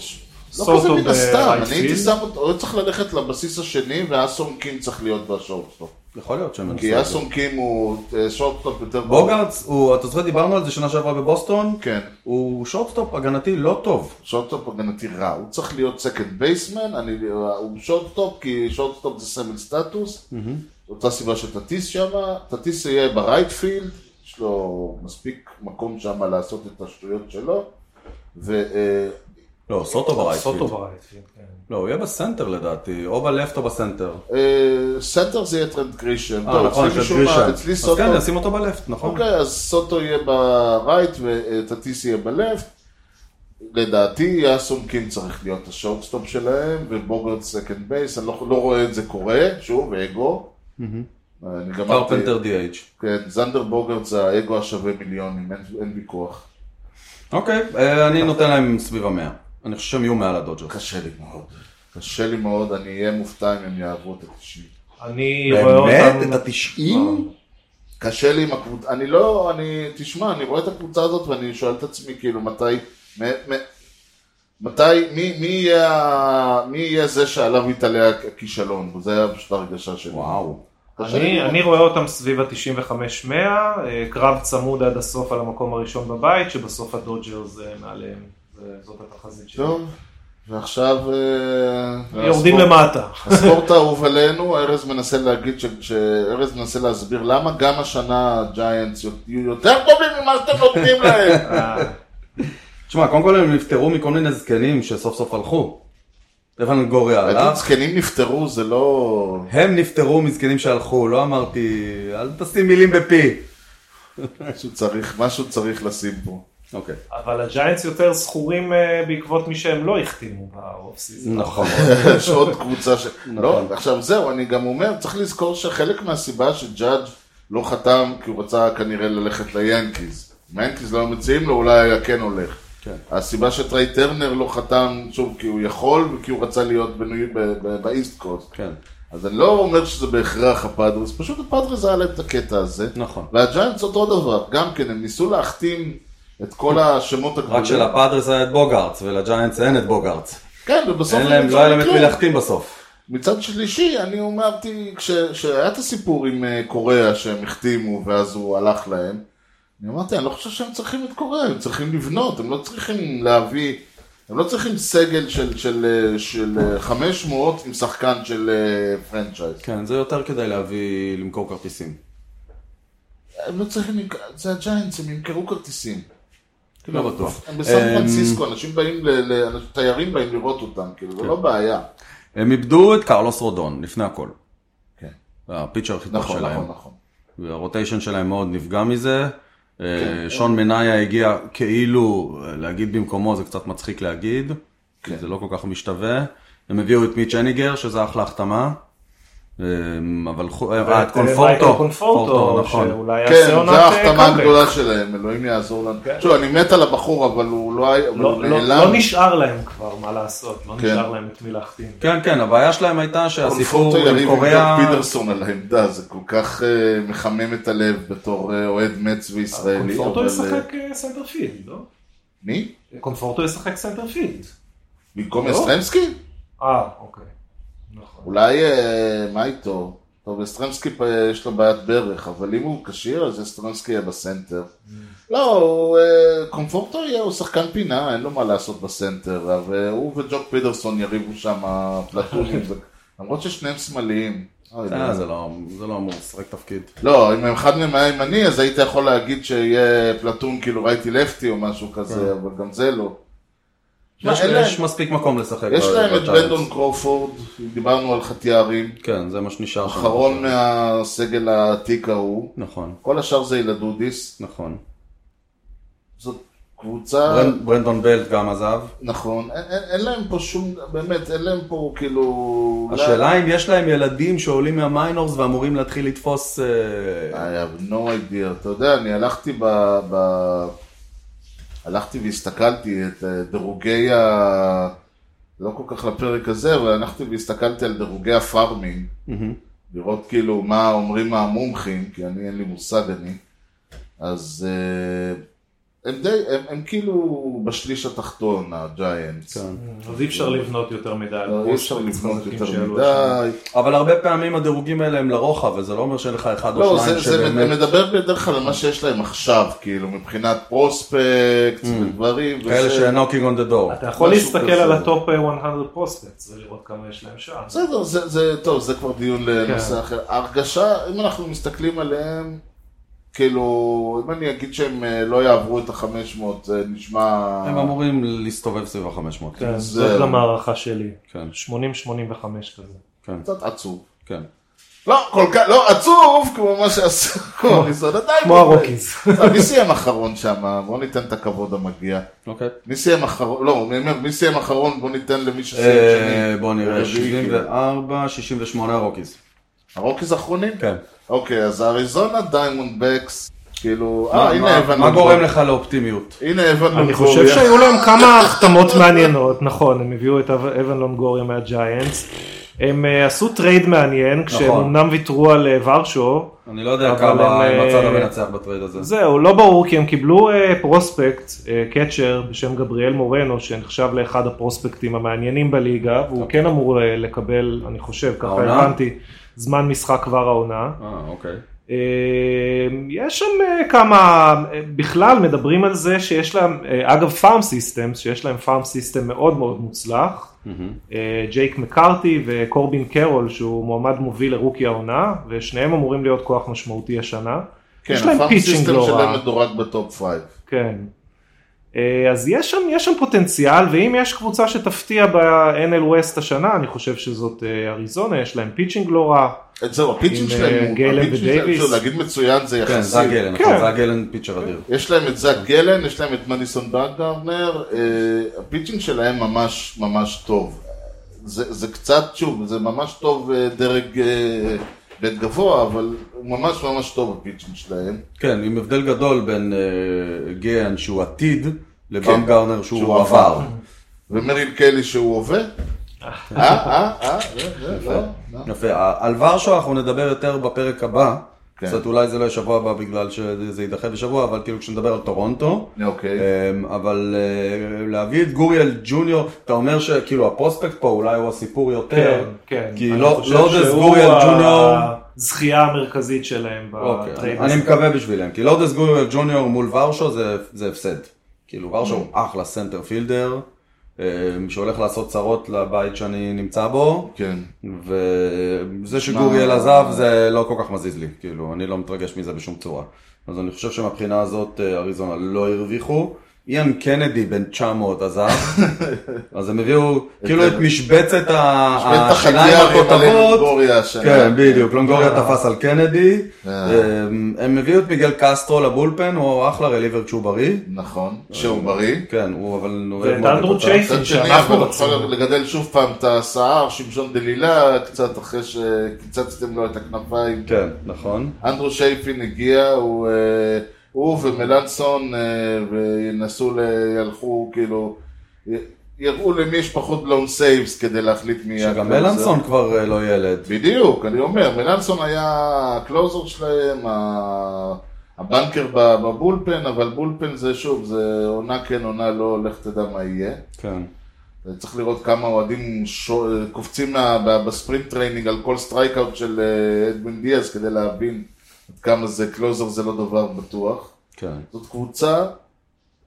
Speaker 3: סוטו
Speaker 2: כזה מן הסתם,
Speaker 3: ברייט
Speaker 2: אני הייתי
Speaker 3: פילד.
Speaker 2: שם אותו, הוא צריך ללכת לבסיס השני, והאסום קין צריך להיות בשורט שלו.
Speaker 1: יכול להיות שהם
Speaker 2: כי
Speaker 1: מנצחים.
Speaker 2: יאסון קים הוא אה, שורטסטופ יותר...
Speaker 1: בוגארדס, הוא- אתה זוכר דיברנו על זה שנה שעברה בבוסטון?
Speaker 2: כן.
Speaker 1: הוא שורטסטופ הגנתי לא טוב.
Speaker 2: שורטסטופ הגנתי רע, הוא צריך להיות סקנד בייסמן, אני, אה, הוא שורטסטופ כי שורטסטופ זה סמל סטטוס, אותה סיבה שתטיס שם, תטיס יהיה ברייטפילד, יש לו מספיק מקום שם לעשות את השטויות שלו, אה, ואולי
Speaker 1: לא, סוטו ברייטפילד.
Speaker 3: סוטו ברייטפילד, כן.
Speaker 1: לא, הוא יהיה בסנטר לדעתי, או בלפט או בסנטר.
Speaker 2: סנטר אה, זה יהיה טרנד גרישם,
Speaker 1: אה,
Speaker 2: לא,
Speaker 1: נכון,
Speaker 2: אצלי
Speaker 1: של
Speaker 2: משום
Speaker 1: גרישם.
Speaker 2: מה, אצלי
Speaker 1: אז
Speaker 2: סוטו,
Speaker 1: כן, נשים אותו בלפט, נכון?
Speaker 2: אוקיי, אז סוטו יהיה ברייט וטטיס יהיה בלפט. לדעתי יאסון קין צריך להיות השורטסטופ שלהם, ובוגרד סקנד בייס, אני לא, לא רואה את זה קורה, שוב, אגו. אני גם אמרתי,
Speaker 1: קרפנטר DH.
Speaker 2: כן, זנדר בוגרד זה האגו השווה מיליונים, אין, אין ויכוח.
Speaker 1: אוקיי, אה, אני נותן להם סביב המאה. אני חושב שהם יהיו מעל הדודג'רס.
Speaker 2: קשה לי מאוד, קשה לי מאוד, אני אהיה מופתע אם הם יעברו את התשעים.
Speaker 3: אני רואה אותם...
Speaker 1: התשעים?
Speaker 2: קשה לי עם הקבוצה, אני לא, אני, תשמע, אני רואה את הקבוצה הזאת ואני שואל את עצמי, כאילו, מתי, מ, מ, מתי, מי, מי, יהיה, ה- מי יהיה זה שעליו יתעלה הכישלון, וזה היה פשוט הרגשה שלי.
Speaker 1: וואו.
Speaker 2: קשה לי
Speaker 3: אני,
Speaker 2: מאוד.
Speaker 3: אני רואה אותם סביב ה-95-100, אה, קרב צמוד עד הסוף על המקום הראשון בבית, שבסוף הדודג'רס אה, מעליהם, זה- זאת התחזית שלי.
Speaker 2: טוב, ועכשיו... אה,
Speaker 3: יורדים
Speaker 2: הספורט-
Speaker 3: למטה.
Speaker 2: הספורט האהוב עלינו, ארז מנסה להגיד, ש- שארז מנסה להסביר למה גם השנה הג'יינטס יהיו יותר טובים ממה שאתם נותנים להם.
Speaker 3: אה,
Speaker 1: תשמע, קודם כל הם נפטרו מכל מיני זקנים שסוף סוף הלכו. אבן גוריה
Speaker 2: להגיד,
Speaker 1: הלך.
Speaker 2: זקנים נפטרו, זה לא...
Speaker 1: הם נפטרו מזקנים שהלכו, לא אמרתי, אל תשים מילים בפי.
Speaker 2: משהו צריך, משהו צריך לשים פה.
Speaker 1: אוקיי.
Speaker 3: אבל הג'יינטס יותר זכורים אה, בעקבות מי שהם לא החתימו באוף סיזון.
Speaker 1: נכון.
Speaker 2: יש עוד קבוצה ש... לא, עכשיו זהו, אני גם אומר, צריך לזכור שחלק מהסיבה שג'אדג' לא חתם, כי הוא רצה כנראה ללכת ליאנקיז. אם היאנקיז לא היו מציעים לו, אולי היה כן הולך.
Speaker 1: כן.
Speaker 2: הסיבה שטריי טרנר לא חתם, שוב, כי הוא יכול וכי הוא רצה להיות בניו- ב- ב- באיסט קוסט.
Speaker 1: כן.
Speaker 2: אז אני לא אומר שזה בהכרח הפאדרס, פשוט הפאדרס היה להם את הקטע הזה.
Speaker 1: נכון.
Speaker 2: והג'יינטס אותו דבר, גם כן, הם ניסו להחתים את כל השמות הגדולים.
Speaker 1: רק שלפאדרס היה את בוגארטס, ולג'יינטס אין את בוגארטס.
Speaker 2: כן, ובסוף
Speaker 1: אין
Speaker 2: הם
Speaker 1: להם,
Speaker 2: יצאו
Speaker 1: לא היה להם את
Speaker 2: מכלום.
Speaker 1: מי להחתים בסוף.
Speaker 2: מצד שלישי, אני אמרתי, כשהיה את הסיפור עם אה, קוריאה שהם החתימו ואז הוא הלך להם, אני אמרתי, אני לא חושב שהם צריכים את קוריאה, הם צריכים לבנות, הם לא צריכים להביא, הם לא צריכים סגל של, של, אה, של אה, 500 עם שחקן של אה, פרנצ'ייז.
Speaker 1: כן, זה יותר כדי להביא, למכור כרטיסים.
Speaker 2: הם לא צריכים, למכ- זה הג'יינטס, הם ימכרו כרטיסים.
Speaker 1: לא בטוח.
Speaker 2: הם בסן
Speaker 1: אמ,
Speaker 2: פרנסיסקו, אנשים באים, ל- ל- אנש- תיירים באים לראות אותם, כאילו, זה לא
Speaker 1: כן.
Speaker 2: בעיה.
Speaker 1: הם איבדו את קרלוס רודון, לפני הכל.
Speaker 2: כן.
Speaker 1: הפיצ'ר הכי טוב
Speaker 2: נכון,
Speaker 1: שלהם.
Speaker 2: נכון, נכון.
Speaker 1: והרוטיישן שלהם מאוד נפגע מזה. אה,
Speaker 2: כן.
Speaker 1: שון מניה הגיע כאילו, אה, להגיד במקומו זה קצת מצחיק להגיד,
Speaker 2: כן.
Speaker 1: כי זה לא כל כך משתווה. הם הביאו את מיץ' הניגר, שזה אחלה החתמה. אה, אבל חו- אה, את
Speaker 3: ואת, אה, מייקל
Speaker 1: קונפורטו,
Speaker 3: קונפורטו,
Speaker 1: נכון.
Speaker 3: שאולי יעשה
Speaker 2: כן,
Speaker 3: עונת אה,
Speaker 2: זו ההחתמה
Speaker 3: קאמבק.
Speaker 2: הגדולה שלהם, אלוהים יעזור לנו. שוב, אני מת על הבחור, אבל הוא לא היה, אבל הוא
Speaker 3: לא- לא-
Speaker 2: נעלם.
Speaker 3: לא נשאר להם כבר מה לעשות,
Speaker 2: כן.
Speaker 3: לא נשאר להם את מי להחתים.
Speaker 1: כן, כן, הבעיה שלהם הייתה שהסיפור
Speaker 2: קונפורטו
Speaker 1: עם
Speaker 2: יריב עם
Speaker 1: קוריאה,
Speaker 2: דוד פיטרסון על העמדה, זה כל כך אה, מחמם את הלב בתור אה, אוהד מצ וישראלי.
Speaker 3: קונפורטו
Speaker 2: אבל,
Speaker 3: ישחק אה, סנטרפילד, לא?
Speaker 2: אה, מי?
Speaker 3: קונפורטו ישחק סנטרפילד.
Speaker 2: במקום
Speaker 3: לא.
Speaker 2: אסטרמסקי?
Speaker 3: אה, אוקיי. נכון.
Speaker 2: אולי, אה, מה איתו? טוב, אסטרמסקי אה, יש לו בעיית ברך, אבל אם הוא כשיר, אז אסטרמסקי יהיה בסנטר.
Speaker 1: Mm.
Speaker 2: לא, הוא, אה, קומפורטו יהיה, הוא שחקן פינה, אין לו מה לעשות בסנטר, והוא וג'וק פידרסון יריבו שם פלטונים, זה- למרות ששניהם שמאליים. אוי,
Speaker 1: אה,
Speaker 2: לא.
Speaker 1: זה לא זה לא אמור לשחק תפקיד.
Speaker 2: לא, אם אחד מהם היה ימני, אז היית יכול להגיד שיהיה פלטון כאילו ראיתי לפטי או משהו
Speaker 1: כן.
Speaker 2: כזה, אבל גם זה לא. שמע,
Speaker 1: יש-
Speaker 2: אין להם-
Speaker 1: יש מספיק מקום לשחק.
Speaker 2: יש
Speaker 1: ב-
Speaker 2: להם את
Speaker 1: בג'יינטס.
Speaker 2: בנדון קרופורד, דיברנו על חטיארים,
Speaker 1: כן, זה מה שנשאר. שם.
Speaker 2: אחרון מהסגל העתיק ההוא.
Speaker 1: נכון,
Speaker 2: כל השאר זה ילדודיס,
Speaker 1: נכון.
Speaker 2: זאת קבוצה,
Speaker 1: ברנ- ברנדון בלט גם עזב.
Speaker 2: נכון, אין, אין, אין להם פה שום, באמת, אין להם פה כאילו...
Speaker 1: השאלה אם יש להם ילדים שעולים מהמיינורס ואמורים להתחיל לתפוס...
Speaker 2: I
Speaker 1: אה,
Speaker 2: have no idea, אתה יודע, אני הלכתי ב... ב... הלכתי והסתכלתי את אה, דירוגי ה... לא כל כך לפרק הזה, אבל הלכתי והסתכלתי על דירוגי הפארמינג, לראות כאילו מה אומרים המומחים, כי אני אין לי מושג אני. אז אה, הם די, הם, הם כאילו בשליש התחתון, הג'יינטס.
Speaker 1: כן.
Speaker 3: אז אי אפשר לבנות יותר מדי. על
Speaker 2: לא, אי
Speaker 3: ברוס
Speaker 2: אפשר
Speaker 3: ווילס
Speaker 2: לבנות
Speaker 3: חזקים
Speaker 2: יותר
Speaker 3: שיעלו השנה.
Speaker 2: מדי.
Speaker 1: אבל הרבה פעמים הדירוגים האלה הם לרוחב, וזה לא אומר שאין לך אחד או
Speaker 2: לא,
Speaker 1: שניים
Speaker 2: זה, זה
Speaker 1: שבאמת...
Speaker 2: מדבר בדרך כלל על מה שיש להם עכשיו, כאילו, מבחינת פרוספקט ודברים.
Speaker 1: כאלה
Speaker 2: וזה.
Speaker 1: ש-knocking on the door.
Speaker 2: אה.
Speaker 3: אתה יכול
Speaker 2: משהו
Speaker 3: להסתכל
Speaker 2: כזה.
Speaker 3: על הטופ אה, 100 פרוספקטס ולראות כמה יש להם שם.
Speaker 2: בסדר, זה, זה טוב, זה כבר דיון לנושא אחר. ההרגשה, אם אנחנו מסתכלים עליהם, כאילו, אם אני אגיד שהם אה, לא יעברו את ה-500, זה נשמע...
Speaker 1: הם אמורים להסתובב סביב ה-500.
Speaker 3: כן,
Speaker 2: זהו.
Speaker 3: זאת גם הערכה שלי.
Speaker 1: כן.
Speaker 3: 80-85 כזה.
Speaker 1: כן,
Speaker 2: קצת עצוב.
Speaker 1: כן.
Speaker 2: לא, כל כך, לא עצוב, כמו מה שעשו, כמו הריסון, עדיין. לא-
Speaker 3: כמו הרוקיז.
Speaker 2: טוב, מי סיים אחרון שם? בואו ניתן את הכבוד המגיע.
Speaker 1: אוקיי.
Speaker 2: מי סיים אחרון? לא, אני אומר, מי סיים אחרון? בואו ניתן למי שסיים
Speaker 1: אה,
Speaker 2: שני.
Speaker 1: בוא נראה,
Speaker 2: רביעי, כאילו.
Speaker 1: 74, 68 הרוקיז.
Speaker 2: הרוקיז אחרונים?
Speaker 1: כן.
Speaker 2: אוקיי, אז אריזונה דיימונד בקס, כאילו,
Speaker 1: מה-
Speaker 2: אה, הנה
Speaker 1: מה-
Speaker 2: הבנו.
Speaker 1: מה גורם לך לאופטימיות?
Speaker 2: הנה אבן
Speaker 3: אני חושב שהיו להם כמה החתמות מעניינות, נכון, הם הביאו את אב- אבן לונגוריה מהג'יינטס, הם אה, עשו טרייד מעניין, כשהם
Speaker 1: נכון.
Speaker 3: אמנם ויתרו על אה, ורשו,
Speaker 1: אני לא יודע
Speaker 3: אבל
Speaker 1: כמה
Speaker 3: הם,
Speaker 1: הם הצד
Speaker 3: אה,
Speaker 1: המנצח בטרייד הזה.
Speaker 3: זהו, לא ברור כי הם קיבלו אה, פרוספקט, אה, קצ'ר בשם גבריאל מורנו, שנחשב לאחד הפרוספקטים המעניינים בליגה, והוא כן אמור אה, לקבל, אני חושב, ככה
Speaker 1: העונה?
Speaker 3: הבנתי, זמן משחק כבר העונה.
Speaker 1: אה, אוקיי.
Speaker 3: אה, יש שם אה, כמה, אה, בכלל מדברים על זה שיש להם, אה, אגב פארם סיסטם, שיש להם פארם סיסטם מאוד מאוד מוצלח. אה, ג'ייק מקארתי וקורבין קרול שהוא מועמד מוביל לרוקי העונה ושניהם אמורים להיות כוח משמעותי השנה.
Speaker 2: כן,
Speaker 3: יש להם
Speaker 2: הפארם
Speaker 3: פיצ'ינג
Speaker 2: סיסטם
Speaker 3: לא רע.
Speaker 2: שלהם מדורג בטופ פייב.
Speaker 3: כן. אה, אז יש שם, יש שם פוטנציאל, ואם יש קבוצה שתפתיע ב-NL West השנה, אני חושב שזאת אה, אריזונה, יש להם פיצ'ינג לא רע.
Speaker 2: את זהו, הפיצ'ינג
Speaker 3: עם,
Speaker 2: שלהם,
Speaker 3: אה,
Speaker 2: הוא-
Speaker 3: גיילן
Speaker 2: הפיצ'ינג שלהם,
Speaker 3: ודייוויס.
Speaker 2: שוב, להגיד מצוין זה
Speaker 1: כן, זאג
Speaker 2: יחסי.
Speaker 1: גלן,
Speaker 3: כן.
Speaker 1: נכון, זאג גלן פיצ'ר אדיר.
Speaker 2: יש להם את זאק גלן, יש להם את מדיסון דאגרנר, אה, הפיצ'ינג שלהם ממש ממש טוב. זה זה קצת, שוב, זה ממש טוב אה, דרג אה, בית גבוה, אבל הוא ממש ממש טוב הפיצ'ינג שלהם.
Speaker 1: כן, עם הבדל גדול בין אה, גאן שהוא עתיד, לבאם
Speaker 2: כן,
Speaker 1: גארנר
Speaker 2: שהוא
Speaker 1: שהוא עבר.
Speaker 2: ומריל קלי שהוא הווה. אה, אה, אה, זה, זה, לא, לא.
Speaker 1: יפה, ה- על ורשו אנחנו נדבר יותר בפרק הבא.
Speaker 2: כן.
Speaker 1: זאת אולי זה לא יהיה שבוע הבא בגלל שזה יידחה בשבוע, אבל כאילו כשנדבר על טורונטו.
Speaker 2: אוקיי.
Speaker 1: אמ, אבל אה, להביא את גוריאל ג'וניור, אתה אומר שכאילו הפרוספקט פה אולי הוא הסיפור יותר, כן. כי
Speaker 3: כן, אני
Speaker 1: לא
Speaker 3: חושב
Speaker 1: לודס
Speaker 3: שהוא
Speaker 1: גוריאל ג'וניור,
Speaker 3: הזכייה המרכזית שלהם
Speaker 1: אוקיי,
Speaker 3: בטרייד
Speaker 1: אני
Speaker 3: הזה.
Speaker 1: מקווה בשבילם, כי לודס גוריאל ג'וניור מול ורשו זה- זה הפסד, כאילו ורשו הוא אחלה סנטר פילדר, אמ, שהולך לעשות צרות לבית שאני נמצא בו,
Speaker 2: כן.
Speaker 1: וזה שגוריאל עזב זה לא כל כך מזיז לי, כאילו, אני לא מתרגש מזה בשום צורה. אז אני חושב שמבחינה הזאת אה, אריזונה לא הרוויחו. איאן קנדי בן 900 עזב, אז הם הביאו כאילו את משבצת ה-
Speaker 2: בטח
Speaker 1: אה, השיניים
Speaker 2: הגיע עם
Speaker 1: הכותבות.
Speaker 2: הלנגוריה השנה.
Speaker 1: כן, בדיוק, לונגוריה תפס על קנדי.
Speaker 2: אה.
Speaker 1: אמ, הם הביאו את מיגל קסטרו לבולפן, הוא אחלה רליבר כשהוא בריא.
Speaker 2: נכון, שהוא בריא.
Speaker 1: כן, הוא אבל... הוא
Speaker 3: ואת
Speaker 1: מאוד
Speaker 3: אנדרו
Speaker 1: מתוצאה.
Speaker 3: צ'ייפין
Speaker 2: מצד שני,
Speaker 3: שאנחנו
Speaker 2: אבל
Speaker 3: רצינו.
Speaker 2: יכול לגדל שוב פעם את השיער, שמשון דלילה, קצת אחרי שקיצצתם לו את הכנפיים.
Speaker 1: כן, נכון.
Speaker 2: אנדרו שייפין הגיע, הוא, אה, הוא ומלנסון אה, וינסו, ל- ילכו, כאילו, י- יראו למי יש פחות בלון סייבס כדי להחליט מי
Speaker 1: שגם
Speaker 2: הקלוזר.
Speaker 1: מלנסון כבר אה, לא ילד.
Speaker 2: בדיוק, אני אומר, מלנסון היה הקלוזר שלהם, ה- הבנקר ב- בבולפן, אבל בולפן זה שוב, זה עונה כן, עונה לא, לך תדע מה יהיה.
Speaker 1: כן.
Speaker 2: צריך לראות כמה אוהדים שו- קופצים מה- ב- בספרינט טריינינג על כל סטרייקאוט של אה, אדמין דיאז כדי להבין עד כמה זה קלוזר זה לא דבר בטוח.
Speaker 1: כן.
Speaker 2: זאת קבוצה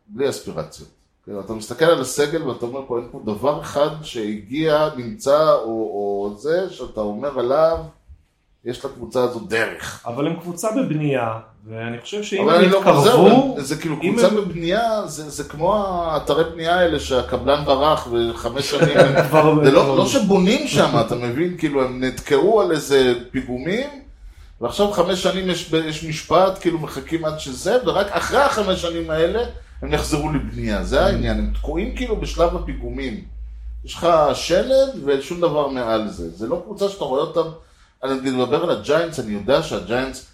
Speaker 2: בלי אספירציות. כאילו, אתה מסתכל על הסגל ואתה אומר פה, אין פה דבר אחד שהגיע, נמצא או, או זה, שאתה אומר עליו, יש לקבוצה הזו דרך.
Speaker 3: אבל הם קבוצה בבנייה, ואני חושב שאם
Speaker 2: אבל
Speaker 3: הם
Speaker 2: אני לא
Speaker 3: יתקרבו,
Speaker 2: חוזר, זה כאילו
Speaker 3: אם
Speaker 2: קבוצה
Speaker 3: הם-
Speaker 2: בבנייה, זה, זה כמו האתרי בנייה האלה שהקבלן ברח וחמש שנים הם
Speaker 3: כבר-
Speaker 2: זה לא, לא שבונים שם, אתה מבין? כאילו, הם נתקעו על איזה פיגומים, ועכשיו חמש שנים יש, יש משפט, כאילו מחכים עד שזה, ורק אחרי החמש שנים האלה הם יחזרו לבנייה, זה העניין, הם תקועים כאילו בשלב הפיגומים. יש לך שלד ושום דבר מעל זה, זה לא קבוצה שאתה רואה אותם, אני מדבר על הג'יינטס, אני יודע שהג'יינטס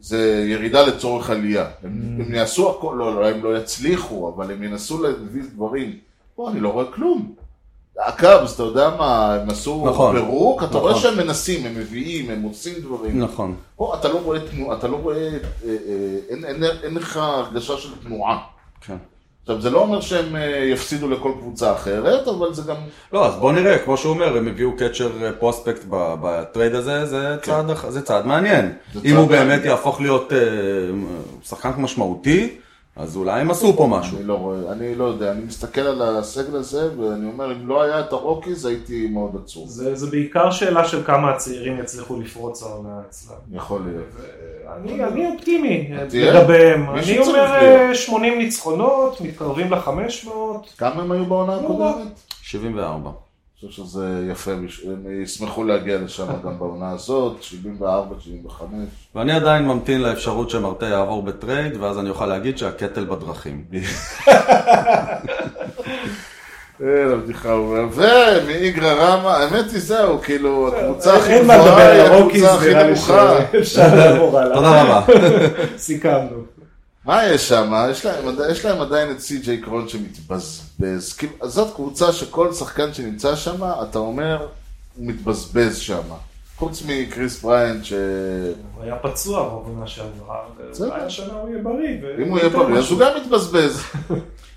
Speaker 2: זה ירידה לצורך עלייה, הם,
Speaker 1: Mm.
Speaker 2: הם יעשו הכל, לא, לא, הם לא יצליחו, אבל הם ינסו להביא דברים, פה אני לא רואה כלום. הקאבס, אתה יודע מה, הם עשו
Speaker 1: נכון.
Speaker 2: פירוק, אתה רואה
Speaker 1: נכון.
Speaker 2: שהם מנסים, הם מביאים, הם עושים דברים.
Speaker 1: נכון.
Speaker 2: פה אתה לא רואה תנועה, אתה לא רואה, אה, אה, אין- אין אין לך הרגשה של תנועה.
Speaker 1: כן.
Speaker 2: עכשיו, זה לא אומר שהם אה, יפסידו לכל קבוצה אחרת, אבל זה גם...
Speaker 1: לא, אז בוא נראה, כמו שהוא אומר, הם הביאו קצ'ר אה, פרוספקט ב- בטרייד הזה, זה צעד, אח- זה צעד מעניין.
Speaker 2: כן. זה צעד
Speaker 1: אם הוא באמת
Speaker 2: מעניין.
Speaker 1: יהפוך להיות אה, שחקן משמעותי, אז אולי הם עשו פה משהו.
Speaker 2: אני לא רואה, אני לא יודע, אני מסתכל על הסגל הזה, ואני אומר, אם לא היה את הרוקיז, הייתי מאוד עצוב.
Speaker 3: זה, זה בעיקר שאלה של כמה הצעירים יצליחו לפרוץ העונה אצלם.
Speaker 2: יכול להיות.
Speaker 3: אני, אני אופטימי אה,
Speaker 2: תהיה.
Speaker 3: לגביהם,
Speaker 2: מישהו
Speaker 3: אני
Speaker 2: צריך
Speaker 3: אומר
Speaker 2: להיות.
Speaker 3: אה, 80 ניצחונות, מתקרבים ל-500,
Speaker 2: כמה הם היו בעונה הקודמת?
Speaker 1: 74.
Speaker 2: אני חושב שזה יפה, בש- הם ישמחו להגיע לשם גם בעונה הזאת, 74, 75.
Speaker 1: ואני עדיין ממתין לאפשרות שמרטה יעבור בטרייד, ואז אני אוכל להגיד שהקטל בדרכים.
Speaker 2: אין, הבדיחה הוא ומאיגרא רמא, האמת היא זהו, כאילו, הקבוצה הכי
Speaker 3: אין מה
Speaker 2: גבוהה
Speaker 3: לדבר
Speaker 2: היא
Speaker 3: על הרוקיז,
Speaker 2: הקבוצה אה, הכי
Speaker 3: נראה לי
Speaker 2: נמוכה.
Speaker 3: שאפשר לעבור הלאה.
Speaker 1: תודה רבה.
Speaker 3: סיכמנו.
Speaker 2: מה יש שם? יש להם, יש להם עדיין את סי.ג'יי קרון שמתבזבז. כאילו, אז זאת קבוצה שכל שחקן שנמצא שם, אתה אומר, הוא מתבזבז שם. חוץ מקריס בריינד, שאם
Speaker 3: הוא היה פצוע בעונה שעברה,
Speaker 2: בסדר.
Speaker 3: ואולי השנה הוא יהיה בריא. ו-
Speaker 2: הוא יהיה
Speaker 3: ייתן
Speaker 2: בריא, אז
Speaker 3: משהו.
Speaker 2: הוא גם מתבזבז.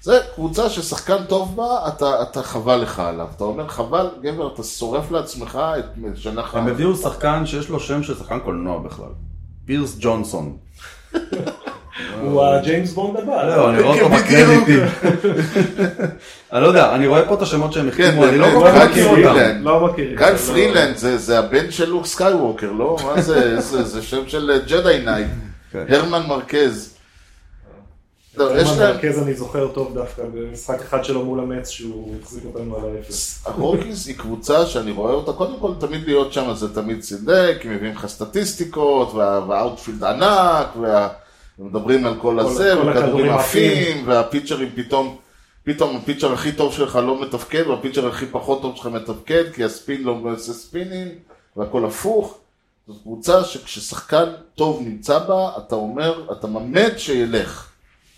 Speaker 2: זה קבוצה ששחקן טוב בה, אתה, אתה חבל לך עליו. אתה אומר, חבל, גבר, אתה שורף לעצמך את שלך.
Speaker 1: הם הביאו שחקן שיש לו שם של שחקן קולנוע בכלל. פירס ג'ונסון.
Speaker 3: הוא הג'יימס בונד
Speaker 2: אה,
Speaker 3: הבא.
Speaker 1: לא, אני רואה אותו בקרדיטים. אני לא יודע, אני רואה פה את השמות שהם החתימו,
Speaker 2: כן,
Speaker 1: אני לא
Speaker 2: באמת,
Speaker 1: כל כך
Speaker 2: רק
Speaker 1: מכיר
Speaker 2: יוריד
Speaker 1: אותם.
Speaker 2: להם.
Speaker 3: לא מכיר.
Speaker 2: גיא פרילנד זה, זה הבן של לוק סקייווקר, לא? מה זה? זה, זה שם של ג'די נייט.
Speaker 1: כן.
Speaker 2: הרמן מרקז. טוב,
Speaker 3: יש
Speaker 2: לא, יש להם...
Speaker 3: מרכז אני זוכר טוב דווקא במשחק אחד שלו מול המץ שהוא החזיק אותנו על האפס.
Speaker 2: הרוקיז היא קבוצה שאני רואה אותה, קודם כל תמיד להיות שם זה תמיד סינדק, הם מביאים לך סטטיסטיקות, וה- והאוטפילד ענק, וה- ומדברים על כל הזה,
Speaker 3: כל
Speaker 2: וכדורים
Speaker 3: הכדורים
Speaker 2: עפים,
Speaker 3: עפים.
Speaker 2: והפיצ'רים פתאום, פתאום הפיצ'ר הכי טוב שלך לא מתפקד, והפיצ'ר הכי פחות טוב שלך מתפקד, כי הספין לא עושה ספינים, והכל הפוך. זו קבוצה שכששחקן טוב נמצא בה, אתה אומר, אתה ממד שילך.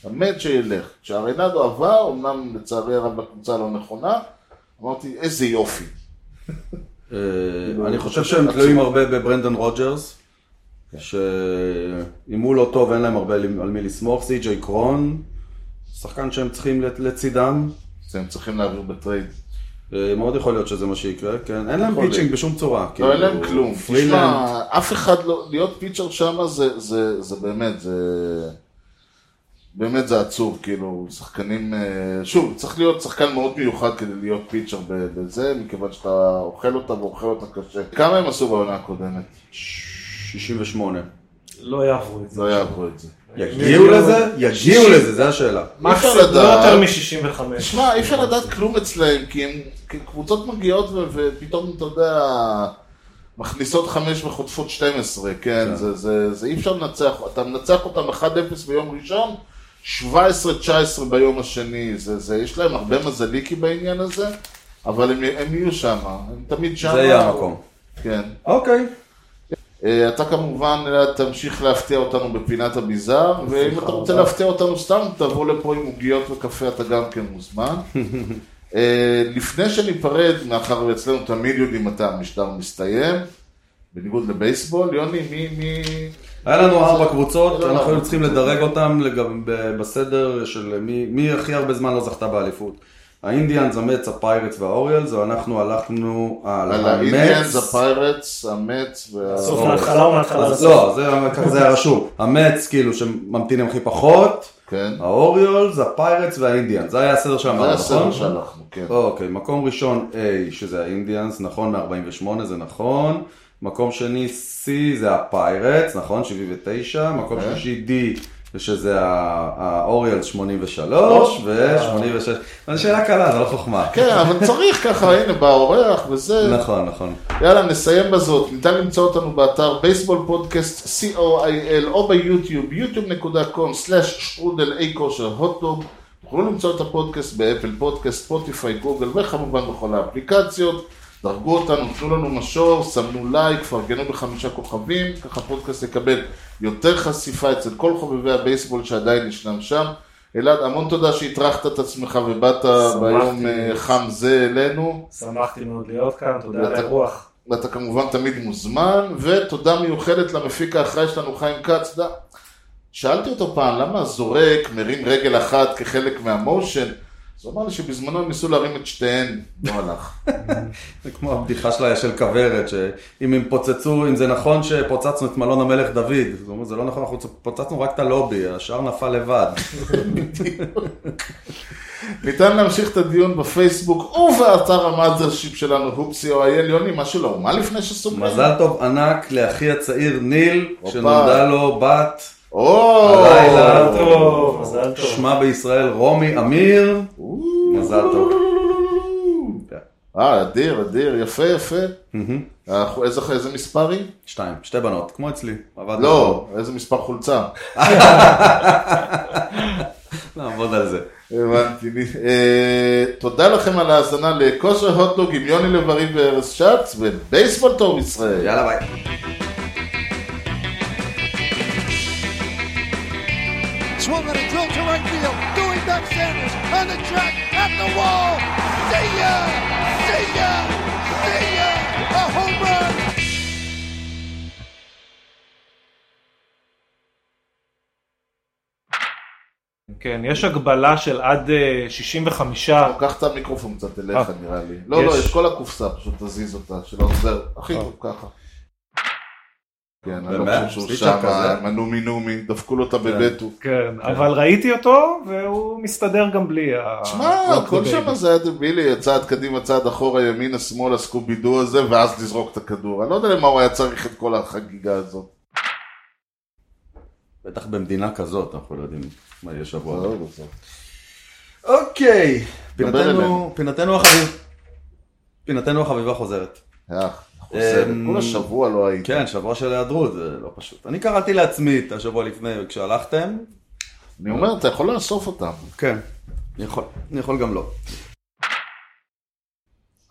Speaker 2: אמת שילך. כשהרנדו עבר, אמנם לצערי הרב לקבוצה לא נכונה, אמרתי, איזה יופי. כן.
Speaker 1: אה, אני חושב שהם תלויים הרבה בברנדון רוג'רס,
Speaker 2: כן.
Speaker 1: שאם הוא לא טוב אין להם הרבה על מי לסמוך, סי.ג'יי קרון, שחקן שהם צריכים לת- לצידם,
Speaker 2: אז הם צריכים להעביר בטרייד.
Speaker 1: אה, מאוד יכול להיות שזה מה שיקרה, כן, אין להם
Speaker 2: יכול
Speaker 1: פיצ'ינג בשום צורה,
Speaker 2: לא, אין להם
Speaker 1: כאילו,
Speaker 2: כלום.
Speaker 1: פרילנד,
Speaker 2: תשמע, אף אחד לא, להיות פיצ'ר שם זה, זה, זה באמת, זה... באמת זה עצוב, כאילו, שחקנים... אה, שוב, צריך להיות שחקן מאוד מיוחד כדי להיות פיצ'ר ב- בזה, מכיוון שאתה אוכל אותה ואוכל אותה קשה. כמה הם עשו בעונה הקודמת?
Speaker 1: 68.
Speaker 3: לא יעברו את זה.
Speaker 2: לא יעברו את זה.
Speaker 1: יגיעו לזה? יגיעו לזה, זו השאלה.
Speaker 3: מקס
Speaker 2: אי אפשר
Speaker 3: לא
Speaker 2: לדעת.
Speaker 3: יותר מ-65.
Speaker 2: תשמע, אי אפשר לדעת כלום אצלהם, כי הם כי קבוצות מגיעות ו- ופתאום, אתה יודע, מכניסות חמש וחוטפות 12, כן, זה, זה, זה אי אפשר לנצח, אתה מנצח אותם 1-0 ביום ראשון, 17-19 ביום השני, זה, זה, יש להם הרבה מזליקי בעניין הזה, אבל הם, הם יהיו שם, הם תמיד שם. לא.
Speaker 1: זה יהיה המקום.
Speaker 2: כן.
Speaker 1: אוקיי.
Speaker 2: אה, אתה כמובן אלעד, תמשיך להפתיע אותנו בפינת הביזאר, ואם אתה רוצה
Speaker 3: רבה.
Speaker 2: להפתיע אותנו סתם, תבוא לפה עם עוגיות וקפה, אתה גם כן מוזמן. אה, לפני שניפרד, מאחר ואצלנו תמיד יודעים מתי המשדר מסתיים, בניגוד לבייסבול, יוני, מי, מי...
Speaker 1: היה לנו ארבע קבוצות,
Speaker 2: לא, לא.
Speaker 1: אנחנו היינו צריכים לדרג אותן לגב- ב- בסדר של מי- מי הכי הרבה זמן לא זכתה באליפות. האינדיאנס, המץ, הפיירטס והאוריאלס, ואנחנו הלכנו על
Speaker 2: על
Speaker 1: המץ.
Speaker 2: האינדיאנס, הפיירטס, המץ
Speaker 3: סוף
Speaker 2: וה...
Speaker 1: לא.
Speaker 3: מההתחלה או מההתחלה
Speaker 1: אז
Speaker 3: לסוף.
Speaker 1: לא, זה ככה זה היה רשום. המץ, כאילו, שממתינים הכי פחות,
Speaker 2: כן,
Speaker 1: האוריולס, הפיירטס והאינדיאנס. זה היה הסדר
Speaker 2: זה
Speaker 1: שאמרנו,
Speaker 2: הסדר
Speaker 1: נכון?
Speaker 2: שהלכנו, כן.
Speaker 1: אוקיי, מקום ראשון A, שזה האינדיאנס, נכון, מ-48, זה נכון. מקום שני C, זה הפיירטס, נכון, 79. מקום
Speaker 2: אוקיי.
Speaker 1: שלישי D, שזה ה- האוריאלס, 83, ו-86. זו שאלה קלה, זו לא חוכמה.
Speaker 2: אוקיי. כן, אבל צריך ככה, הנה, בא האורח וזה,
Speaker 1: נכון, נכון.
Speaker 2: יאללה, נסיים בזאת. ניתן למצוא אותנו באתר בייסבול פודקאסט co.il או ביוטיוב, yוטיוב.com/שטרודל אי כושר הוטדוג. תוכלו למצוא את הפודקאסט באפל פודקאסט, ספוטיפיי, גוגל וכמובן בכל האפליקציות. דרגו אותנו, תנו לנו משור, סמנו לייק, פרגנו בחמישה כוכבים, ככה הפודקאסט יקבל יותר חשיפה אצל כל חובבי הבייסבול שעדיין ישנם שם. אלעד, המון תודה שהטרחת את עצמך ובאת
Speaker 3: שמחתי.
Speaker 2: ביום אה, חם זה אלינו.
Speaker 3: שמחתי מאוד להיות כאן, תודה על
Speaker 2: ואתה-
Speaker 3: האירוח.
Speaker 2: ואתה כמובן תמיד מוזמן, ותודה מיוחדת למפיק האחראי שלנו חיים כץ, ד- שאלתי אותו פעם, למה הזורק מרים רגל אחת כחלק מהמושן? אז הוא אמר לי שבזמנו הם ניסו להרים את שתיהן, לא הלך.
Speaker 1: זה כמו הבדיחה שלה של כוורת, שאם הם פוצצו, אם זה נכון שפוצצנו את מלון המלך דוד, אז הוא אומר, זה לא נכון, אנחנו פוצצנו רק את הלובי, השאר נפל לבד.
Speaker 2: ניתן להמשיך את הדיון בפייסבוק ובאתר המאזרשיפ שלנו, הופסי או אייל יוני, משהו לאומה לפני שסוגרים.
Speaker 1: מזל טוב ענק לאחי הצעיר ניל,
Speaker 2: הופה.
Speaker 1: שנולדה לו בת
Speaker 2: או,
Speaker 1: הלילה.
Speaker 3: מזל טוב, מזל טוב.
Speaker 1: שמה בישראל רומי אמיר. מזל טוב.
Speaker 2: אה, אדיר, אדיר, יפה, יפה. אה, איזה- איזה מספר היא?
Speaker 1: שתיים, שתי בנות, כמו אצלי. עבדנו.
Speaker 2: לא, איזה מספר חולצה.
Speaker 1: נעבוד על זה.
Speaker 2: הבנתי. אה, תודה לכם על ההאזנה לכושר הוטדוג עם יוני לב-ארי וארז שץ ובייסבול טוב ישראל.
Speaker 1: יאללה ביי.
Speaker 4: Swung and a drill to right field. Doing back Sanders on the track at the wall. See ya! See ya! See ya! A home run!
Speaker 3: כן, יש הגבלה של עד אה, 65,
Speaker 2: קח את המיקרופון קצת אליך
Speaker 3: אה.
Speaker 2: נראה לי. לא, לא,
Speaker 3: יש. אה.
Speaker 2: את כל הקופסה, פשוט תזיז אותה, שלא עוזר. הכי טוב ככה. כן, אני לא
Speaker 1: באמת?
Speaker 2: חושב שהוא
Speaker 1: סליצ'ר
Speaker 2: שם, אה,
Speaker 1: כזה?
Speaker 2: מנומי נומי, דפקו לו אותה בבטו.
Speaker 3: כן, אבל ראיתי אותו והוא מסתדר גם בלי ה...
Speaker 1: אה,
Speaker 2: שמע,
Speaker 1: לא
Speaker 3: Rock the
Speaker 2: הכל
Speaker 3: Baby.
Speaker 2: שם זה היה דבילי, צעד קדימה, צעד אחורה, ימינה, שמאלה, סקובידו הזה, ואז לזרוק את הכדור. אני לא יודע למה הוא היה צריך את כל החגיגה הזאת.
Speaker 1: בטח במדינה כזאת, אנחנו לא יודעים מה יהיה שבוע. הבא.
Speaker 2: לא, לא, לא.
Speaker 1: אוקיי,
Speaker 2: דבר
Speaker 1: פינתנו-
Speaker 2: אלינו.
Speaker 1: פינתנו החביב- פינתנו החביבה חוזרת.
Speaker 2: אח, חוזרת.
Speaker 1: אמ,
Speaker 2: כל השבוע לא הייתי.
Speaker 1: כן, שבוע של היעדרות, זה לא פשוט. אני קראתי לעצמי את השבוע לפני, כשהלכתם,
Speaker 2: אני אומר, אתה יכול לאסוף אותם.
Speaker 1: כן. אני יכול, אני יכול גם לא.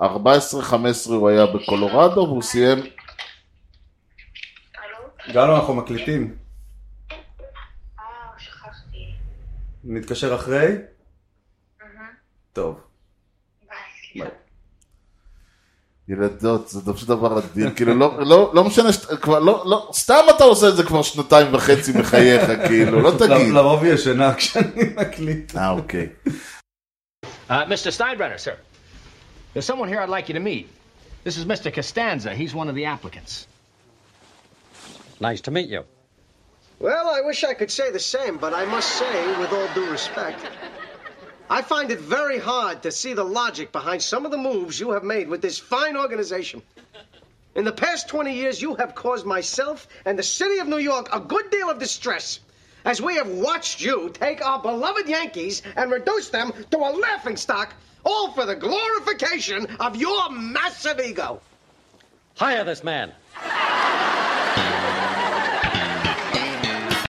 Speaker 2: 14-15 הוא היה בקולורדו, והוא סיים
Speaker 1: גלו, אנחנו מקליטים.
Speaker 7: אה, שכחתי.
Speaker 1: נתקשר אחרי? טוב.
Speaker 7: ביי, סליחה.
Speaker 1: ביי.
Speaker 2: ילדות, זה פשוט דבר אדיר, כאילו לא, לא, לא משנה, שאת- כבר לא, לא, סתם אתה עושה את זה כבר שנתיים וחצי בחייך, כאילו, לא תגיד.
Speaker 1: לרוב היא ישנה כשאני מקליט.
Speaker 2: אה, אוקיי.
Speaker 8: Uh, Mr. Steinbrenner, sir. There's someone here I'd like you to meet. This is Mr. Costanza. He's one of the applicants.
Speaker 9: Nice to meet you.
Speaker 10: Well, I wish I could say the same, but I must say, with all due respect, I find it very hard to see the logic behind some of the moves you have made with this fine organization. In the past 20 years, you have caused myself and the city of New York a good deal of distress as we have watched you take our beloved Yankees and reduce them to a laughingstock, all for the glorification of your massive ego.
Speaker 9: Hire this man.